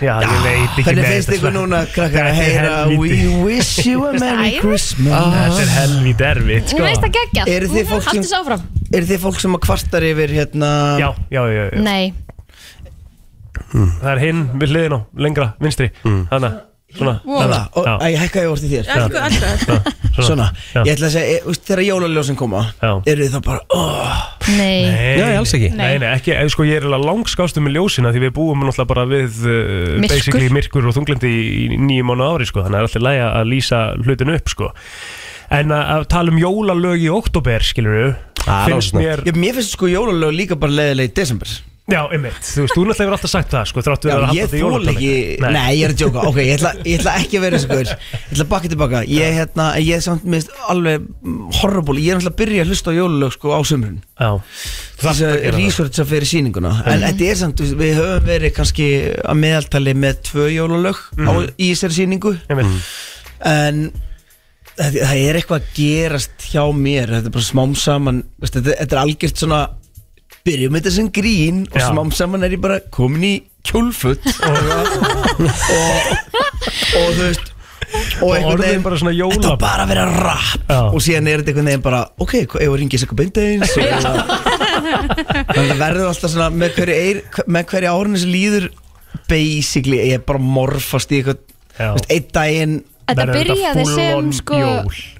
Speaker 3: Já, já, ég veit ekki
Speaker 6: Hvernig
Speaker 3: með
Speaker 6: finnst
Speaker 3: þetta,
Speaker 6: ykkur
Speaker 3: Svenni.
Speaker 6: núna krakkar að
Speaker 3: Þetta er
Speaker 6: heyra We
Speaker 3: helvíti.
Speaker 6: wish you a merry
Speaker 2: Æ.
Speaker 6: Christmas
Speaker 3: Þetta er helvít erfitt
Speaker 2: Hún veist
Speaker 6: sko.
Speaker 2: það geggjað
Speaker 6: Eru þið fólk sem-
Speaker 2: Haldið svo áfram
Speaker 6: Er þið fólk sem að kvartar yfir hérna
Speaker 3: Já, já, já, já.
Speaker 2: Nei
Speaker 3: Það er hinn við hliðin á, lengra, vinstri
Speaker 6: Mm.
Speaker 3: Þannig, svona
Speaker 6: Wow. Þarna, og- Æ, hækka ég orðið þér
Speaker 3: Allt-
Speaker 6: Svona, ég ætla að segja, e, veist, þegar jólaljósin koma Eru þið þá bara, oh
Speaker 3: Nei,
Speaker 6: Nei, alls ekki.
Speaker 3: Nei, nei, ekki, eh, sko ég er alveg langskástu með ljósina því við búum náttúrulega bara við uh,
Speaker 6: Myrkur.
Speaker 3: basically myrkur og þunglindi í nýjum mánu ári sko, þannig að það er alltaf læg að lýsa hlutin upp sko En að, að tala um jólalög í oktober, skilur finnst mér
Speaker 6: Já, Mér finnst sko jólalög líka bara leiðilega í desember
Speaker 3: Já, einmitt, þú veist, þú náttúrulega hefur alltaf sagt það sko, þráttu
Speaker 6: Já,
Speaker 3: að
Speaker 6: ég þól ekki, nei. ég er að djóka Ok, ég ætla, ég ætla ekki að vera þessu gaur Ég ætla að bakka tilbaka Ég, hérna, ég er samt mist alveg mm, horrible Ég er náttúrulega að byrja að hlusta á jólulög sko á sömrun
Speaker 3: Já
Speaker 6: Þess
Speaker 3: að
Speaker 6: að
Speaker 3: gera það.
Speaker 6: researcha fyrir sýninguna En
Speaker 3: Mhm.
Speaker 6: þetta er samt, þú veist, við höfum verið kannski að meðaltali með tvö jólulög á,
Speaker 3: Mhm.
Speaker 6: í þessari sýningu
Speaker 3: Einmitt.
Speaker 6: En það, það er eitthvað að gerast hjá mér Þetta er bara smám saman veist, þetta, þetta er algjört svona Byrjum með þetta sem grín Og
Speaker 3: Já.
Speaker 6: smám saman er ég bara komin í kjólfutt og þú veist og, einhvern
Speaker 3: orðin
Speaker 6: veginn
Speaker 3: bara svona jóla
Speaker 6: þetta var bara að vera rap og síðan er þetta einhvern veginn bara ok, hvað ef að ringið sér eitthvað beindeins þannig að verður alltaf svona með hverju, eir, með hverju árinu sem líður basically ég er bara að morfast í eitthvað þú veist, einn daginn
Speaker 2: Þetta byrjaði sem sko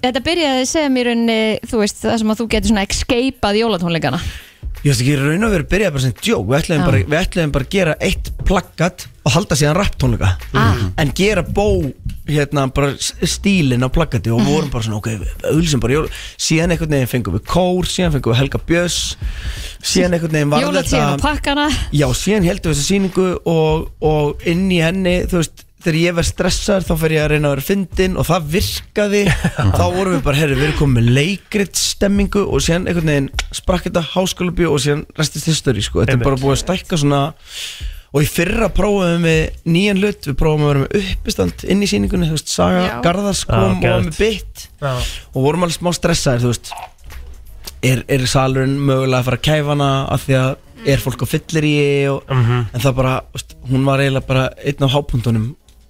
Speaker 2: Þetta byrjaði sem í rauninni Þú veist það sem að þú getur svona escapeað jólatónleikana
Speaker 6: ég veist ekki, í raun og verið byrjaði bara sem djók við ætlaðum,
Speaker 2: Já.
Speaker 6: bara, við ætlaðum bara að gera eitt plaggat og halda síðan rapptónleika ah. en gera bó hérna bara s- stílinn á plaggati
Speaker 2: Mhm.
Speaker 6: og vorum bara svona ok, auðlýsum bara jól síðan einhvern veginn fengum við kór, síðan fengum við Helga Björns síðan einhvern veginn var
Speaker 2: Jólatíðan á pakkana
Speaker 6: já, síðan heldum við þessa sýningu og, og inn í henni, þú veist þegar ég verð stressar þá fer ég að reyna að vera fyndin og það virkaði þá vorum við bara, herri, við erum komið með leikrit stemmingu og síðan einhvern veginn sprakk þetta háskólabíu og síðan restist history sko, þetta er bara búið að stækka svona og í fyrra prófaðum við nýjan hlut, við prófaðum að vera með uppistand inn í sýningunni, þú veist, Saga
Speaker 3: Já.
Speaker 6: Garðars
Speaker 3: Já,
Speaker 6: kom og var
Speaker 3: geðvægt.
Speaker 6: með bytt
Speaker 3: Já.
Speaker 6: og vorum alveg smá stressaðir, þú veist er, er salurinn mögulega að fara að kæfa hana af því að er fólk á fyllir í og, en það bara, veist, hún var eiginlega bara einn af hápuntunum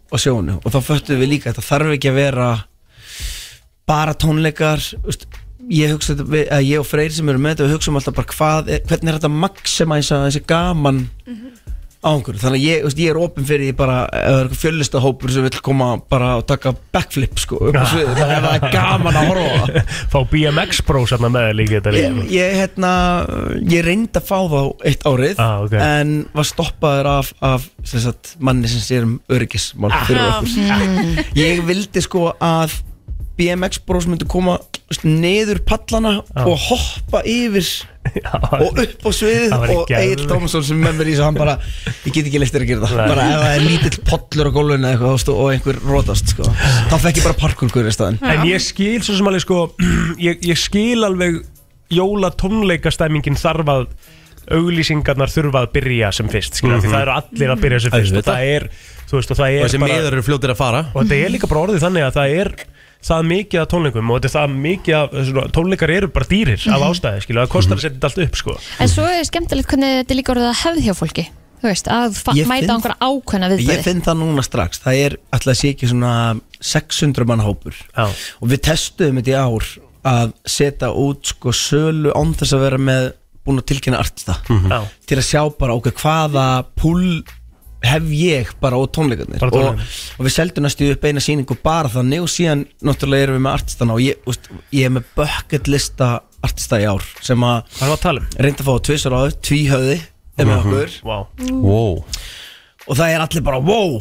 Speaker 6: á sjónu og þá föttum við líka að það þarf ekki að vera bara tónleikar veist, ég hugsa þetta við- að ég og Freyr sem eru með þetta við hugsaum alltaf bara hvað er, hvernig er þetta að maximæsa þessi gaman á einhverju, þannig að ég, veist, ég er opinn fyrir því bara ef það er eitthvað fjöllista hópur sem vil koma bara og taka backflip sko upp á sviðið, ef það er gaman að horfa á það
Speaker 3: Fá BMX Pro saman hérna með þér líka þetta
Speaker 6: Ég,
Speaker 3: líka.
Speaker 6: ég, hérna, ég reyndi að fá þá eitt árið
Speaker 3: Ah, ok.
Speaker 6: en var stoppaður af, af sem sagt, manni sem sér um öryggismál fyrir
Speaker 3: Ah.
Speaker 6: okkur
Speaker 3: Mm.
Speaker 6: ég vildi sko að BMX bros myndi koma þú veist, niður pallana
Speaker 3: Ah.
Speaker 6: og hoppa yfir og upp á sviðið
Speaker 3: það væri
Speaker 6: og
Speaker 3: geðveikt.
Speaker 6: Egil Dómsson sem með mér í þessu hann bara, ég get ekki leiftir að gera það
Speaker 3: Nei.
Speaker 6: bara ef það er lítill pollur á gólfinu eða eitthvað, þú veist, og einhver rótast sko. þá fekk ég bara parkurkur í staðin
Speaker 3: En ég skil svo sem alveg sko ég, ég skil alveg jóla tónleikastæmingin þarf að auglýsingarnar þurfa að byrja sem fyrst skilur, mm
Speaker 1: Mhm.
Speaker 3: því það eru allir að byrja sem
Speaker 1: Mhm.
Speaker 3: fyrst og
Speaker 1: Auðvitað.
Speaker 3: það er, þú veist, og það er
Speaker 1: Og þessi miðar eru fljótir að fara
Speaker 3: og þetta er líka bara orðið þannig að það er það mikið af tónleikum og þetta er það mikið af svona, tónleikar eru bara dýrir af
Speaker 2: Mhm.
Speaker 3: ástæði, skilur, það kostar að setja þetta allt upp sko.
Speaker 2: En svo er skemmtilegt hvernig þetta er líka orðið að hefð hjá fólki Þú veist að fa-
Speaker 6: Ég
Speaker 2: mæta á
Speaker 6: finn-
Speaker 2: einhverja ákveðna
Speaker 6: Ég
Speaker 2: viðbæði
Speaker 6: finn það núna strax Það er alltaf sé ekki svona 600 mann hópur
Speaker 3: Já.
Speaker 6: Og við testuðum þetta í ár Að setja út sko sölu Án þess
Speaker 3: Mhm.
Speaker 6: að vera með búin að tilkynna artista
Speaker 3: Já.
Speaker 6: Til að sjá bara okkur hvaða púl hef ég bara á tónleikarnir
Speaker 3: Bara
Speaker 6: og,
Speaker 3: tónleikarnir.
Speaker 6: og við seldum næstu upp eina síningu bara þannig og síðan náttúrulega erum við með artistana og ég, úst, ég er með bucket lista artista í ár sem að
Speaker 3: um?
Speaker 6: reynda að fá tvisar áður, tvíhöði er með
Speaker 3: Mhm.
Speaker 6: okkur
Speaker 3: wow.
Speaker 1: wow.
Speaker 6: og það er allir bara wow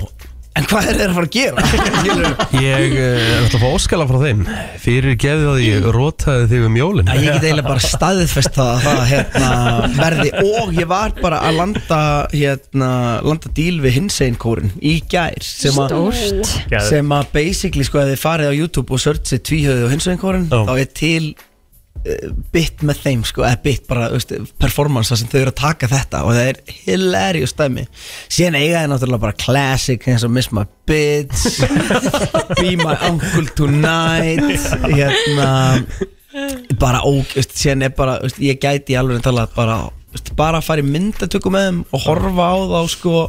Speaker 6: en hvað er þeir að fara að gera?
Speaker 1: Ég eh, er alltaf að fá óskala frá þeim Fyrir gefið að ég rótaði þig um jólin
Speaker 6: Ég get eiginlega bara staðfest það að það hérna, verði og ég var bara að landa hérna, landa díl við hinsegin kórin í gær sem að
Speaker 2: Stórt.
Speaker 6: sem að basically sko að þið farið á YouTube og searchið tvíhöðu og hinsegin kórin þá er til uh, bit með þeim sko, eða bit bara veist, performance þar sem þau eru að taka þetta og það er hilarious dæmi síðan eiga þið náttúrulega bara classic eins og Miss My Bitch Be My Uncle Tonight hérna bara óg, veist, síðan er bara veist, ég gæti í alveg að tala bara, veist, bara að fara í myndatöku með þeim og horfa á þá sko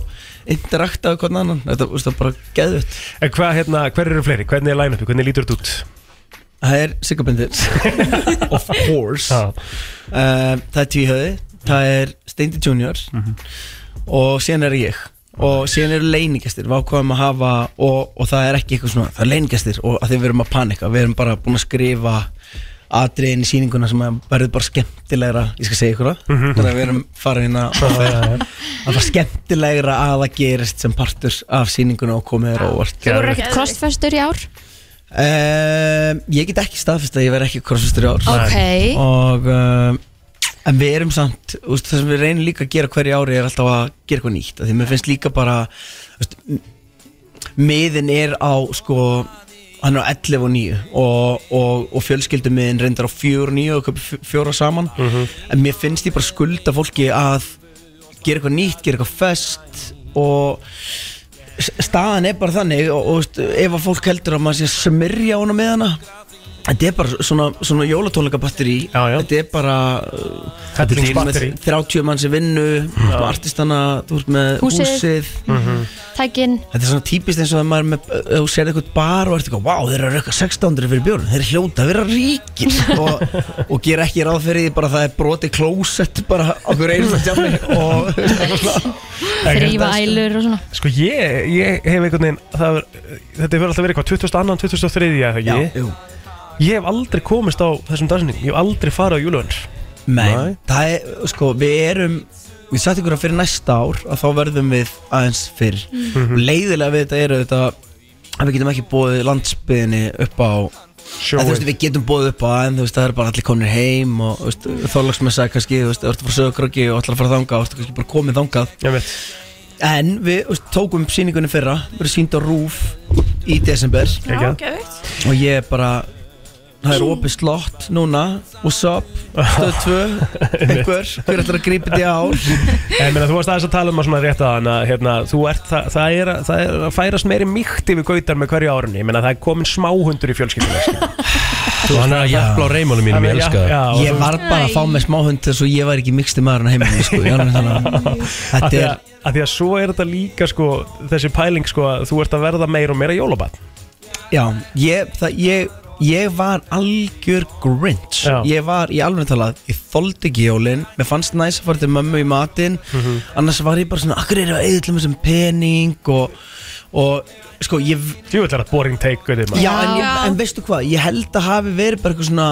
Speaker 6: interakta við hvernig annan, þetta veist, það er bara geðvitt
Speaker 3: En hvað, hérna, hver eru fleiri? Hvernig er line-upi? Hvernig lítur þetta út?
Speaker 6: Það er Sigabindins Of course uh, Það er Tvíhöði Það er Steindi Junior Og síðan er ég Og síðan eru leiningastir Við ákvaðum að hafa og, og það er ekki eitthvað svona Það er leiningastir og að því við erum að panika Við erum bara búin að skrifa atriðin í síninguna sem að verður bara skemmtilegra ég skal segja ykkur það
Speaker 3: Mhm.
Speaker 6: þannig að við erum farin hérna að það er skemmtilegra að það gerist sem partur af síninguna og komið er óvart
Speaker 2: Þú voru ekkert kostfestur í ár
Speaker 6: Um, ég get ekki staðfist að ég verð ekki crossfistur í ár
Speaker 2: Ok.
Speaker 6: Og um, En við erum samt úst, Það sem við reynum líka að gera hverju ári er alltaf að gera eitthvað nýtt af Því mér finnst líka bara úst, Miðin er á sko Hann er á 11 og 9 Og, og, og fjölskyldumiðin reyndar á 4 og 9 Og kaupi fjóra saman En mér finnst ég bara skulda fólki að Gera eitthvað nýtt, gera eitthvað fest Og s- staðan er bara þannig og, og veist, ef að fólk heldur að maður sé að smyrja hana með hana þetta er bara svona, svona jólatónleikabatteri þetta er bara uh,
Speaker 3: Þetta er
Speaker 6: þú ert með
Speaker 3: batterí.
Speaker 6: 30 mann sem vinnu þú ert með artistana, þú ert með
Speaker 2: Húsið.
Speaker 6: húsið,
Speaker 2: Mhm. Tækin
Speaker 6: þetta er svona típist eins og að maður er með, ef þú sér eitthvað bar og ert eitthvað, vá, þeir eru að rökka 600 fyrir bjórn þeir eru hljóta að vera ríkir og, og gera ekki ráð fyrir því bara að það er broti klósett bara okkur einasta tjafni og
Speaker 2: Þrýfa ælur og svona
Speaker 3: Sko ég, ég hef einhvern veginn það, er- Þetta hefur alltaf verið eitthvað 2002, 2003 eða ekki
Speaker 6: Já, jú.
Speaker 3: Ég hef aldrei komist á þessum dansning Ég hef aldrei farið á júluhans
Speaker 6: Nei, það er, sko, við erum Við sagt ykkur að fyrir næsta ár að þá verðum við aðeins fyrr
Speaker 3: Mhm.
Speaker 6: og leiðilega við þetta eru þetta að við getum ekki bóðið landsbyðinni upp á
Speaker 3: Sjóin.
Speaker 6: en, þú veist, Við getum bóðið upp á en þú veist, það eru bara allir konir heim og þú veist, þorlagsmessa kannski þú veist, þú ert að fara sögurkröki og ætlar að fara þangað og þú ert kannski bara komið þangað
Speaker 3: Ég veit
Speaker 6: En við þú veist, tókum upp sýningunni fyrra við erum sýnd á RÚF í desember
Speaker 3: Já,
Speaker 6: og ég er bara það er opið slott núna what's up, stöð 2 einhver, hver ætlar að grípa þetta á
Speaker 3: En meina, þú varst aðeins að tala um að svona rétt að hérna, þú ert, það, það, er, að- það er að færast meiri mýkt yfir gautar með hverju árunni Ég meina, það er komin smáhundur í fjölskyldinu
Speaker 1: Þú hann er að jafla á reimunum mínum, ég elska það
Speaker 6: ég var bara að fá með smáhund þess að ég var ekki miksti maðurinn að heiminni sko. Ég var alveg þannig að-
Speaker 3: Af
Speaker 6: þetta
Speaker 3: því
Speaker 6: er
Speaker 3: að, að því að svo er þetta líka sko, þessi pæling sko, að þú ert að verða meira og meira jólabat
Speaker 6: Já, ég, það, ég, ég var algjör grinch
Speaker 3: Já.
Speaker 6: Ég var í alveg talað, ég þoldi ekki jólin Mér fannst næs að fara til mömmu í matinn
Speaker 3: Mhm.
Speaker 6: Annars var ég bara svona, akkur er ég að eðla með sem pening Og, og sko, ég
Speaker 3: Þú ætlar að boring take gauti, maður.
Speaker 6: Já, en, ég, en veistu hvað, ég held að hafi verið bara eitthvað svona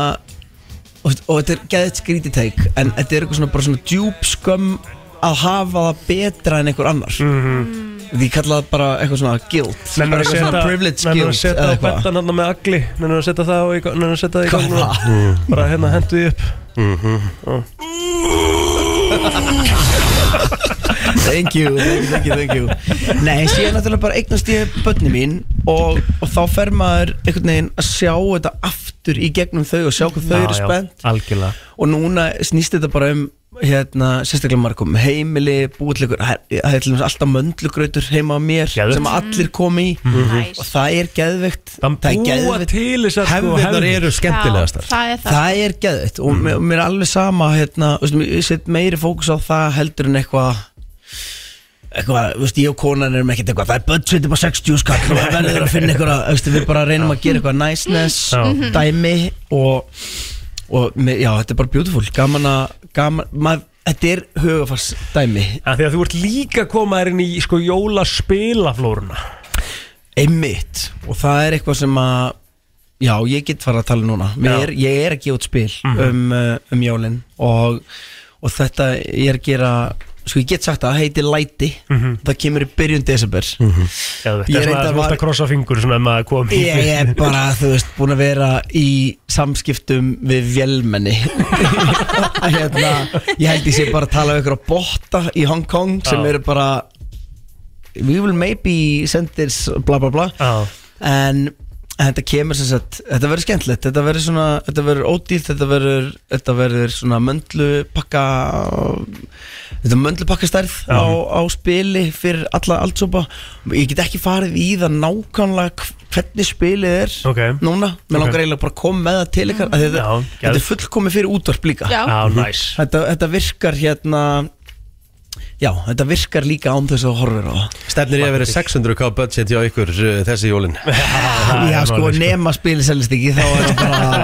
Speaker 6: Og, og þetta er geðið skrítið teik En þetta er eitthvað svona, bara svona djúb skömm Að hafa það betra en einhver annar mm
Speaker 3: Mhm.
Speaker 6: -hmm. Því kalla það bara eitthvað svona guilt
Speaker 3: Nennir
Speaker 6: Bara
Speaker 3: að
Speaker 6: eitthvað
Speaker 3: setja
Speaker 6: svona privilege guilt
Speaker 3: Nennir að setja
Speaker 6: eða
Speaker 3: á
Speaker 6: eitthvað.
Speaker 3: bettan hann með agli Nennir að setja það og í- Nennir að setja það í gang
Speaker 6: Hvað?
Speaker 3: og- Bara hérna hendu því upp
Speaker 6: thank you, thank you, thank you, thank you. Nei, síðan náttúrulega bara eignast ég börni mín og, og þá fer maður einhvern veginn að sjá þetta aftur í gegnum þau og sjá hvað þau
Speaker 3: Já,
Speaker 6: eru
Speaker 3: já,
Speaker 6: spennt
Speaker 3: Algjörlega
Speaker 6: og núna snýst þetta bara um hérna, sérstaklega margum heimili búiðleikur, það er til dæmis alltaf möndlugrautur heima á mér sem allir kom í
Speaker 3: Mhm.
Speaker 6: og það er geðvegt það er
Speaker 3: búa til þess að sko
Speaker 6: hefðirnar
Speaker 3: hefðir.
Speaker 6: eru skemmtilegastar
Speaker 3: Já, það er það.
Speaker 6: það er geðvegt og mér, mér er alveg sama hérna, veistu, ég set meiri fókus á það heldur en eitthvað eitthvað, veist, ég og konan erum ekkert eitthvað það er budgetið bara 60 skall og það verður sko, að finna eitthvað, veist, við bara reynum að gera eitthvað niceness,
Speaker 3: Já.
Speaker 6: dæmi og, og með, já, þetta er bara beautiful gaman að, gaman, maður þetta er hugafars dæmi
Speaker 3: að því að þú ert líka komaður inn í sko jólaspilaflóruna
Speaker 6: einmitt og það er eitthvað sem að já, ég get fara að tala núna Mér
Speaker 3: Já.
Speaker 6: er, ég er að gefa út spil
Speaker 3: Mhm.
Speaker 6: um, uh, um jólin og, og þetta ég er að gera sko ég get sagt að það heiti læti
Speaker 3: Mhm.
Speaker 6: það kemur í byrjun desember
Speaker 3: Já, þetta er
Speaker 6: Ég
Speaker 3: svona
Speaker 6: reyndar
Speaker 3: að þú ert
Speaker 6: var-
Speaker 3: að krossa fingur svona ef maður kom í
Speaker 6: Ég er bara, þú veist, búin að vera í samskiptum við vélmenni hérna, Ég held ég sé bara að tala um ykkur á botta í Hong Kong sem
Speaker 3: Já.
Speaker 6: eru bara We will maybe send this bla bla bla
Speaker 3: Já.
Speaker 6: En þetta kemur sem sagt, þetta verður skemmtilegt Þetta verður svona, þetta verður ódýrt Þetta verður, þetta verður svona möndlupakka Þetta er möndlupakkastærð
Speaker 3: Já.
Speaker 6: á, á spili fyrir alla allsópa Ég get ekki farið í það nákvæmlega hv- hvernig spilið er
Speaker 3: okay.
Speaker 6: núna Mér
Speaker 3: Ok.
Speaker 6: langar eiginlega bara að koma með það til ykkar mm. þetta,
Speaker 3: Já,
Speaker 6: þetta
Speaker 3: geð.
Speaker 6: er fullkomið fyrir útvarp líka
Speaker 3: Já. Já, nice.
Speaker 6: þetta, þetta virkar hérna Já, þetta virkar líka án þess að þú horfir á það
Speaker 1: Stefnir ég að vera 600k budget hjá ykkur uh, þessi jólin
Speaker 6: Já, sko, nema spilið selist ekki þá er það bara,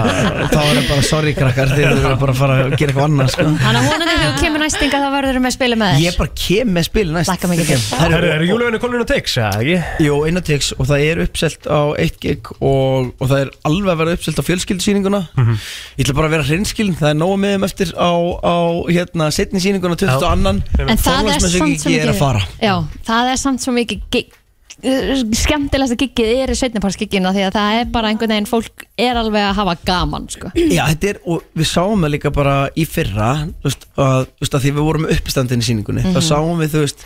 Speaker 6: þá er það bara sorry krakkar þegar þú eru bara að fara að gera eitthvað annað sko.
Speaker 2: Þannig að vonandi þegar þú kemur næstinga þá verður við með að spila með þess
Speaker 6: Ég bara kem með spil næst
Speaker 2: Laka mikið til
Speaker 3: Herru, eru jólaugunni komin inn á Tix, eða ekki?
Speaker 6: Jó, inn á Tix og það er uppselt á 1 gig og, og það er alveg að vera uppselt á fjölskyldusýninguna Ég ætla bara að vera hreinskiln, það er nóg með þeim eftir á, á hérna, setni sýninguna 22.
Speaker 2: En það er samt svo mikið
Speaker 6: Ég er að fara
Speaker 2: Já, það er samt svo mikið gig- skemmtilegasta giggið er í sveitnipársgiggina því að það er bara einhvern veginn fólk er alveg að hafa gaman sko.
Speaker 6: Já, þetta er, og við sáum það líka bara í fyrra, þú veist, að, þú veist, að því við vorum með uppstandin í síningunni,
Speaker 2: Mhm.
Speaker 6: þá sáum við, þú veist,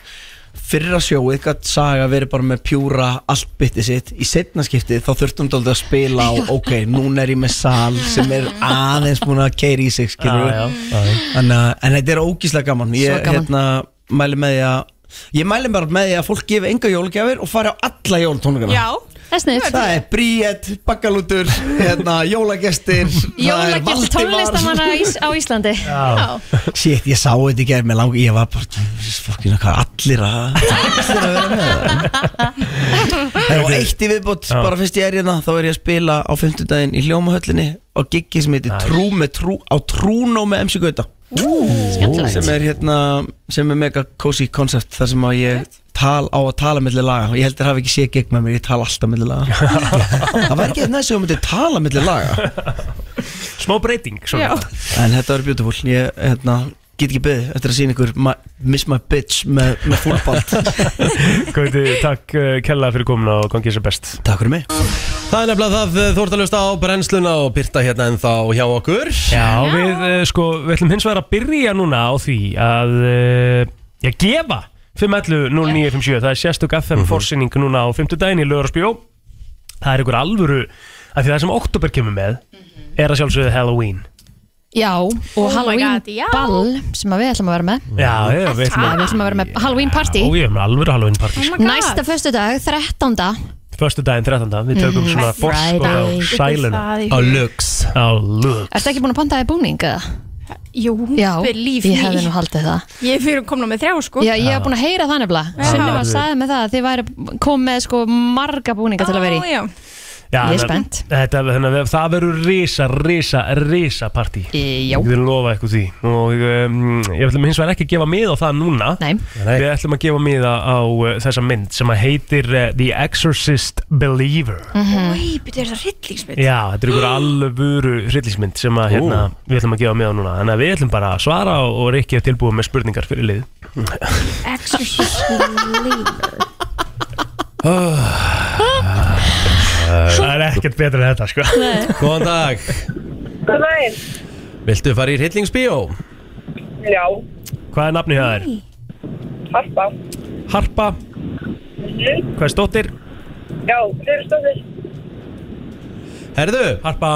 Speaker 6: fyrra sjóið gætt saga verið bara með pjúra allt byttið sitt, í setna skiptið þá þurftum dálítið að spila á, ok, núna er ég með sal sem er aðeins búin að keiri í sig, skilur
Speaker 3: Já, já, já.
Speaker 6: En, en þetta er ógíslega gaman, ég,
Speaker 3: Svo gaman.
Speaker 6: hérna, mæli með því að, ég mæli bara með því að fólk gefi enga jólagjafir og fari á alla jólatónleikana.
Speaker 2: það er sniðt
Speaker 6: Það er bríett, bakkalútur, hérna, jólagestir
Speaker 2: Jólagjast tónlistamanna á Ís- á Íslandi
Speaker 6: Já. Shit, ég sá þetta í gerð með lang Ég var bara, fucking, hvað allir að Það var eitt í viðbót
Speaker 3: Já.
Speaker 6: Bara fyrst ég er hérna, þá er ég að spila á fimmtudaginn í hljómahöllinni og giggi sem heitir Trú með Trú á Trúnó með MC Gauta
Speaker 2: Skemmtilegt.
Speaker 6: sem er hérna, sem er mega cozy concept þar sem að ég tal á að tala millir laga og ég heldur hafi ekki séð gegn með mér, ég tala alltaf millir laga það var ekki næst sem þú myndir tala millir laga
Speaker 3: Smá breyting svona.
Speaker 6: En þetta var beautiful Ég hérna, get ekki beðið eftir að sína ykkur my, Miss my bitch með, með fúlbalt
Speaker 3: Gauti, takk uh, kella fyrir komuna og gangi sér best
Speaker 6: Takk fyrir mig
Speaker 1: Það er nefnilega það uh, þú ert að hlusta á brennsluna og byrta hérna ennþá hjá okkur
Speaker 3: Já, við, uh, sko, við ætlum hins vegar að byrja núna á því að uh, ég gefa 511-0957, það er sérstök FM mm
Speaker 6: Mhm.
Speaker 3: forsinning núna á 50 daginn í Löðarsbjó Það er ykkur alvöru af því það sem oktober kemur með
Speaker 6: Mhm.
Speaker 3: er að sjálfsögðu Halloween
Speaker 2: Já,
Speaker 6: Oh
Speaker 2: og Halloween ball sem að við ætlum að vera með
Speaker 3: Já, já, við ætlum
Speaker 2: Við ætlum að vera
Speaker 6: Ah.
Speaker 2: með Halloween party
Speaker 6: Oh,
Speaker 2: Oh
Speaker 3: Ó, ég er með alvöru Halloween party sko.
Speaker 2: Næsta föstu dag, 13.
Speaker 3: Föstu daginn 13. Við tökum
Speaker 2: Mhm.
Speaker 3: svona
Speaker 2: Black
Speaker 3: forskot á
Speaker 2: Friday.
Speaker 3: sæluna
Speaker 2: Það er Á í-
Speaker 1: lux
Speaker 3: Á lux
Speaker 2: Ertu ekki búin að pantaði búning eða?
Speaker 13: Jú,
Speaker 2: Já,
Speaker 13: believe
Speaker 2: ég
Speaker 13: me.
Speaker 2: hefði nú haldið það
Speaker 13: Ég er fyrir komna með þrjá sko
Speaker 2: Já, ég hef búin að heyra það nefnilega
Speaker 13: Já.
Speaker 2: Sunni var að sagði með það að þið væri kom með sko marga búninga til að vera í
Speaker 13: Já,
Speaker 3: Já,
Speaker 2: Ég er
Speaker 3: en-
Speaker 2: spennt.
Speaker 3: þetta, þannig, að við- Það verður risa, risa, risa partí
Speaker 2: Já
Speaker 3: Ég vil lofa eitthvað því Og um, ég ætlum hins vegar ekki að gefa mið á það núna
Speaker 2: Nei.
Speaker 3: Við ætlum að gefa mið á, á uh, þessa mynd sem að heitir uh, The Exorcist Believer
Speaker 1: Mhm.
Speaker 13: Í, betur er það hryllingsmynd
Speaker 3: Já, þetta er ykkur alvöru hryllismynd sem að, hérna, við ætlum að gefa með á núna Þannig að við ætlum bara að svara og, og Rikki er tilbúið með spurningar fyrir lið
Speaker 13: Exorcist believer
Speaker 3: Það er ekkert betur en þetta, sko
Speaker 1: Góðan dag,
Speaker 8: Hvað er það einn?
Speaker 1: viltu fara í hryllingsbíó?
Speaker 8: Já,
Speaker 3: Hvað er nafnið það er?
Speaker 8: harpa.
Speaker 3: Harpa,
Speaker 8: Mhm.
Speaker 3: hvað er stóttir?
Speaker 8: Já, fyrir stóðið.
Speaker 1: Herðu
Speaker 3: Harpa,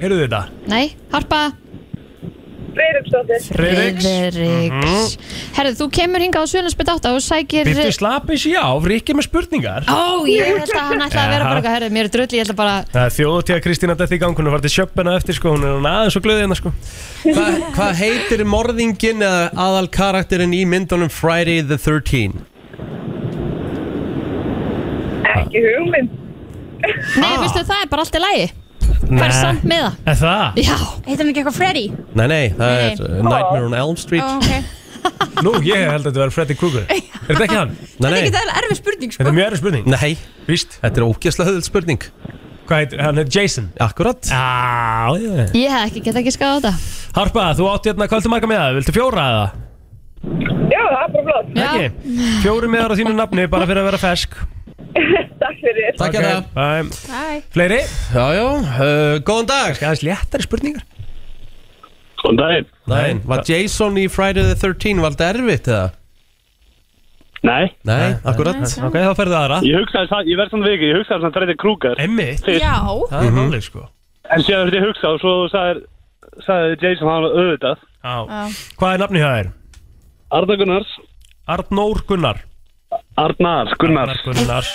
Speaker 3: heyrðu þetta?
Speaker 2: Nei, Harpa
Speaker 8: Friðriksdóttir.
Speaker 3: Friðriks.
Speaker 2: Friðriks Herðu, þú kemur hingað á Sjölandsbytt 8 og sækir
Speaker 3: Byrtu slappið sér á, Rikki er með
Speaker 13: Ah.
Speaker 3: spurningar
Speaker 2: Ó, ég held að hann ætlaði að vera
Speaker 3: Jaha.
Speaker 2: bara eitthvað Herðu, mér er drull, ég ætla bara
Speaker 3: Það er þjóðtíða Kristína dætti í gang, hún er farið til sjöppina eftir sko, hún er hann aðeins og glöðið hérna sko
Speaker 1: Hva, hvað heitir morðingin eða aðal karakterinn í myndunum Friday the 13?
Speaker 8: Ekki hugmynd.
Speaker 2: Nei, veistu, það er bara allt í lagi
Speaker 13: Fær samt með það
Speaker 1: Er það?
Speaker 13: Já Heitir hann ekki eitthvað Freddy?
Speaker 1: Nei, nei, það
Speaker 13: Nei.
Speaker 1: er uh, Nightmare on Elm Street
Speaker 13: Ó, ok.
Speaker 3: Nú, ég held að þetta var Freddy Krueger Er þetta ekki hann?
Speaker 1: Nei,
Speaker 13: Þetta er
Speaker 1: nei,
Speaker 13: ekki það erfið spurning sko
Speaker 3: Þetta er mjög erfið spurning
Speaker 1: Nei
Speaker 3: Víst
Speaker 1: Þetta er ógeðslega höðvild spurning
Speaker 3: Hvað heitir, hann er Jason
Speaker 1: Akkurat
Speaker 3: Já, já
Speaker 2: Ég hef ekki, get ekki skáða þetta
Speaker 3: Harpa, þú átti hérna kvöldu marga með það, viltu fjóra eða?
Speaker 8: Já, það er bara flott.
Speaker 3: Ekki? Fjóri meðar á þínu nafni bara fyrir að vera fersk
Speaker 8: Takk fyrir.
Speaker 1: Takk okay.
Speaker 3: Bæm
Speaker 8: Bye.
Speaker 3: Fleiri?
Speaker 1: Já, já, uh, góðan dag Skal
Speaker 3: aðeins léttari spurningar
Speaker 1: Góðan daginn Daginn, var Jason í Friday the 13 var þetta erfitt eða?
Speaker 12: Nei
Speaker 1: Nei, akkurat
Speaker 12: Nei.
Speaker 1: Ok, þá ferðu aðra
Speaker 12: Ég hugsaði það, ég verð svona viki, ég hugsaði svona Freddy Krueger
Speaker 3: Einmitt
Speaker 13: Já
Speaker 3: Það er málið sko
Speaker 12: En síðan verði ég hugsa og svo sagði, sagði Jason hann auðvitað
Speaker 3: Já Hvað er nafni hjá þér?
Speaker 12: Arda Gunnars
Speaker 3: Arnór Gunnar
Speaker 12: Arnar Gunnars
Speaker 3: Arnar Gunnars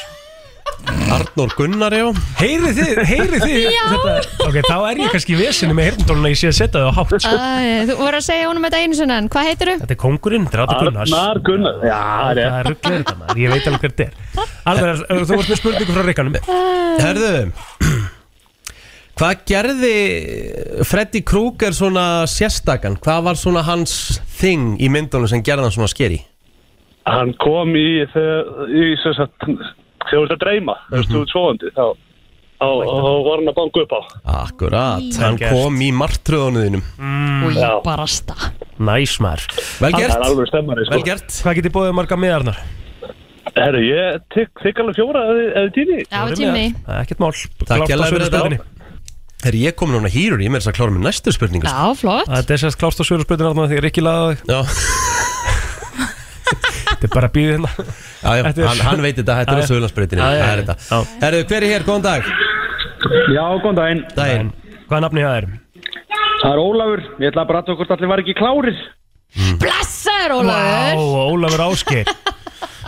Speaker 1: Arnór Gunnar, já
Speaker 3: Heyrið þið, heyrið þið
Speaker 2: Já.
Speaker 3: þetta Ok, þá er ég kannski í vesinu með heyrndóluna ég sé að setja þau á hátt sko.
Speaker 2: Æ, Þú voru að segja honum þetta einu sinna en Hvað heitir þú?
Speaker 3: Þetta er kongurinn, þetta er Arnar Gunnars
Speaker 12: Arnar Gunnars, já,
Speaker 3: það er rugglega þetta maður, ég veit alveg hver þetta er Arnar, er- þú vorst með spurningu frá Rikkanum
Speaker 1: Herðu Hvað gerði Freddy Krueger svona sérstakann? Hvað var svona hans thing í myndunum sem gerði hann svona skeri?
Speaker 12: Hann kom í þegar í sem sagt, þegar þú ert að dreyma þegar þú ert svoandi þá, þá, þá var hann að banka upp á
Speaker 1: Akkurat,
Speaker 12: Í.
Speaker 1: hann
Speaker 12: Vel gert.
Speaker 1: kom í martröðunuðinum
Speaker 3: mm,
Speaker 2: Og
Speaker 12: já.
Speaker 2: ég bara sta
Speaker 3: Næs maður
Speaker 1: Vel gert.
Speaker 12: Það er alveg stemmari sko.
Speaker 1: Vel gert
Speaker 3: Hvað getið bóðið marga með Arnar?
Speaker 12: Herru, ég tek, tek alveg fjóra eða eða tími
Speaker 2: Já, tími
Speaker 3: Það er ekkert mál
Speaker 1: Takk
Speaker 3: Klárt á
Speaker 1: hjá
Speaker 3: sömu
Speaker 1: fyrir
Speaker 3: spurningunni.
Speaker 1: þetta Er ég komin núna hýrur, ég með þess að klára með næstu spurningu sko.
Speaker 2: Já, flott
Speaker 3: Það er sérst klást á svöru spurningar Arnar þegar Rikki laði þig
Speaker 1: Já
Speaker 3: Þetta er bara að býða hérna
Speaker 1: Já, já,
Speaker 3: Þetta er-
Speaker 1: hann, hann veit þetta, þetta
Speaker 3: Já,
Speaker 1: er
Speaker 3: já.
Speaker 1: á Suðurlandsbreytinu
Speaker 3: Já, já,
Speaker 1: Það er
Speaker 3: já.
Speaker 1: þetta Herðu, hver er hér, góðan dag
Speaker 12: Já, góðan daginn
Speaker 1: Daginn
Speaker 3: Hvað er nafnið það er?
Speaker 12: Það er Ólafur, ég ætla að brata okkur allir var ekki klárir
Speaker 2: Blessaður
Speaker 3: Vá,
Speaker 2: Ólafur
Speaker 3: Ólafur Ásker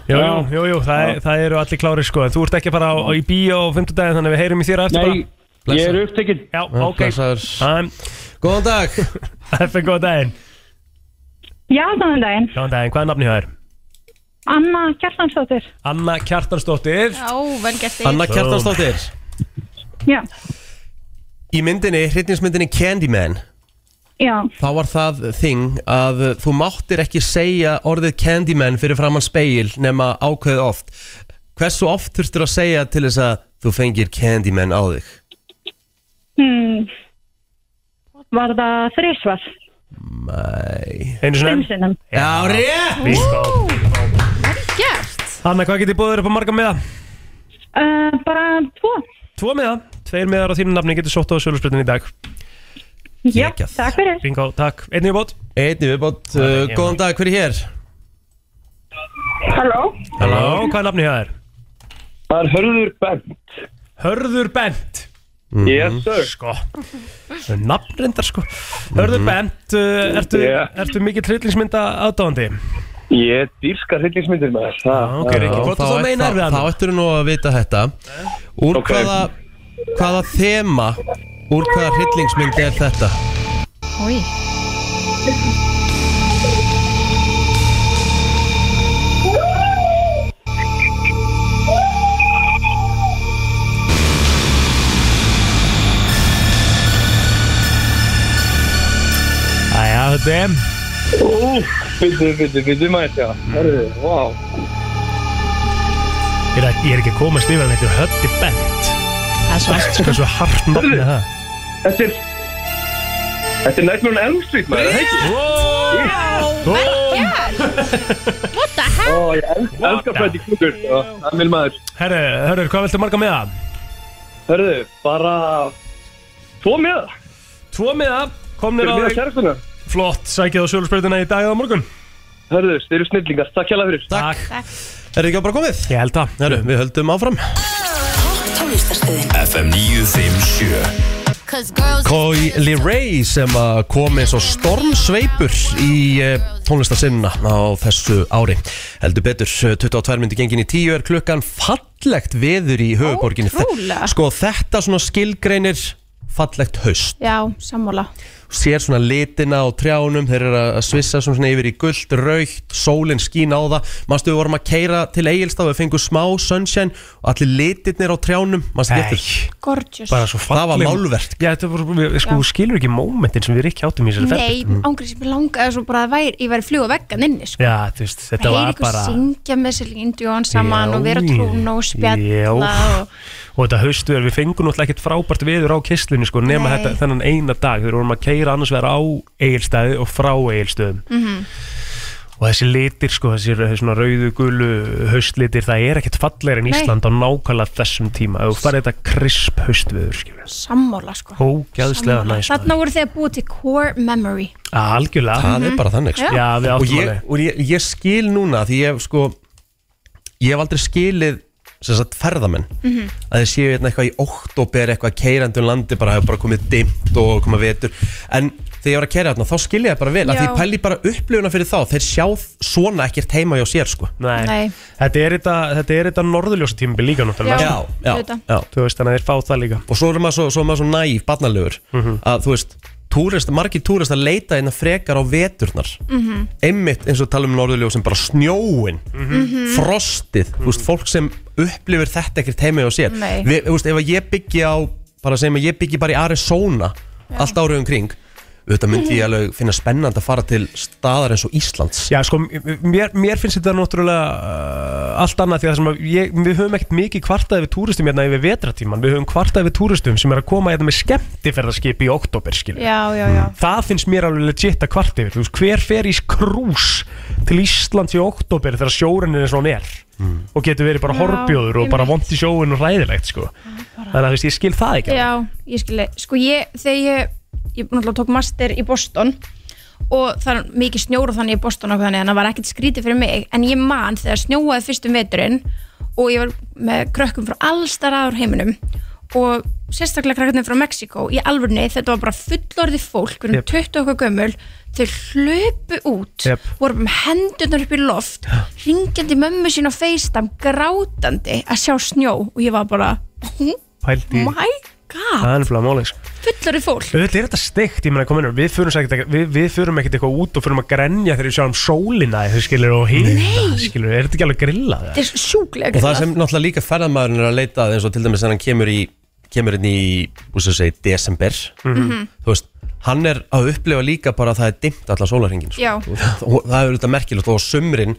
Speaker 3: Jú, jú, jú, jú það, er, það eru allir klárir sko en Þú ert ekki að fara á, í bíó á fimmtudaginn Þannig að við heyrum í þér eftir
Speaker 12: Nei, ég er upptekinn
Speaker 3: Já, ok um,
Speaker 1: Góðan dag
Speaker 3: Þetta er góðan daginn
Speaker 16: Já, góðan daginn.
Speaker 3: Góðan daginn, hvað er nafnið það er?
Speaker 16: Anna Kjartansdóttir.
Speaker 3: Anna Kjartansdóttir
Speaker 13: Já, vel gert þig
Speaker 1: Anna Kjartansdóttir
Speaker 16: Já,
Speaker 1: Í myndinni, hryllingsmyndinni Candyman
Speaker 16: já,
Speaker 1: Þá var það þing að þú máttir ekki segja orðið Candyman fyrir framann speil nema ákveðið oft. Hversu oft þurftur að segja til þess að þú fengir Candyman á þig?
Speaker 16: hmm. Var það þrísvar?
Speaker 1: Mæ...
Speaker 3: Einu
Speaker 16: Fimm sinnum.
Speaker 1: Já, rétt!
Speaker 3: Bingo.
Speaker 16: Gert.
Speaker 3: Anna, hvað getið bóðið upp á marga meða?
Speaker 16: Uh, bara tvo.
Speaker 3: Tvo meða, tveir meðar á þínu nafni getur sótt á sölusbrytin í dag
Speaker 16: Já, takk fyrir.
Speaker 3: Bingo, takk, einnig viðbót
Speaker 1: Einnig viðbót, uh, góðan dag, hver er hér?
Speaker 16: Halló.
Speaker 3: Halló, hvað er nafnið það er?
Speaker 12: Það er Hörður Bent
Speaker 3: Hörður Bent
Speaker 12: Yes, sir. Mhm.
Speaker 3: Sko, nafnrindar sko Hörður Bent, uh, ertu,
Speaker 12: Yeah.
Speaker 3: ertu mikið trillingsmynda aðdáðandi?
Speaker 12: Ég dýrska hryllingsmyndir með þess ah,
Speaker 3: ok, Rikki,
Speaker 1: Já,
Speaker 3: hvort
Speaker 1: þá
Speaker 3: þú
Speaker 1: ætt-
Speaker 3: meinar við
Speaker 1: þá-
Speaker 3: hann?
Speaker 1: Þá ættir nú að vita þetta. Úr
Speaker 12: Ok.
Speaker 1: hvaða, hvaða þema, úr hvaða hryllingsmynd er þetta?
Speaker 2: Új
Speaker 3: Æja, þetta er
Speaker 12: Byttu, byttu, byttu maður þetta Hörðu, wow
Speaker 3: Ég er, ekki- ég er ekki að komast yfir hann, þetta er Hörði Bent
Speaker 2: Það er svart
Speaker 3: Sko, svo hart nafnið það
Speaker 12: Þetta er Þetta er Nightmare on Elm Street maður, er það ekki?
Speaker 13: What the heck?
Speaker 12: Ó, ég els- elska Freddy Krueger sko. Það er minn maður
Speaker 3: Herru, hörður, hvað viltu marga meða?
Speaker 12: Hörðu, bara Tvo miða
Speaker 3: Tvo miða, komnir á
Speaker 12: Fyrir miða
Speaker 3: þig.
Speaker 12: kærastuna
Speaker 3: Flott, sækið á sölusbrytina í dag eða á morgun
Speaker 12: Hörðu, þeir eru snillingar, takk hjá fyrir
Speaker 1: Takk. Er ekki bara komið?
Speaker 3: Ég held það.
Speaker 1: Heru, við höldum áfram.
Speaker 4: Tónlistarstöðin
Speaker 14: FM 957
Speaker 1: Coily Ray sem að kom eins og stormsveipur í tónlistarsinna á þessu ári heldur betur, eh, 22 myndi gengin í 10 er klukkan fallegt veður í höfuborginni
Speaker 13: Ótrúlega.
Speaker 1: sko þetta svona skilgreinir fallegt haust
Speaker 13: Já, sammála
Speaker 1: sér svona litina á trjánum þeir eru að svissa svona yfir í gullt, raukt sólinn skín á það mannstu við vorum að keira til Egilstaf við fengum smá sunshine og allir litirnir á trjánum mannstu
Speaker 3: Nei.
Speaker 1: getur
Speaker 13: Gorgeous
Speaker 3: bara svo
Speaker 1: Það var
Speaker 3: falleg-
Speaker 1: málverk.
Speaker 3: Já, þetta var, við, sko,
Speaker 13: Já.
Speaker 3: þú skilur ekki mómentin sem við ekki áttum í þessari
Speaker 13: Nei,
Speaker 3: ferð. Mm.
Speaker 13: ángriðs, ég langaði svo bara að væri, ég væri fljúa veggan inni sko.
Speaker 3: Já, þú veist, þetta
Speaker 13: Að heyra
Speaker 3: var
Speaker 13: ykkur
Speaker 3: bara
Speaker 13: syngja með sér indjóðan saman
Speaker 3: Já,
Speaker 13: og vera trún og
Speaker 3: Já.
Speaker 13: spjalla og
Speaker 3: og þetta haustu við fengum náttúrulega ekkert frábært veður á kistlunni sko, nema
Speaker 13: Nei.
Speaker 3: þetta, þennan eina dag þegar við vorum að keira annars vegar á eigilstæði og frá eigilstöðum
Speaker 13: Mhm.
Speaker 3: og þessi litir sko, þessi svona rauðu gulu haustlitir, það er ekkert fallegri en
Speaker 13: Nei.
Speaker 3: Ísland á nákvæmlega þessum tíma og farið þetta krisp haustveður skilur
Speaker 13: sammála sko
Speaker 3: Ógæðslega næs maður.
Speaker 13: Þarna voru þið að búa til core memory
Speaker 3: Algjörlega
Speaker 1: það er bara þannig sko.
Speaker 13: Já. Já, við
Speaker 1: og,
Speaker 13: áttum
Speaker 1: ég,
Speaker 13: alveg.
Speaker 1: og ég, ég skil núna því ég hef sko ég hef aldrei skilið sem sagt ferðamenn
Speaker 14: Mhm.
Speaker 1: að þeir séu hérna eitthvað í oktober eitthvað keirandi um landi bara hefur bara komið dimmt og komið vetur en þegar ég var að keira hérna þá skil ég það bara vel að
Speaker 3: Já.
Speaker 1: því ég pæli bara upplifuna fyrir þá þeir sjá svona ekkert heima hjá sér sko
Speaker 3: Nei. Þetta er þetta, þetta, er þetta norðurljósa tímabil líka náttúrulega
Speaker 1: Já, já,
Speaker 3: sko.
Speaker 1: já, Þú
Speaker 3: veist, þannig að þeir fá það líka
Speaker 1: Og svo er maður svo, svo, er maður svo næf, barnalegur Að þú veist, túrist, margir túrist að leita hérna frekar á veturnar
Speaker 14: Mhm.
Speaker 1: Einmitt eins og tala um norðurljósin bara snjóin
Speaker 14: Mhm.
Speaker 1: Frostið, þú veist, fólk sem upplifir þetta ekkert heimi á sér
Speaker 14: Nei.
Speaker 1: Við, Þú veist, ef að ég byggi á, bara segjum að ég byggi bara í Arizona Allt árið um kring Þetta myndi ég alveg finna spennandi að fara til staðar eins og Íslands
Speaker 3: Já, sko, m- mér, mér finnst þetta náttúrulega uh, allt annað því að, það sem að ég, við höfum ekkert mikið kvartaði við túristum hérna yfir vetratíman, við höfum kvartaði við túristum sem er að koma hérna með skemmtiferðarskip í oktober, skilur.
Speaker 13: Já, já, já
Speaker 3: Það finnst mér alveg legit að kvarta yfir, þú veist, hver fer í krús til Íslands í oktober þegar sjórinn er eins og hann er og getur verið bara
Speaker 13: Já,
Speaker 3: horfbjóður og bara vond í sjóin og ræðilegt, sko. Þannig að þú veist, ég skil það ekki.
Speaker 13: Já, ég skilji, sko ég, þegar ég, ég náttúrulega tók master í Boston og það er mikið snjóru þannig í Boston og þannig, þannig að það var ekkert skrítið fyrir mig, en ég man þegar snjóaði fyrstum veturinn og ég var með krökkum frá allstar aður heiminum og sérstaklega krakkarnir frá Mexiko í alvörni, þetta var bara fullorði fólk, við erum
Speaker 3: Yep.
Speaker 13: 20 okkar gömul, þau hlupu út,
Speaker 3: Yep.
Speaker 13: voru bara með hendurnar upp í loft, ringjandi mömmu sín á FaceTime, grátandi að sjá snjó og ég var bara,
Speaker 3: Pældi,
Speaker 13: Oh my god,
Speaker 3: það er nefnilega málið, sko.
Speaker 13: fullari fólk
Speaker 3: Þetta er þetta steikt, ég meina kominur, við förum ekkert við, við förum ekkert eitthvað út og förum að grenja þegar við sjáum sólina, þau skilur og hýrna, skilur, er þetta ekki alveg grillað?
Speaker 13: Þetta er sjúklega
Speaker 1: Og það sem náttúrulega líka ferðamæðurinn er að leita að eins og til dæmis þegar hann kemur í kemur inn í, úr sem segi, desember
Speaker 13: Mhm.
Speaker 1: þú veist, hann er að upplifa líka bara að það er dimmt allar sólarhengin
Speaker 13: Já.
Speaker 1: og það og það er auðvitað merkilegt og á sumrin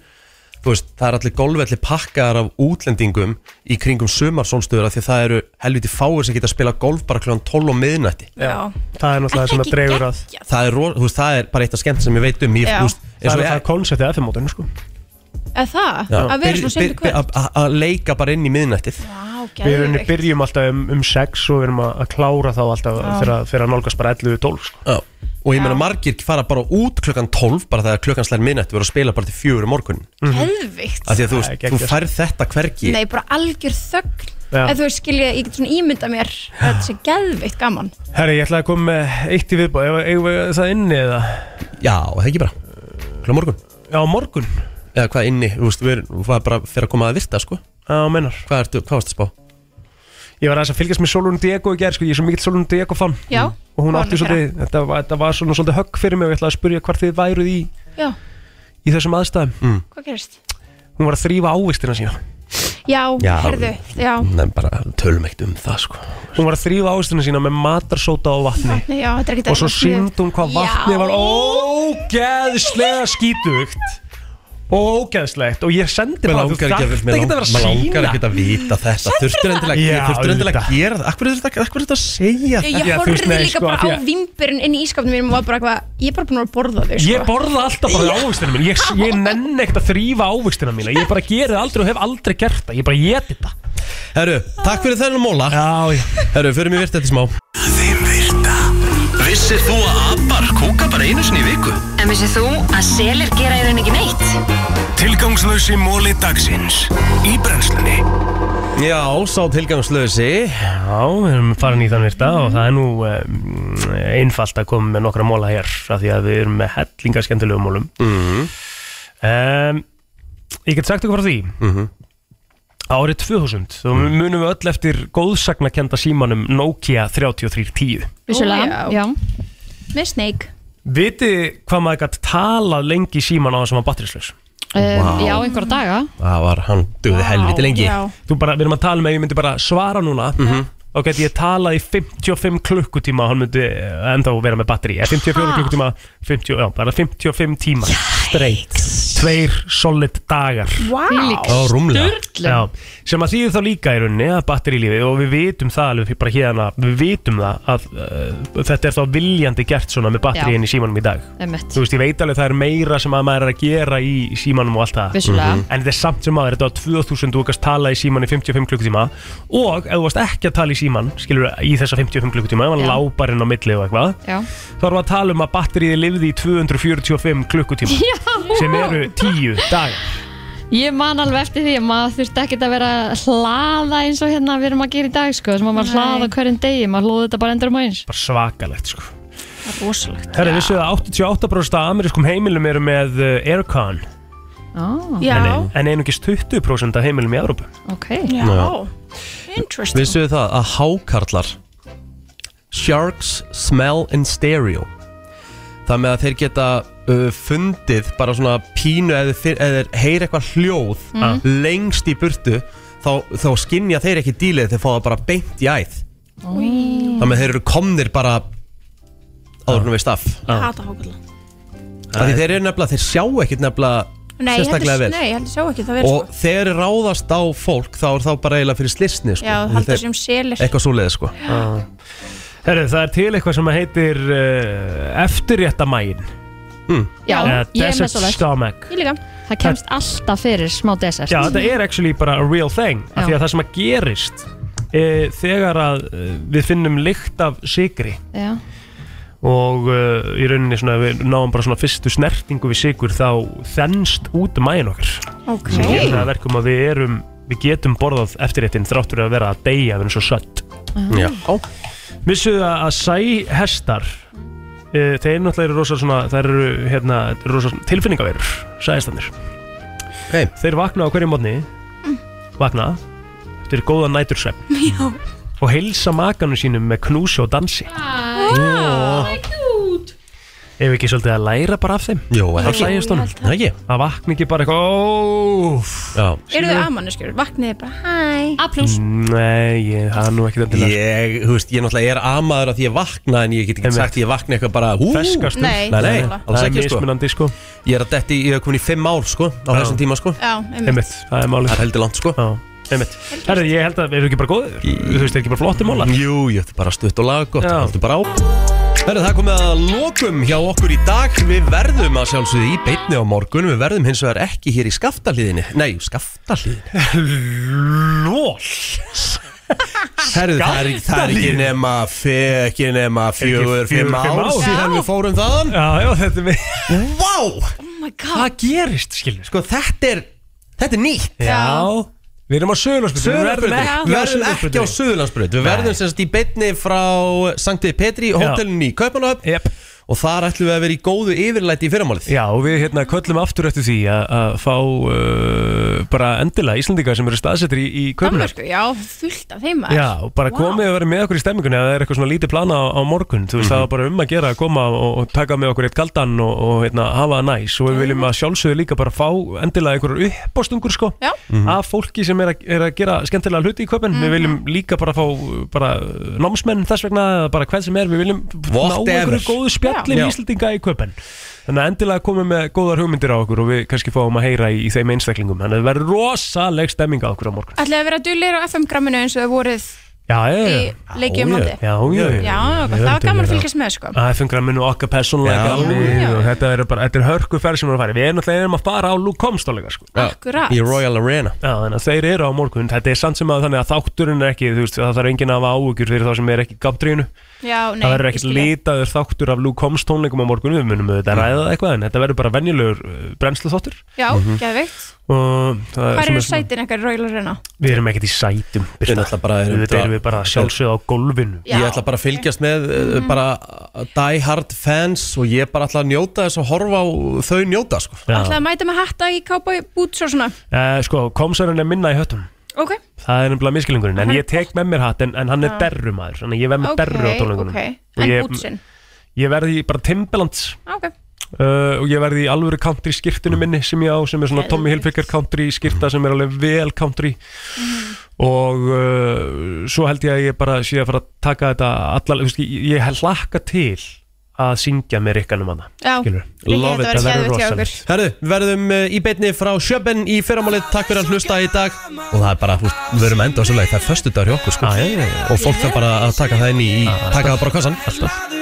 Speaker 1: þú veist, það er allir golfvelli pakkaðar af útlendingum í kringum sumarsólstöður af því að það eru helviti fáir sem geta að spila golf bara kljóðan 12 og miðnætti
Speaker 13: Já,
Speaker 3: það er náttúrulega sem að dregur að
Speaker 1: það er, ro- þú veist, það er bara eitt af skemmt sem ég veit um ég,
Speaker 13: Já.
Speaker 1: þú veist, eins og
Speaker 3: Það er það konseptið að þeim mótunum, sko
Speaker 13: Eða það, að vera svona seint í kvöld
Speaker 1: að að leika bara inn í miðnættið
Speaker 13: Vá,
Speaker 3: Við erum
Speaker 13: geðveikt.
Speaker 3: byrjum alltaf um, um sex og við erum að, að klára þá alltaf
Speaker 13: Já.
Speaker 3: fyrir að, fyrir að nálgast bara 11-12, sko
Speaker 1: Já. Og ég meina margir fara bara út klukkan 12 bara þegar klukkan slær minnett við erum að spila bara til fjögur um morgunin
Speaker 13: Geðvikt
Speaker 1: Af því að þú, veist, þú færð
Speaker 3: sko.
Speaker 1: þetta hvergi
Speaker 13: Nei, bara algjör þögn
Speaker 3: Já.
Speaker 13: Ef þú veist skilja, ég get svona ímynda mér að þetta sé geðvikt gaman
Speaker 3: Herri, ég ætlaði að koma með eitt í viðbúð, eigum við það inni eða?
Speaker 1: Já, það ekki bara Klukkan um morgun
Speaker 3: Já, morgun
Speaker 1: Eða hvað inni, þú veist, við erum hvað er bara fyrir að koma að virta sko
Speaker 3: Já, mennar
Speaker 1: Hvað ertu, hvað varstu að spá?
Speaker 3: Ég var aðeins að fylgjast með Solun Diego í gerð, sko, ég er svo mikill Solun Diego fan
Speaker 13: Já,
Speaker 3: Og hún
Speaker 13: hvað
Speaker 3: átti
Speaker 13: var hún að
Speaker 3: svolítið, þetta, var- þetta var svona svolítið högg fyrir mig og ég ætlaði að spurja hvar þið væruð í,
Speaker 13: Já,
Speaker 3: í þessum aðstæðum
Speaker 1: mm.
Speaker 13: hvað gerist?
Speaker 3: Hún var að þrýfa ávistina sína
Speaker 13: Já,
Speaker 3: Já.
Speaker 13: herðu, já
Speaker 1: Nei, bara tölum ekkert um það sko
Speaker 3: Hún var að þrýfa ávistina sína með matarsóta og vatni
Speaker 13: Nei, já, þetta er ekki
Speaker 3: Og svo sínd hún hvað vatni var ógeðslega skítugt Ógeðslegt Og ég sendi
Speaker 1: Mér
Speaker 3: bara
Speaker 1: langar ekki að,
Speaker 3: þarft
Speaker 1: mér
Speaker 3: ekkert
Speaker 1: lang-
Speaker 3: vera
Speaker 1: mér langar
Speaker 3: sýna.
Speaker 1: ekkert að vita þetta Þurftur endilega að
Speaker 3: Já,
Speaker 1: gera- þurftirðu endilega að
Speaker 3: auðvitað.
Speaker 1: gera það Akkur er þetta akkur er þetta að segja
Speaker 13: Ég, ég
Speaker 1: þetta?
Speaker 13: horfði
Speaker 1: nei,
Speaker 13: líka
Speaker 1: sko,
Speaker 13: bara
Speaker 1: af því
Speaker 13: á vimpurinn inn í ískapnum mínum og var bara eitthvað, ég er bara búin að borða þau sko.
Speaker 3: Ég borða alltaf bara ávistina mín Ég, ég nenn ekkert að þrýfa ávistina mína Ég bara geri það aldrei og hef aldrei gert það Ég bara geti það
Speaker 1: Herru, takk fyrir þennan móla
Speaker 3: Já, já
Speaker 1: Herru, förum í virta þetta smá
Speaker 14: Vissir þú að abar kúka bara einu sinni í viku?
Speaker 4: En vissið þú að selir gera í raun ekki neitt?
Speaker 14: Tilgangslösi móli dagsins Í brennslunni
Speaker 1: Já, sá tilgangslösi
Speaker 3: Já, við erum farin í þann virta og það er nú um, einfalt að koma með nokkra móla hér af því að við erum með hellinga skemmtilegum mólum mm Ég get sagt ykkur frá því Árið 2000, þá munum við öll eftir góðsagnakenda símanum Nokia 3310
Speaker 13: Vissulega, já. Með Snake
Speaker 3: Vitið þið hvað maður gætt talað lengi í síman á það sem var batterislaus?
Speaker 2: um,
Speaker 3: Vá.
Speaker 2: Já, einhverja daga
Speaker 1: Það var, hann dugði helviti lengi
Speaker 2: já.
Speaker 3: Þú bara, við erum að tala með, ég myndi bara svara núna Þá gæti ég talað í 55 klukkutíma og hann myndi eh, ennþá vera með batteri Eh, 54
Speaker 14: Ha?
Speaker 3: klukkutíma, 50, já, bara 55 tíma Streit Tveir solid dagar
Speaker 14: Vá. Þvílík
Speaker 3: Já, rúmlega.
Speaker 14: sturlun.
Speaker 3: Já, sem að þýðir þá líka í rauninni að batterílífi og við vitum það alveg bara hérna við vitum það að uh, þetta er þá viljandi gert svona með
Speaker 2: Já.
Speaker 3: batteríin í símanum í dag
Speaker 2: Einmitt.
Speaker 3: Þú veist, ég veit alveg það er meira sem að maður er að gera í símanum og allt það
Speaker 2: Vissulega. Mhm.
Speaker 3: En þetta er samt sem maður, þetta var 2000 þú kannast tala í síman í 55 klukkutíma og ef þú varst ekki að tala í síman, skilur í þessa 55 klukkutíma, ef hann
Speaker 14: Já.
Speaker 3: láparinn á milli og eitthvað
Speaker 2: Já.
Speaker 3: þá erum við að tala um að batteriði lifði í 245 klukkutíma
Speaker 2: Já.
Speaker 3: sem eru 10 dagar
Speaker 2: Ég man alveg eftir því að maður þurfti ekkert að vera að hlaða eins og hérna við erum að gera í dag sko, sem að maður
Speaker 3: Nei.
Speaker 2: hlaða á hverjum degi maður hlóði þetta bara endur um eins
Speaker 3: bara svakalegt sko
Speaker 2: Það er rosalegt
Speaker 3: Herra, vissu það að 88% af amerískum heimilum eru með eh, aircon
Speaker 2: ah.
Speaker 3: en, en einungis 20% af heimilum í Európa
Speaker 2: ok
Speaker 1: Já.
Speaker 13: Interesting
Speaker 1: Vissuðu það að hákarlar Sharks smell in stereo Það með að þeir geta uh, fundið bara svona pínu eða þeir, eða þeir heyra eitthvað hljóð
Speaker 14: Mm.
Speaker 1: lengst í burtu þá, þá skinja þeir ekki dílið þeir fá það bara beint í æð Það með þeir eru komnir bara áðurnum við staff
Speaker 13: Hata hákalla
Speaker 1: Af Því þeir eru nefnilega, þeir sjá ekkit nefnilega
Speaker 13: Nei, ég heldur,
Speaker 1: sérstaklega vel
Speaker 13: nei, ég heldur sjá ekki það verið
Speaker 1: og þeir ráðast á fólk þá er þá bara eiginlega fyrir slisni sko.
Speaker 13: Já,
Speaker 1: Þeir-
Speaker 13: halda sem selir.
Speaker 1: eitthvað svo leiði sko.
Speaker 3: Herru, það er til eitthvað sem heitir uh, eftirréttamægin hmm.
Speaker 2: Já, ég er með
Speaker 3: Desert
Speaker 2: svoleiðs.
Speaker 3: Stomach
Speaker 13: Ég líka
Speaker 2: Það kemst alltaf fyrir smá desert
Speaker 3: Já, þetta er actually bara a real thing af
Speaker 2: Já.
Speaker 3: því að það sem að gerist e, þegar að e, við finnum lykt af sigri
Speaker 2: Já,
Speaker 3: og e, í rauninni svona við náum bara svona fyrstu snertingu við sigur þá þennst út mæin okkar
Speaker 13: Ok.
Speaker 3: sem gerir það að verkum að við erum við getum borðað eftirréttin þráttur að vera að deyja við erum svo sött
Speaker 1: Ah. Já.
Speaker 3: Vissuðu að að sæhestar e, þeir náttúrulega eru rosa svona þeir eru hérna þetta eru rosa tilfinningaverur sæhestarnir
Speaker 1: hey.
Speaker 3: þeir vakna á hverjum mótni vakna eftir góða nætursvepp
Speaker 13: Já
Speaker 3: og heilsa makanum sínum með knúsi og dansi
Speaker 13: Wow, cute
Speaker 3: ef ekki svolítið að læra bara af þeim
Speaker 1: Jó,
Speaker 3: það
Speaker 13: ekki.
Speaker 3: hlægist
Speaker 13: Jú, ég held
Speaker 3: honum
Speaker 1: ekki
Speaker 3: að vakna ekki bara eitthvað
Speaker 13: Eru þið amannuskjur? Vaknið þið bara, hæ
Speaker 2: A plus
Speaker 3: Nei, ég, það er nú ekki þetta
Speaker 1: Ég, þú veist, ég náttúrulega er amaður að því ég vakna en ég get ekki sagt ég vakna eitthvað bara hú.
Speaker 3: Ferskastur.
Speaker 1: Nei,
Speaker 3: Nei,
Speaker 1: nei,
Speaker 3: nákvæmlega.
Speaker 1: alls
Speaker 3: Það er
Speaker 1: ekki sko
Speaker 3: mismunandi sko
Speaker 1: Ég er að detti, ég hef komin í fimm ár sko á
Speaker 3: Já.
Speaker 1: þessum tíma sko
Speaker 13: Já, einmitt
Speaker 3: einmitt, það er málið
Speaker 1: Það er heldur langt sko
Speaker 3: Já, einmitt Herri, ég held að við erum ekki bara góðir Þú veist, er ekki bara flottir mólar
Speaker 1: Jú, ég ætti bara stutt og laga gott Það bara á Herra, það er komið að lokum hjá okkur í dag Við verðum að sjálfsögðu í beinni á morgun Við verðum hins vegar ekki hér í skaftaliðinni Nei, skaftaliðinni
Speaker 3: Lól
Speaker 1: Herðu, það er, það er ekki nema fe- ekki nema fjögur, fimm ár Eh? síðan við fórum þaðan
Speaker 3: Já, já, þetta er við
Speaker 1: Vá,
Speaker 13: Oh my
Speaker 1: hvað
Speaker 13: god
Speaker 3: gerist, skilur
Speaker 1: Sko, þetta er, þetta er nýtt
Speaker 3: Já, við erum á Suðurlandsbrautinni. Við verðum
Speaker 1: Suðurlandsbrautinni. Við
Speaker 3: ekki á
Speaker 1: verðum ekki á
Speaker 3: Suðurlandsbrautinni.
Speaker 1: Suðurlandsbröð Við
Speaker 3: Nei.
Speaker 1: verðum semst í beinni frá Sankt Við Petri
Speaker 3: Já. E-
Speaker 1: Hótelin í Kaupanahöfn
Speaker 3: yep.
Speaker 1: Og þar ætlum við að vera í góðu yfirlæti í fyrramálið
Speaker 3: Já, og við hérna köllum aftur eftir því að- að fá uh, bara endilega Íslandinga sem eru staðsettir í, í köpuna
Speaker 13: Danmörku, já, fullt af þeim maður.
Speaker 3: Já, og bara
Speaker 13: Vá.
Speaker 3: komið að vera með okkur í stemmingunni eða það er eitthvað svona lítið plana á, á morgun þú veist, það var bara um að gera að koma og, og taka með okkur eitt kaldan og, og hérna, hafa það næs og við viljum að sjálfsögðu líka bara fá endilega einhverjar uppbóstungur sko
Speaker 13: Já.
Speaker 3: af fólki sem er að, er að gera skemmtilega hluti í köpun við viljum líka bara fá uh, bara, uh, námsmenn þess vegna eða bara hvað sem er við viljum ná
Speaker 1: Whatever.
Speaker 3: einhverju góðu spjalli
Speaker 1: Já.
Speaker 3: í Íslandinga í köpun þannig að endilega komum með góðar hugmyndir á okkur og við kannski fáum að heyra í, í þeim einstaklingum þannig að það verður rosaleg stemming á okkur á morgun
Speaker 13: Ætlaði að vera dullir á FM-gramminu eins og þið voruð
Speaker 3: Já, já,
Speaker 13: í
Speaker 3: já.
Speaker 13: leikjum
Speaker 3: Já,
Speaker 13: landi
Speaker 3: já, já, já. Við
Speaker 13: Já,
Speaker 3: Ah.
Speaker 13: það var
Speaker 3: höldum
Speaker 13: gaman að
Speaker 3: þetta.
Speaker 13: fylgjast með sko
Speaker 3: Það er fengramin og okkar persónulega
Speaker 1: Já.
Speaker 3: gamni og þetta er bara, þetta er hörku ferð sem við erum að fara í. Við erum alltaf einum að fara á Luke Comstólega sko.
Speaker 13: Akkurat. í
Speaker 1: Royal Arena
Speaker 3: Já, þannig að þeir eru á morgun Þetta er samt sem að þannig að þátturinn er ekki þú veist, það þarf enginn að hafa áhugjur fyrir þá sem er ekki gabdrínu
Speaker 13: Já, nei
Speaker 3: Það verður ekkert litaður þáttur af Luke Combs tónleikum á morgun Við munum auðvitað ræða það eitthvað en þetta verður bara venjulegur uh, brennslu þáttur
Speaker 13: Já, geðveikt Hvar eru sætin ekkert raular reyna?
Speaker 3: Við erum ekkert í sætum
Speaker 1: Við náttúrulega bara erum
Speaker 3: Við erum við bara sjálfsögð á gólfinu
Speaker 1: Ég ætla bara að fylgjast með uh, bara uh, die hard fans og ég bara ætla að njóta þess að horfa á þau njóta sko.
Speaker 13: Ætlaði að mæta með hatta í kápa búts og svona
Speaker 3: Eh, Sko, komsarinn er minna í höttum
Speaker 13: Ok,
Speaker 3: Það er nefnilega miskilningurinn, en
Speaker 13: Hann-
Speaker 3: ég tek með mér hatt en, en hann er
Speaker 13: Já.
Speaker 3: derrumæður, þannig að ég verð með
Speaker 13: Ok,
Speaker 3: derru á tónleikunum
Speaker 13: ok.
Speaker 3: Og
Speaker 13: En
Speaker 3: ég-
Speaker 13: bútsinn?
Speaker 3: Ég verði bara Timbalands
Speaker 13: ok
Speaker 3: uh, og ég verði í alvöru country skirtinu minni sem ég á, sem er svona Tommy Hilfiger country skirta sem er alveg vel country
Speaker 13: Mhm.
Speaker 3: og uh, svo held ég að ég bara sé að fara að taka þetta allar, þú veist, ég, ég hlakka til að syngja með rikkanum hana
Speaker 13: Já. Rikki, Love þetta it. verður geðveikt hjá ykkur.
Speaker 1: Herðu, við verðum eh, í beinni frá Sjöben í fyrramálið, takk fyrir að hlusta í dag og það er bara, þú veist, við verum að enda á svo leið það er förstu dagur hjá okkur, sko ah, og fólk þarf bara að taka það inn í, í taka það bara á kassan Ah, Alltaf